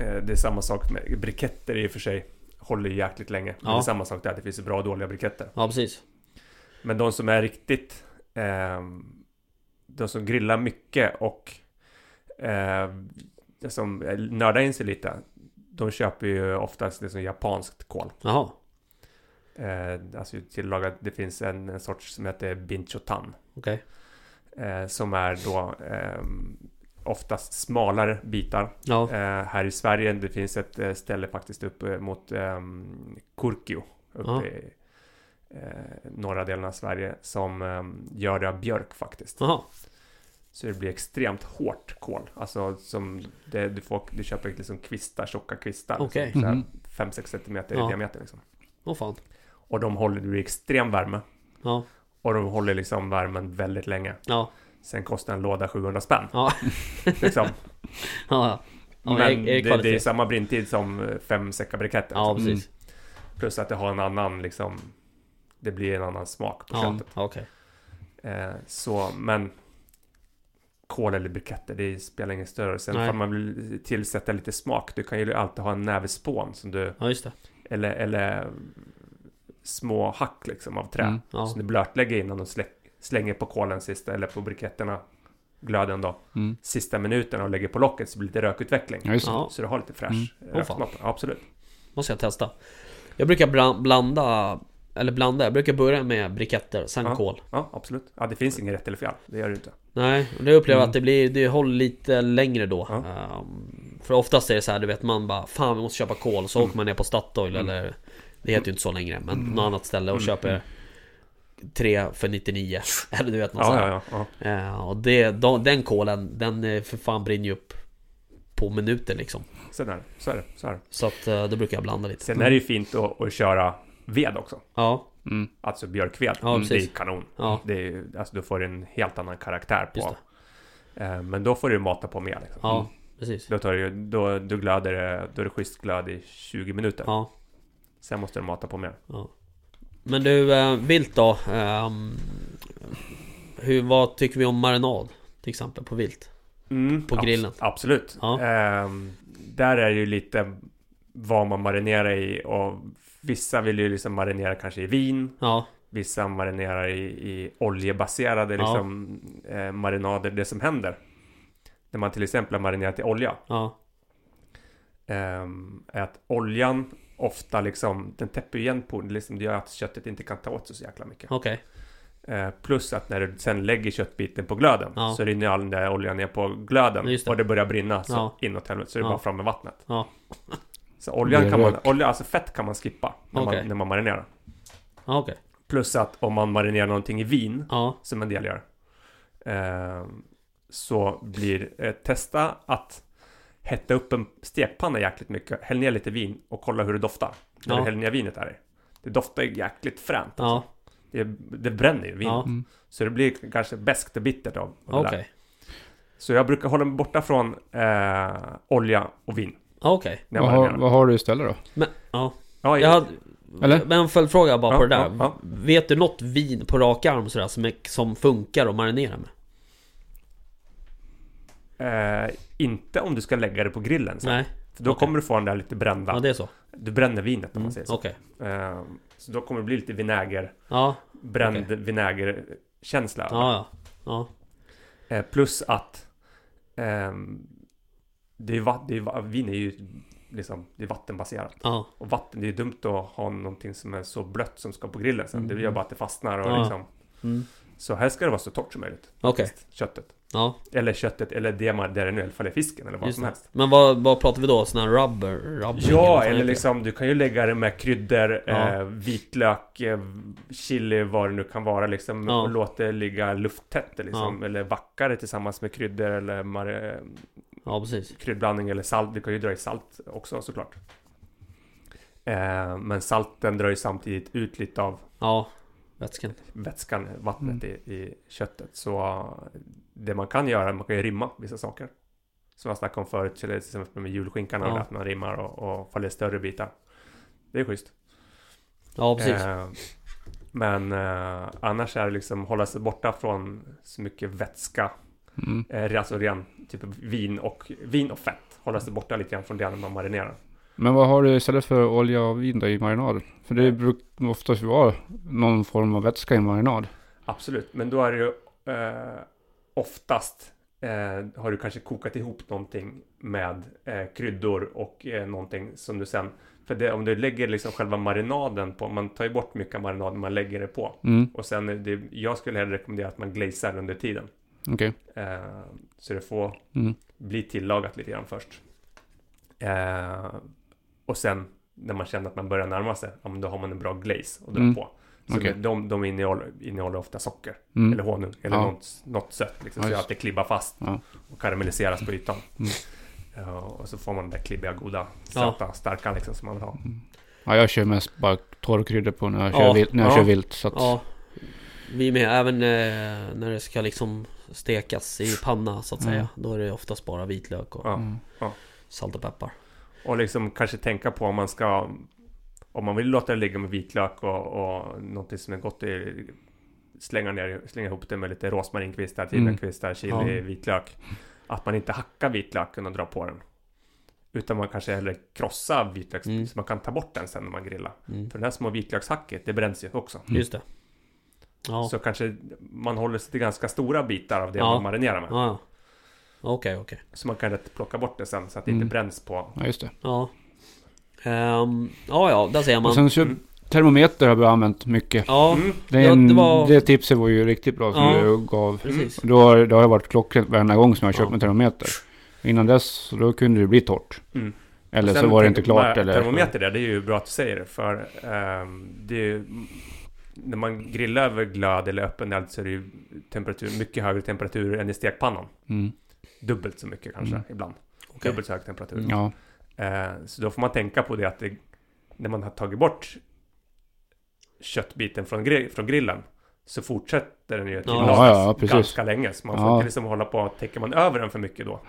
Speaker 3: Eh, det är samma sak med briketter i och för sig. Håller ju jäkligt länge. Men
Speaker 1: Ja.
Speaker 3: det är samma sak där. Det finns ju bra och dåliga briketter.
Speaker 1: ja precis.
Speaker 3: Men de som är riktigt... ehm, de som grillar mycket och... Eh, som nördar in sig lite. De köper ju oftast liksom japanskt kol.
Speaker 1: Jaha.
Speaker 3: Eh, alltså tillagat, det finns en, en sorts som heter binchotan.
Speaker 1: Okej.
Speaker 3: Eh, som är då eh, oftast smalare bitar.
Speaker 1: Ja.
Speaker 3: Eh, här i Sverige, det finns ett eh, ställe faktiskt uppe mot eh, Kurkio. Uppe
Speaker 1: Ja.
Speaker 3: i eh, norra delen av Sverige. Som eh, gör det av björk faktiskt.
Speaker 1: Jaha.
Speaker 3: Så det blir extremt hårt kol. Alltså som det, du, får, du köper liksom kvistar, tjocka kvistar.
Speaker 1: Okej.
Speaker 3: Liksom,
Speaker 2: Mhm.
Speaker 3: 5-6 centimeter
Speaker 1: Ja.
Speaker 3: i diameter liksom.
Speaker 1: Åh fan.
Speaker 3: Och de håller, det blir extrem värme.
Speaker 1: Ja.
Speaker 3: Och de håller liksom värmen väldigt länge.
Speaker 1: Ja.
Speaker 3: Sen kostar en låda 700 spänn.
Speaker 1: Ja.
Speaker 3: Liksom.
Speaker 1: Ja. ja.
Speaker 3: Men
Speaker 1: är,
Speaker 3: det,
Speaker 1: är det,
Speaker 3: det,
Speaker 1: kvalitet?
Speaker 3: är Mm, samma brintid som eh, fem säckar briketter.
Speaker 1: ja, precis.
Speaker 3: Plus att det har en annan liksom... Det blir en annan smak på
Speaker 1: Ja,
Speaker 3: köttet.
Speaker 1: okej.
Speaker 3: Eh, så, men... kål eller buketter, det spelar ingen större roll. Sen
Speaker 1: Nej.
Speaker 3: får man väl tillsätta lite smak. Du kan ju alltid ha en näve spån som du...
Speaker 1: Ja just det.
Speaker 3: Eller, eller små hack liksom av trä.
Speaker 2: Mm.
Speaker 1: Ja.
Speaker 3: Som du blötlägger innan och slä, slänger på kålen sista, eller på briketterna, glöden då,
Speaker 2: Mm.
Speaker 3: sista minuten och lägger på locket så blir det lite rökutveckling.
Speaker 2: Ja, just det.
Speaker 1: ja,
Speaker 3: Så du har lite fräsch
Speaker 1: Åh,
Speaker 3: mm.
Speaker 1: fan.
Speaker 3: Absolut.
Speaker 1: måste jag testa. Jag brukar bra- blanda, eller blanda, jag brukar börja med briketter, sen
Speaker 3: Ja.
Speaker 1: kol.
Speaker 3: Ja, absolut. Ja, det finns ingen rätt eller fel. Det gör det inte.
Speaker 1: Nej, och det upplever jag
Speaker 2: Mm.
Speaker 1: att det blir, det håller lite längre då.
Speaker 3: Ja.
Speaker 1: Ehm, för oftast är det så här, du vet man bara Fan vi måste köpa kol,
Speaker 3: Mm.
Speaker 1: så åker man ner på Statoil eller Det heter ju inte så längre, men något annat ställe och
Speaker 3: Mm.
Speaker 1: köper tre för 99 Eller du vet något
Speaker 3: Ja,
Speaker 1: sånt
Speaker 3: ja, ja, ja.
Speaker 1: Eh, Och det, de, den kolen, den eh, för fan brinner ju upp På minuten liksom
Speaker 3: Sen är det. Så är det. Så är det.
Speaker 1: Så att eh, då brukar jag blanda lite
Speaker 3: Sen är det ju fint att, att köra ved också.
Speaker 1: Ja,
Speaker 2: Mm.
Speaker 3: Alltså björkved.
Speaker 1: Ja,
Speaker 3: det är ju
Speaker 1: precis.
Speaker 3: kanon.
Speaker 1: Ja.
Speaker 3: Det är, ju- alltså, du får en helt annan karaktär
Speaker 1: Just
Speaker 3: på. Eh, Men då får du mata på mer. Liksom.
Speaker 1: ja precis
Speaker 3: Då, tar du, ju- då, då, glöder, det- då är det schysst glöd i 20 minuter.
Speaker 1: Ja,
Speaker 3: Sen måste du mata på mer.
Speaker 1: ja Men du, eh, vilt då? Ehm, hur, vad tycker vi om marinad? Till exempel på vilt?
Speaker 3: Mm,
Speaker 1: På grillen.
Speaker 3: absolut.
Speaker 1: Ja.
Speaker 3: Ehm, där är det ju lite vad man marinerar i och vissa vill ju liksom marinera kanske i vin.
Speaker 1: Ja,
Speaker 3: Vissa marinerar i, i oljebaserade
Speaker 1: Ja.
Speaker 3: liksom, eh, marinader. Det som händer när man till exempel har marinerat i olja
Speaker 1: ja,
Speaker 3: ehm, är att oljan ofta liksom, den täpper igen polen. Liksom, det gör att köttet inte kan ta åt sig så jäkla mycket.
Speaker 1: okej.
Speaker 3: Eh, plus att när du sen lägger köttbiten på glöden
Speaker 1: Ja.
Speaker 3: så rinner all den där oljan ner på glöden
Speaker 1: Just det.
Speaker 3: och det börjar brinna så
Speaker 1: Ja.
Speaker 3: inåt helvete. Så det är
Speaker 1: Ja.
Speaker 3: bara fram med vattnet.
Speaker 1: Ja.
Speaker 3: Så oljan kan man,
Speaker 2: Rök.
Speaker 3: olja, alltså fett kan man skippa när,
Speaker 1: Okej.
Speaker 3: man, när man marinerar.
Speaker 1: Ja, okej.
Speaker 3: Plus att om man marinerar någonting i vin
Speaker 1: Ja,
Speaker 3: som en del gör. Ehm, så blir eh, testa att hetta upp en stekpanna jäkligt mycket. Häll ner lite vin och kolla hur det doftar. När
Speaker 1: Ja.
Speaker 3: du häller ner vinet där i. Det doftar ju jäkligt fränt.
Speaker 1: ja,
Speaker 3: Det, det bränner ju vin.
Speaker 1: ja,
Speaker 2: Mm.
Speaker 3: Så det blir kanske beskt och bittert av av det
Speaker 1: okej.
Speaker 3: där. Så jag brukar hålla mig borta från eh, olja och vin.
Speaker 1: Ja, Okej.
Speaker 3: När jag
Speaker 2: Vad, har,
Speaker 3: marinerar.
Speaker 2: vad har du istället då?
Speaker 1: Men, ja.
Speaker 3: ja,
Speaker 1: Jag hade,
Speaker 2: Eller?
Speaker 1: men en följdfråga bara på
Speaker 3: Ja,
Speaker 1: det där.
Speaker 3: ja, ja.
Speaker 1: Vet du något vin på rak arm sådär som, är, som funkar att marinera med?
Speaker 3: eh, inte om du ska lägga det på grillen. Sen,
Speaker 1: Nej,
Speaker 3: För då
Speaker 1: okej.
Speaker 3: kommer du få den där lite brända.
Speaker 1: ja det är så.
Speaker 3: Du bränner vinet om man säger så.
Speaker 1: Okej.
Speaker 3: Eh, så då kommer det bli lite vinäger.
Speaker 1: Ja,
Speaker 3: bränd
Speaker 1: Okej.
Speaker 3: vinägerkänsla.
Speaker 1: ja, ja. Ja,
Speaker 3: Eh, plus att ehm, det är, va- det är, va- vin är ju liksom, det är vattenbaserat.
Speaker 1: ja,
Speaker 3: Och vatten, det är dumt att ha någonting som är så blött som ska på grillen sen. Det gör bara att det fastnar och
Speaker 1: Mm. Ja.
Speaker 3: liksom.
Speaker 1: Mm.
Speaker 3: Så här ska det vara så torrt som möjligt,
Speaker 1: okej.
Speaker 3: köttet.
Speaker 1: Ja,
Speaker 3: Eller köttet, eller det man, där det nu är, i alla fall är fisken eller vad
Speaker 1: just
Speaker 3: som
Speaker 1: det.
Speaker 3: helst.
Speaker 1: Men vad, vad pratar vi då? Sån här rubber? rubber vad
Speaker 3: Ja,
Speaker 1: fan heter
Speaker 3: eller
Speaker 1: det?
Speaker 3: liksom du kan ju lägga det med kryddor,
Speaker 1: Ja.
Speaker 3: eh, vitlök, eh, chili, vad det nu kan vara liksom.
Speaker 1: Ja.
Speaker 3: Och låt det ligga lufttätt liksom. Eller vacka det tillsammans med kryddor eller mar- eh,
Speaker 1: Ja, precis.
Speaker 3: kryddblandning eller salt. Du kan ju dra i salt också såklart. Eh, men salten drar ju samtidigt ut lite av
Speaker 1: Ja, vätskan.
Speaker 3: vätskan, vattnet
Speaker 1: Mm.
Speaker 3: i, i köttet. Så eh, det man kan göra, man kan ju rimma vissa saker. Som jag snackade om förut, till exempel med julskinkan,
Speaker 1: Ja.
Speaker 3: att man rimmar och, och faller större bitar. Det är schysst.
Speaker 1: Ja, precis.
Speaker 3: Eh, men eh, annars är det liksom hålla sig borta från så mycket vätska.
Speaker 2: Mm.
Speaker 3: Eh, alltså ren typ vin och, vin och fett. Hålla sig borta lite grann från det när man marinerar.
Speaker 2: Men vad har du istället för olja och vin då i marinad? För det brukar oftast vara någon form av vätska i marinad.
Speaker 3: Absolut, men då är det ju eh, oftast eh, har du kanske kokat ihop någonting med eh, kryddor och eh, någonting som du sen... För det, om du lägger liksom själva marinaden på, man tar ju bort mycket av marinaden man lägger det på.
Speaker 2: Mm.
Speaker 3: Och sen, är det, jag skulle hellre rekommendera att man glazar under tiden.
Speaker 2: Okej.
Speaker 3: Eh, så det får
Speaker 2: Mm.
Speaker 3: bli tillagat lite grann först. Eh, och sen när man känner att man börjar närma sig, ja, men då har man en bra glaze och dra
Speaker 2: Mm.
Speaker 3: på. Så
Speaker 2: Okej.
Speaker 3: de, de innehåller, innehåller ofta socker
Speaker 2: Mm.
Speaker 3: eller honung eller
Speaker 2: Ja.
Speaker 3: något, något sött liksom,
Speaker 2: Ja,
Speaker 3: så
Speaker 2: just.
Speaker 3: att det klibbar fast
Speaker 2: Ja.
Speaker 3: och karamelliseras på ytan.
Speaker 2: Mm.
Speaker 3: Eh, och så får man den där klibbiga, goda, söta, starka liksom som man vill ha.
Speaker 2: Ja, jag kör mest bara torrkryddor på när jag
Speaker 1: Ja,
Speaker 2: kör, vilt, när jag
Speaker 3: ja.
Speaker 2: kör vilt. Så att,
Speaker 1: Ja, vi med. Även eh, när det ska liksom stekas i panna så att
Speaker 2: Mm.
Speaker 1: säga. Då är det oftast bara vitlök och
Speaker 3: Ja.
Speaker 2: Mm.
Speaker 1: salt och peppar.
Speaker 3: Och liksom kanske tänka på om man ska... Om man vill låta det ligga med vitlök och, och någonting som är gott i slänga, ner, slänga ihop det med lite rosmarinkvistar,
Speaker 2: Mm.
Speaker 3: timjankvistar, chili,
Speaker 2: Ja.
Speaker 3: vitlök. Att man inte hackar vitlöken och drar på den. Utan man kanske hellre krossar vitlök
Speaker 1: Mm.
Speaker 3: så man kan ta bort den sen när man grillar.
Speaker 1: Mm.
Speaker 3: För den här små vitlökshacket, det bränns ju också.
Speaker 2: Mm.
Speaker 1: Just det. Ja,
Speaker 3: Så kanske man håller sig till ganska stora bitar av det
Speaker 1: Ja.
Speaker 3: man marinerar med.
Speaker 1: ja. ja. Okej, okej.
Speaker 3: Så man kan rätt plocka bort det sen så att det
Speaker 2: Mm.
Speaker 3: inte bränns på.
Speaker 2: Ja, just det.
Speaker 1: Ja. Ehm, ja, ja, där ser man.
Speaker 2: Och sen så
Speaker 3: Mm.
Speaker 2: termometer har vi använt mycket.
Speaker 1: Ja,
Speaker 3: Mm.
Speaker 2: Det, är
Speaker 1: Ja,
Speaker 2: en,
Speaker 1: det
Speaker 2: det,
Speaker 1: var-
Speaker 2: tipset var ju riktigt bra som
Speaker 1: Ja.
Speaker 2: du gav.
Speaker 1: precis.
Speaker 2: Då har, det har ju varit klockrent varenda gång som jag har köpt
Speaker 1: Ja.
Speaker 2: en termometer. Innan dess, så då kunde det bli torrt.
Speaker 3: Mm.
Speaker 2: Eller så
Speaker 3: Sen
Speaker 2: var det inte
Speaker 3: te-
Speaker 2: klart.
Speaker 3: med
Speaker 2: Eller,
Speaker 3: Termometer där, det är ju bra att du säger det. För ehm, det är ju, när man grillar över glöd eller öppen eld så är det ju temperatur, mycket högre temperatur än i stekpannan.
Speaker 2: Mm.
Speaker 3: Dubbelt så mycket kanske
Speaker 2: Mm.
Speaker 3: ibland.
Speaker 1: Okej.
Speaker 3: Dubbelt så hög temperatur.
Speaker 2: Ja.
Speaker 3: Eh, så då får man tänka på det att det, när man har tagit bort köttbiten från, gri- från grillen så fortsätter den ju att
Speaker 1: Ja.
Speaker 3: tillagas
Speaker 2: Ja, ja, precis.
Speaker 3: ganska länge. Så man får
Speaker 2: Ja.
Speaker 3: inte liksom hålla på, täcker man över den för mycket då,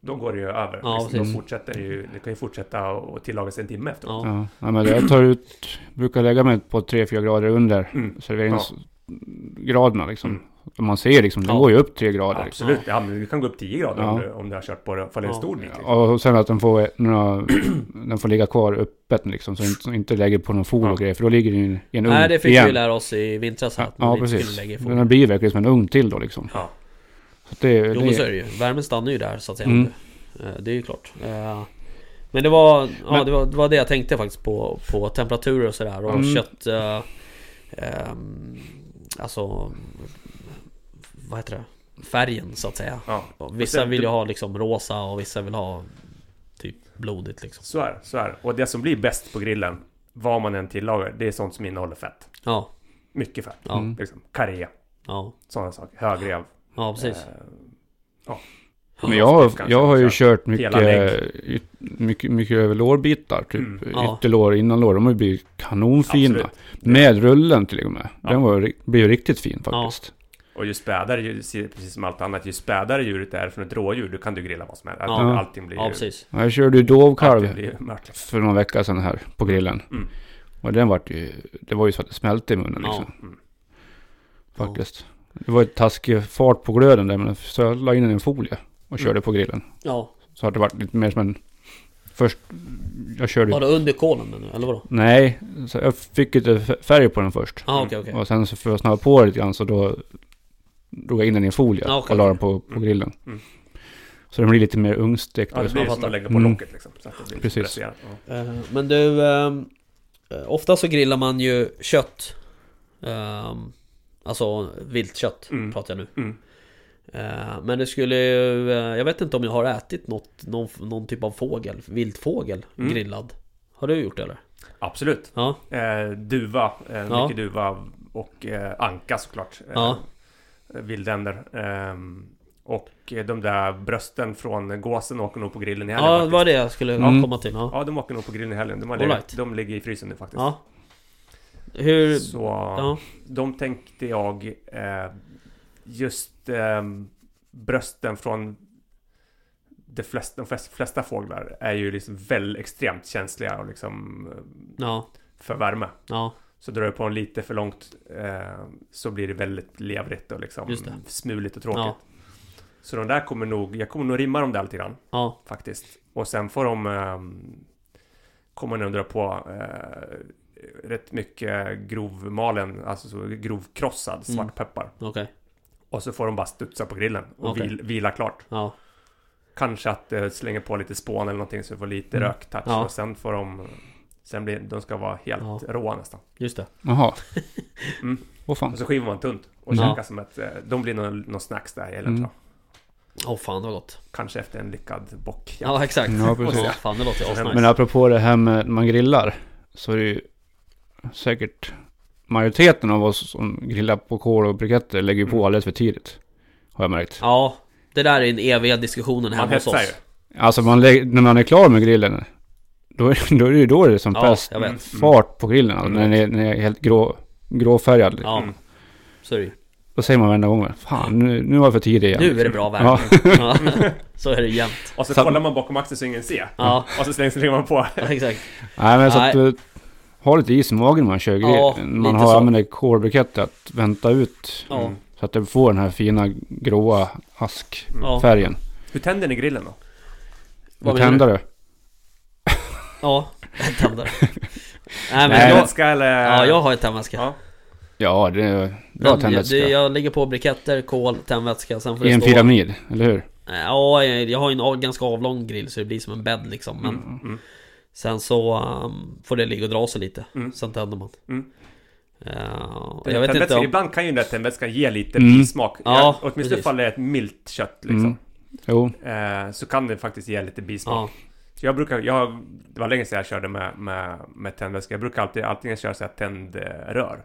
Speaker 3: då går det ju över.
Speaker 1: Ja,
Speaker 3: liksom,
Speaker 2: precis.
Speaker 3: då fortsätter det ju, det kan ju fortsätta och tillagas en timme efteråt.
Speaker 1: Ja.
Speaker 2: Ja, nej, men jag tar ut, brukar lägga mig på 3-4 grader under
Speaker 3: Mm.
Speaker 2: serveringsgraderna liksom.
Speaker 3: Mm.
Speaker 2: Och Man ser liksom, den
Speaker 1: Ja.
Speaker 2: går ju upp 3 grader. Liksom.
Speaker 3: Absolut, ja. men du kan gå upp 10 grader om,
Speaker 2: Ja.
Speaker 3: du, om du har kört på det, ifall det är en
Speaker 1: Ja.
Speaker 3: stor bit. Liksom.
Speaker 2: Och sen att den får, några, den får ligga kvar öppet liksom, så den inte- inte lägger på någon fol
Speaker 3: Ja.
Speaker 2: och grejer, för då ligger den i en- i en ugn
Speaker 1: Nej, det fick
Speaker 2: igen.
Speaker 1: vi lära oss i vintras här, att man
Speaker 2: Ja,
Speaker 1: inte
Speaker 2: precis.
Speaker 1: skulle lägga ifrån.
Speaker 2: Den blir verkligen som en ugn till då liksom.
Speaker 3: Ja.
Speaker 2: Så att det,
Speaker 1: Jo
Speaker 2: det,
Speaker 1: men så är det ju. Värmen stannar ju där så att säga.
Speaker 2: Mm.
Speaker 1: Eh, Det är ju klart. Eh, Men det var, ja,
Speaker 2: Men-
Speaker 1: det var, det var det jag tänkte faktiskt på. På temperaturer och sådär. Och
Speaker 2: Mm.
Speaker 1: kött... Eh, ehm, alltså... Vad heter det? Färgen så att säga.
Speaker 3: Ja.
Speaker 1: Och Vissa
Speaker 3: sen-
Speaker 2: Alltså,
Speaker 1: vill ju ha liksom rosa och vissa vill ha typ blodigt liksom.
Speaker 3: Så är det, så är det. Och det som blir bäst på grillen, vad man än tillagar, det är sånt som innehåller fett.
Speaker 1: Ja,
Speaker 3: Mycket fett.
Speaker 1: ja,
Speaker 2: Mm.
Speaker 3: Liksom, karré,
Speaker 1: ja.
Speaker 3: sådana saker. Högrev.
Speaker 1: Ja precis.
Speaker 3: Eh,
Speaker 2: men jag, har-
Speaker 3: kanske,
Speaker 2: jag har ju
Speaker 3: kanske.
Speaker 2: kört
Speaker 3: Hela
Speaker 2: mycket, yt- mycket, mycket över lårbitar, typ
Speaker 3: Mm.
Speaker 1: Ja.
Speaker 2: ytterlår, innanlår. De har ju blivit kanonfina.
Speaker 3: Absolut.
Speaker 2: Med rullen till och med.
Speaker 3: Ja.
Speaker 2: Den var, ri- blev riktigt fin faktiskt.
Speaker 3: Och ju spädare, ju, precis som allt annat, ju spädare djuret är från ett rådjur, då kan du grilla vad som helst. Allt,
Speaker 1: Ja.
Speaker 3: Allting blir
Speaker 1: Ja
Speaker 3: ju...
Speaker 1: precis.
Speaker 2: Jag körde ju
Speaker 3: Allting
Speaker 2: dovkalv
Speaker 3: blir ju mört. liksom.
Speaker 2: för någon vecka sedan här på grillen.
Speaker 3: Mm.
Speaker 2: Och den vart ju, det var ju så att det smälte i munnen liksom.
Speaker 3: Mm.
Speaker 2: Faktiskt. Det var ju taskig fart på glöden där men så jag la in den i en folie och körde
Speaker 3: Mm.
Speaker 2: på grillen.
Speaker 1: Ja.
Speaker 2: Så att det vart lite mer som en... Först, jag körde...
Speaker 1: Var det under kolen nu eller vadå?
Speaker 2: Nej, så jag fick lite f- färg på den först.
Speaker 1: Ja okej okej.
Speaker 2: Och sen så för att snabba på det lite grann så då drog jag in den i en folie
Speaker 1: Ja, okej.
Speaker 2: och la den på, på
Speaker 3: Mm.
Speaker 2: grillen.
Speaker 3: Mm.
Speaker 2: Så den blir lite mer ugnsstekt.
Speaker 3: Ja, det
Speaker 2: och så.
Speaker 3: blir ju
Speaker 1: Jag
Speaker 3: som
Speaker 1: fattar.
Speaker 3: att lägga på
Speaker 2: Mm.
Speaker 3: locket liksom. Så att det blir
Speaker 2: Precis.
Speaker 3: precis. Ja.
Speaker 1: Eh, Men du, ehm, eh, ofta så grillar man ju kött. Ehm, Alltså viltkött
Speaker 3: Mm.
Speaker 1: pratar jag nu.
Speaker 3: Mm.
Speaker 1: Eh, Men det skulle ju, eh, jag vet inte om jag har ätit något, någon, någon typ av fågel, viltfågel
Speaker 3: Mm.
Speaker 1: grillad. Har du gjort det eller?
Speaker 3: Absolut.
Speaker 1: Ja,
Speaker 3: Eh, duva, eh,
Speaker 1: Ja.
Speaker 3: mycket duva och eh, anka såklart. Eh,
Speaker 1: Ja.
Speaker 3: Vildänder. Ehm, och eh, de där brösten från gåsen åker nog på grillen i helgen.
Speaker 1: ja det
Speaker 3: faktiskt.
Speaker 1: var det jag skulle
Speaker 2: Mm.
Speaker 1: komma till. Ja.
Speaker 3: ja, de åker nog på grillen i helgen. De, har
Speaker 1: All
Speaker 3: legat,
Speaker 1: right.
Speaker 3: de ligger i frysen nu faktiskt.
Speaker 1: ja. Hur...
Speaker 3: Så
Speaker 1: Ja,
Speaker 3: de tänkte jag eh, just eh, brösten från de flesta, de flesta, flesta fåglar är ju liksom väl extremt känsliga och liksom eh,
Speaker 1: ja,
Speaker 3: för värme.
Speaker 1: ja,
Speaker 3: Så drar du på dem lite för långt eh, så blir det väldigt levrigt och liksom
Speaker 1: Just det.
Speaker 3: smuligt och tråkigt.
Speaker 1: ja,
Speaker 3: Så de där kommer nog, jag kommer nog rimma dem där lite grann
Speaker 1: ja,
Speaker 3: faktiskt. Och sen får de eh, komma nu och dra på eh, rätt mycket grovmalen, alltså så grovkrossad
Speaker 1: Mm.
Speaker 3: svartpeppar.
Speaker 1: okej.
Speaker 3: Och så får de bara studsa på grillen och
Speaker 1: Okej.
Speaker 3: vil, vila klart.
Speaker 1: Ja,
Speaker 3: Kanske att eh, slänga på lite spån eller någonting så det får lite
Speaker 2: Mm.
Speaker 3: röktouch.
Speaker 1: Ja.
Speaker 3: Och sen får de, sen blir, de ska vara helt råa nästan.
Speaker 1: just det.
Speaker 2: Jaha.
Speaker 3: Mm.
Speaker 2: Åh fan.
Speaker 3: Och så skivar man tunt och
Speaker 2: Mm.
Speaker 3: käkar som ett, eh, de blir någon, någon snacks där eller
Speaker 2: Mm.
Speaker 3: tror jag.
Speaker 1: Åh fan vad gott.
Speaker 3: Kanske efter en lyckad bock.
Speaker 1: Ja, exakt.
Speaker 2: Ja, precis.
Speaker 1: Ja, fan det låter ju asnice.
Speaker 2: Men apropå det här med när man grillar. Så är det ju säkert majoriteten av oss som grillar på kol och briketter lägger ju på
Speaker 3: Mm.
Speaker 2: alldeles för tidigt. Har jag märkt.
Speaker 1: Ja, det där är den eviga diskussionen
Speaker 3: Man
Speaker 1: hemma hos
Speaker 3: hetsar ju.
Speaker 1: oss.
Speaker 2: Alltså man lägger, när man är klar med grillen. Då är, då är det ju då det är som
Speaker 1: Ja,
Speaker 2: bäst
Speaker 1: jag vet.
Speaker 3: Mm.
Speaker 2: fart på grillen. Alltså, när, den är, när den är helt grå, gråfärgad.
Speaker 1: Ja,
Speaker 3: Mm.
Speaker 1: så är det ju.
Speaker 2: Då säger man varenda gång. Fan, nu, nu var jag för tidig igen.
Speaker 1: Nu är det bra
Speaker 2: Ja.
Speaker 1: väder. Ja. så är det jämt.
Speaker 3: Och så
Speaker 2: Sam-
Speaker 3: kollar man bakom axeln så ingen ser.
Speaker 1: Ja,
Speaker 2: Mm.
Speaker 3: Och så slänger man på.
Speaker 1: exakt.
Speaker 2: Nej men så att,
Speaker 1: Nej.
Speaker 2: eh, ha lite is i magen när man kör grill.
Speaker 1: Ja,
Speaker 2: man
Speaker 1: lite
Speaker 2: har
Speaker 1: så.
Speaker 2: använder kolbrikett att vänta ut.
Speaker 1: Ja.
Speaker 3: Mm.
Speaker 2: Så att det får den här fina gråa askfärgen.
Speaker 1: Ja.
Speaker 3: Hur tänder ni grillen då?
Speaker 1: Vad
Speaker 2: Vad
Speaker 1: menar du?
Speaker 2: tänder det?
Speaker 1: Ja, en tändare. Nej men
Speaker 2: Nej.
Speaker 1: jag,
Speaker 3: Tändvätska eller?
Speaker 1: ja, jag har ett tändvätska.
Speaker 3: Ja.
Speaker 2: Ja, det är bra
Speaker 1: Men jag,
Speaker 2: tändvätska.
Speaker 1: det, jag lägger på briketter, kol, tändvätska, sen får
Speaker 2: I
Speaker 1: det
Speaker 2: en
Speaker 1: stå...
Speaker 2: pyramid, eller hur?
Speaker 1: Ja, jag jag har ju en av- ganska avlång grill så det blir som en bädd liksom. Men
Speaker 3: Mm, mm.
Speaker 1: sen så ehm, får det ligga och dra sig lite.
Speaker 3: Mm.
Speaker 1: Sen tänder man.
Speaker 3: Mm.
Speaker 1: Ja, jag vet
Speaker 3: Tändvätska,
Speaker 1: inte om...
Speaker 3: Ibland kan ju den där tändvätskan ge lite
Speaker 2: Mm.
Speaker 3: bismak.
Speaker 1: Ja,
Speaker 3: Ja, åtminstone
Speaker 1: precis. Mm.
Speaker 3: ifall det är ett milt kött
Speaker 2: Mm.
Speaker 3: liksom.
Speaker 2: Jo,
Speaker 3: Eh, så kan det faktiskt ge lite bismak.
Speaker 1: Ja,
Speaker 3: Så jag brukar, jag, det var länge sedan jag körde med, med, med tändvätska. Jag brukar alltid antingen köra så här tändrör.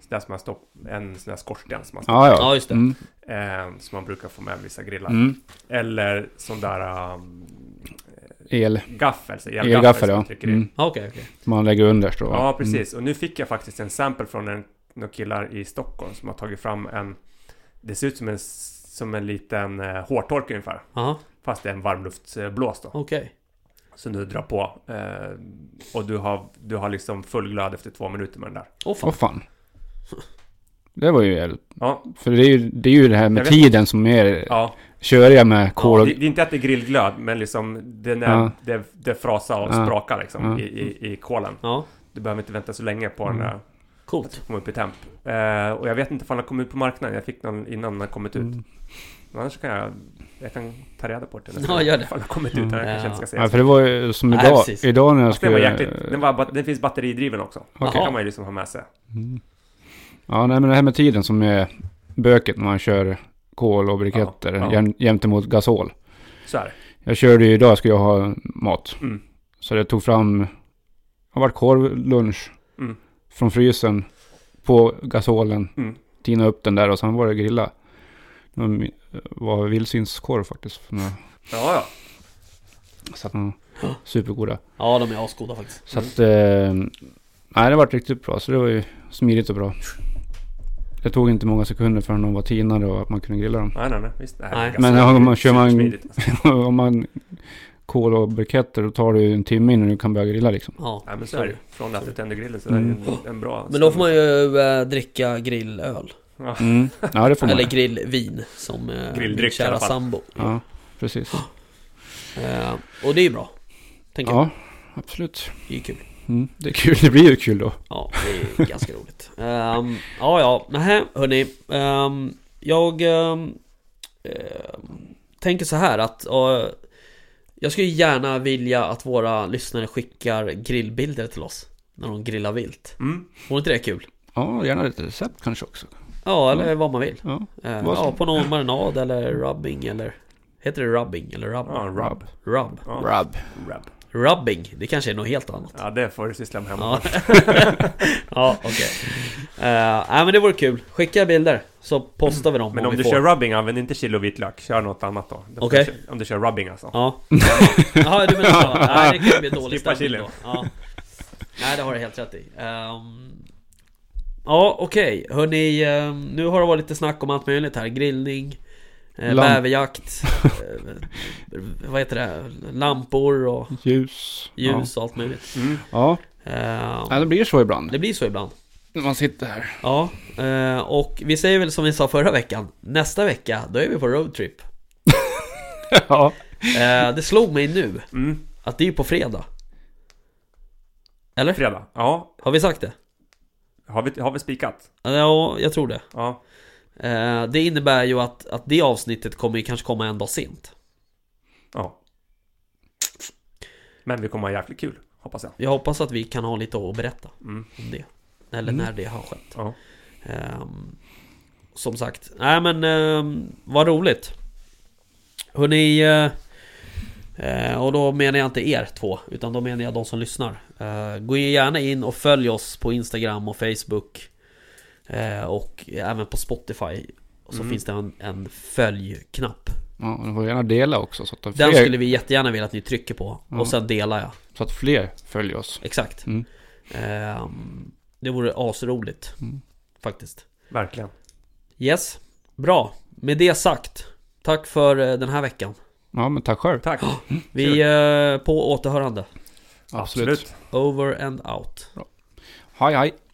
Speaker 3: Så där som man stopp, en sån här skorsten som man, stopp,
Speaker 2: ja ja.
Speaker 1: Ja, just det.
Speaker 2: Mm.
Speaker 3: eh, som man brukar få med vissa grillar.
Speaker 2: Mm.
Speaker 3: Eller sån där um,
Speaker 2: El.
Speaker 3: gaffel, så elgaffel,
Speaker 2: Elgaffel
Speaker 3: som man
Speaker 2: ja.
Speaker 3: trycker i.
Speaker 2: Mm.
Speaker 1: Ja, okej, okej.
Speaker 2: Man lägger underst då. va?
Speaker 3: Ja, precis. Och nu fick jag faktiskt en sample från en, några killar i Stockholm som har tagit fram en... Det ser ut som en, som en liten eh, hårtork ungefär.
Speaker 1: Jaha,
Speaker 3: Fast det är en varmluftsblås då.
Speaker 1: okej.
Speaker 3: Som du drar på. Eh, och du har, du har liksom full glöd efter två minuter med den där.
Speaker 1: Åh fan.
Speaker 2: Åh fan. Det var ju el.
Speaker 3: Ja,
Speaker 2: För det är ju det, är ju det här med
Speaker 3: Jag vet-
Speaker 2: tiden som är
Speaker 3: ja.
Speaker 2: köriga med kol
Speaker 3: ja
Speaker 2: och...
Speaker 3: det, det är inte att det är grillglöd, men liksom den är,
Speaker 2: Ja.
Speaker 3: det, det frasar och
Speaker 2: Ja.
Speaker 3: sprakar liksom
Speaker 2: Ja.
Speaker 3: i, i, i kolen.
Speaker 1: Ja,
Speaker 3: Du behöver inte vänta så länge på den
Speaker 2: Mm.
Speaker 3: där att
Speaker 1: coolt.
Speaker 3: den kommer upp i temp. Eh, och jag vet inte om den har kommit ut på marknaden. Jag fick någon innan den har kommit ut.
Speaker 2: Mm.
Speaker 3: Men annars kan jag, jag kan ta reda på det. nästa
Speaker 1: Ja,
Speaker 3: gång.
Speaker 1: gör det.
Speaker 3: Ifall det har kommit ut
Speaker 2: Mm.
Speaker 3: här, jag kanske
Speaker 1: Ja.
Speaker 3: inte ska säga
Speaker 2: Ja,
Speaker 3: så.
Speaker 2: för det var ju som
Speaker 1: Nej,
Speaker 2: idag.
Speaker 1: precis.
Speaker 2: idag när jag
Speaker 3: Fast Den
Speaker 2: skulle...
Speaker 3: var jäkligt... Den, var, ba- den finns batteridriven också.
Speaker 2: Okej.
Speaker 3: Det kan man ju liksom ha med sig.
Speaker 2: Mm. Ja, nej, men det här med tiden som är böket när man kör kol och briketter
Speaker 3: Ja, ja.
Speaker 2: jäm- jämte mot gasol.
Speaker 3: Så är det.
Speaker 2: Jag körde ju idag, skulle jag ha mat.
Speaker 3: Mm.
Speaker 2: Så jag tog fram, det har varit korvlunch
Speaker 3: Mm.
Speaker 2: från frysen på gasolen.
Speaker 3: Mm.
Speaker 2: Tina upp den där och sen var det grilla. Det var vildsvinskorv faktiskt. för några-
Speaker 3: Ja, ja.
Speaker 2: Så att, mm, supergoda.
Speaker 1: Ja, de är asgoda faktiskt.
Speaker 2: Så att, eh, nej det varit riktigt bra. Så det var ju smidigt och bra. Det tog inte många sekunder förrän de var tinade och att man kunde grilla dem.
Speaker 3: Nej, nej, nej. Visst. Nej, det är
Speaker 1: Nej.
Speaker 3: ganska
Speaker 2: Men om man kör man-
Speaker 3: supersmidigt, alltså.
Speaker 2: Om man kol och briketter då tar det ju en timme innan du kan börja grilla liksom.
Speaker 1: Ja,
Speaker 3: Nej, men så är det ju. Från att du tänder grillen så är det
Speaker 2: Mm.
Speaker 3: ju en, en bra...
Speaker 1: Men då får man ju eh, dricka grillöl.
Speaker 2: Mm. Ja det får man.
Speaker 1: Eller grillvin som eh, min
Speaker 3: Grilldryck i
Speaker 1: kära
Speaker 3: alla fall.
Speaker 1: sambo.
Speaker 2: Ja, precis.
Speaker 1: Eh, och det är ju bra. Tänker jag.
Speaker 2: Ja, absolut.
Speaker 1: Det är ju kul.
Speaker 2: Mm. Det är kul, det blir ju kul då.
Speaker 1: Ja, det är ganska roligt. Um, ja, ja, nähä, hörni. Ehm, jag ehm, ehm, tänker så här att eh, jag skulle gärna vilja att våra lyssnare skickar grillbilder till oss när de grillar vilt.
Speaker 3: Mm.
Speaker 1: Vore inte det kul?
Speaker 2: Ja, gärna lite recept kanske också.
Speaker 1: Ja, eller
Speaker 3: Mm.
Speaker 1: vad man vill.
Speaker 2: Ja,
Speaker 1: Eh,
Speaker 2: Vad som-
Speaker 1: ja, på någon marinad eller rubbing eller... Heter det rubbing eller rub?
Speaker 3: Ja, rub.
Speaker 1: Rub.
Speaker 3: Ja,
Speaker 2: Rub.
Speaker 3: rub.
Speaker 1: Rubbing, det kanske är något helt annat.
Speaker 3: Ja, det får du syssla med hemma.
Speaker 1: Ja,
Speaker 3: Mm.
Speaker 1: ja okej. Eh, nej men det vore kul. Skicka bilder så postar vi dem
Speaker 3: Men
Speaker 1: om,
Speaker 3: om
Speaker 1: vi
Speaker 3: du
Speaker 1: får.
Speaker 3: kör rubbing, använd inte chili och vitlök. Kör något annat då. Det får
Speaker 1: Okej.
Speaker 3: du kö- Om du kör rubbing alltså.
Speaker 1: Ja. Jaha, du menar så. Nej, det kan bli dålig
Speaker 3: Skippa
Speaker 1: stämning
Speaker 3: chili.
Speaker 1: då. Ja. Nej, det har du helt rätt i. Ehm, ja, okej. Hörni, ehm, nu har det varit lite snack om allt möjligt här. Grillning, uh,
Speaker 2: Lamp-
Speaker 1: bäverjakt, eh, vad heter det? Lampor och
Speaker 2: Ljus.
Speaker 1: ljus och allt möjligt.
Speaker 3: Mm.
Speaker 2: Ja.
Speaker 1: Ehm,
Speaker 2: ja, det blir så ibland.
Speaker 1: det blir så ibland.
Speaker 2: När man sitter här.
Speaker 1: Ja, eh, och vi säger väl som vi sa förra veckan Nästa vecka, då är vi på roadtrip
Speaker 2: ja.
Speaker 1: eh, Det slog mig nu
Speaker 3: Mm.
Speaker 1: att det är på fredag Eller?
Speaker 3: Fredag. Ja.
Speaker 1: Har vi sagt det?
Speaker 3: Har vi, har vi spikat?
Speaker 1: Ja, jag tror det
Speaker 3: Ja.
Speaker 1: eh, Det innebär ju att, att det avsnittet kommer ju kanske komma en dag sent
Speaker 3: Ja. Men vi kommer ha jävligt kul, hoppas jag.
Speaker 1: Jag hoppas att vi kan ha lite att berätta
Speaker 3: Mm.
Speaker 1: om det Eller när det har skett
Speaker 3: Ja.
Speaker 1: Ehm, Som sagt, nej men ehm, vad roligt Hörni eh, eh, Och då menar jag inte er två Utan då menar jag de som lyssnar Eh, Gå gärna in och följ oss på Instagram och Facebook eh, Och även på Spotify Och så
Speaker 3: Mm.
Speaker 1: finns det en, en följ-knapp
Speaker 2: Ja, du får gärna dela också så att
Speaker 1: Den
Speaker 2: fler,
Speaker 1: skulle vi jättegärna vilja att ni trycker på
Speaker 2: Ja.
Speaker 1: Och sen delar jag
Speaker 2: så att fler följer oss.
Speaker 1: Exakt
Speaker 2: Mm.
Speaker 1: Ehm, Det vore asroligt
Speaker 2: Mm.
Speaker 1: Faktiskt
Speaker 3: Verkligen.
Speaker 1: Yes, bra. Med det sagt, tack för eh, den här veckan.
Speaker 2: Ja, men tack själv.
Speaker 3: Tack.
Speaker 1: Vi eh, på återhörande.
Speaker 3: Absolut.
Speaker 1: Over and out.
Speaker 2: Hej hej!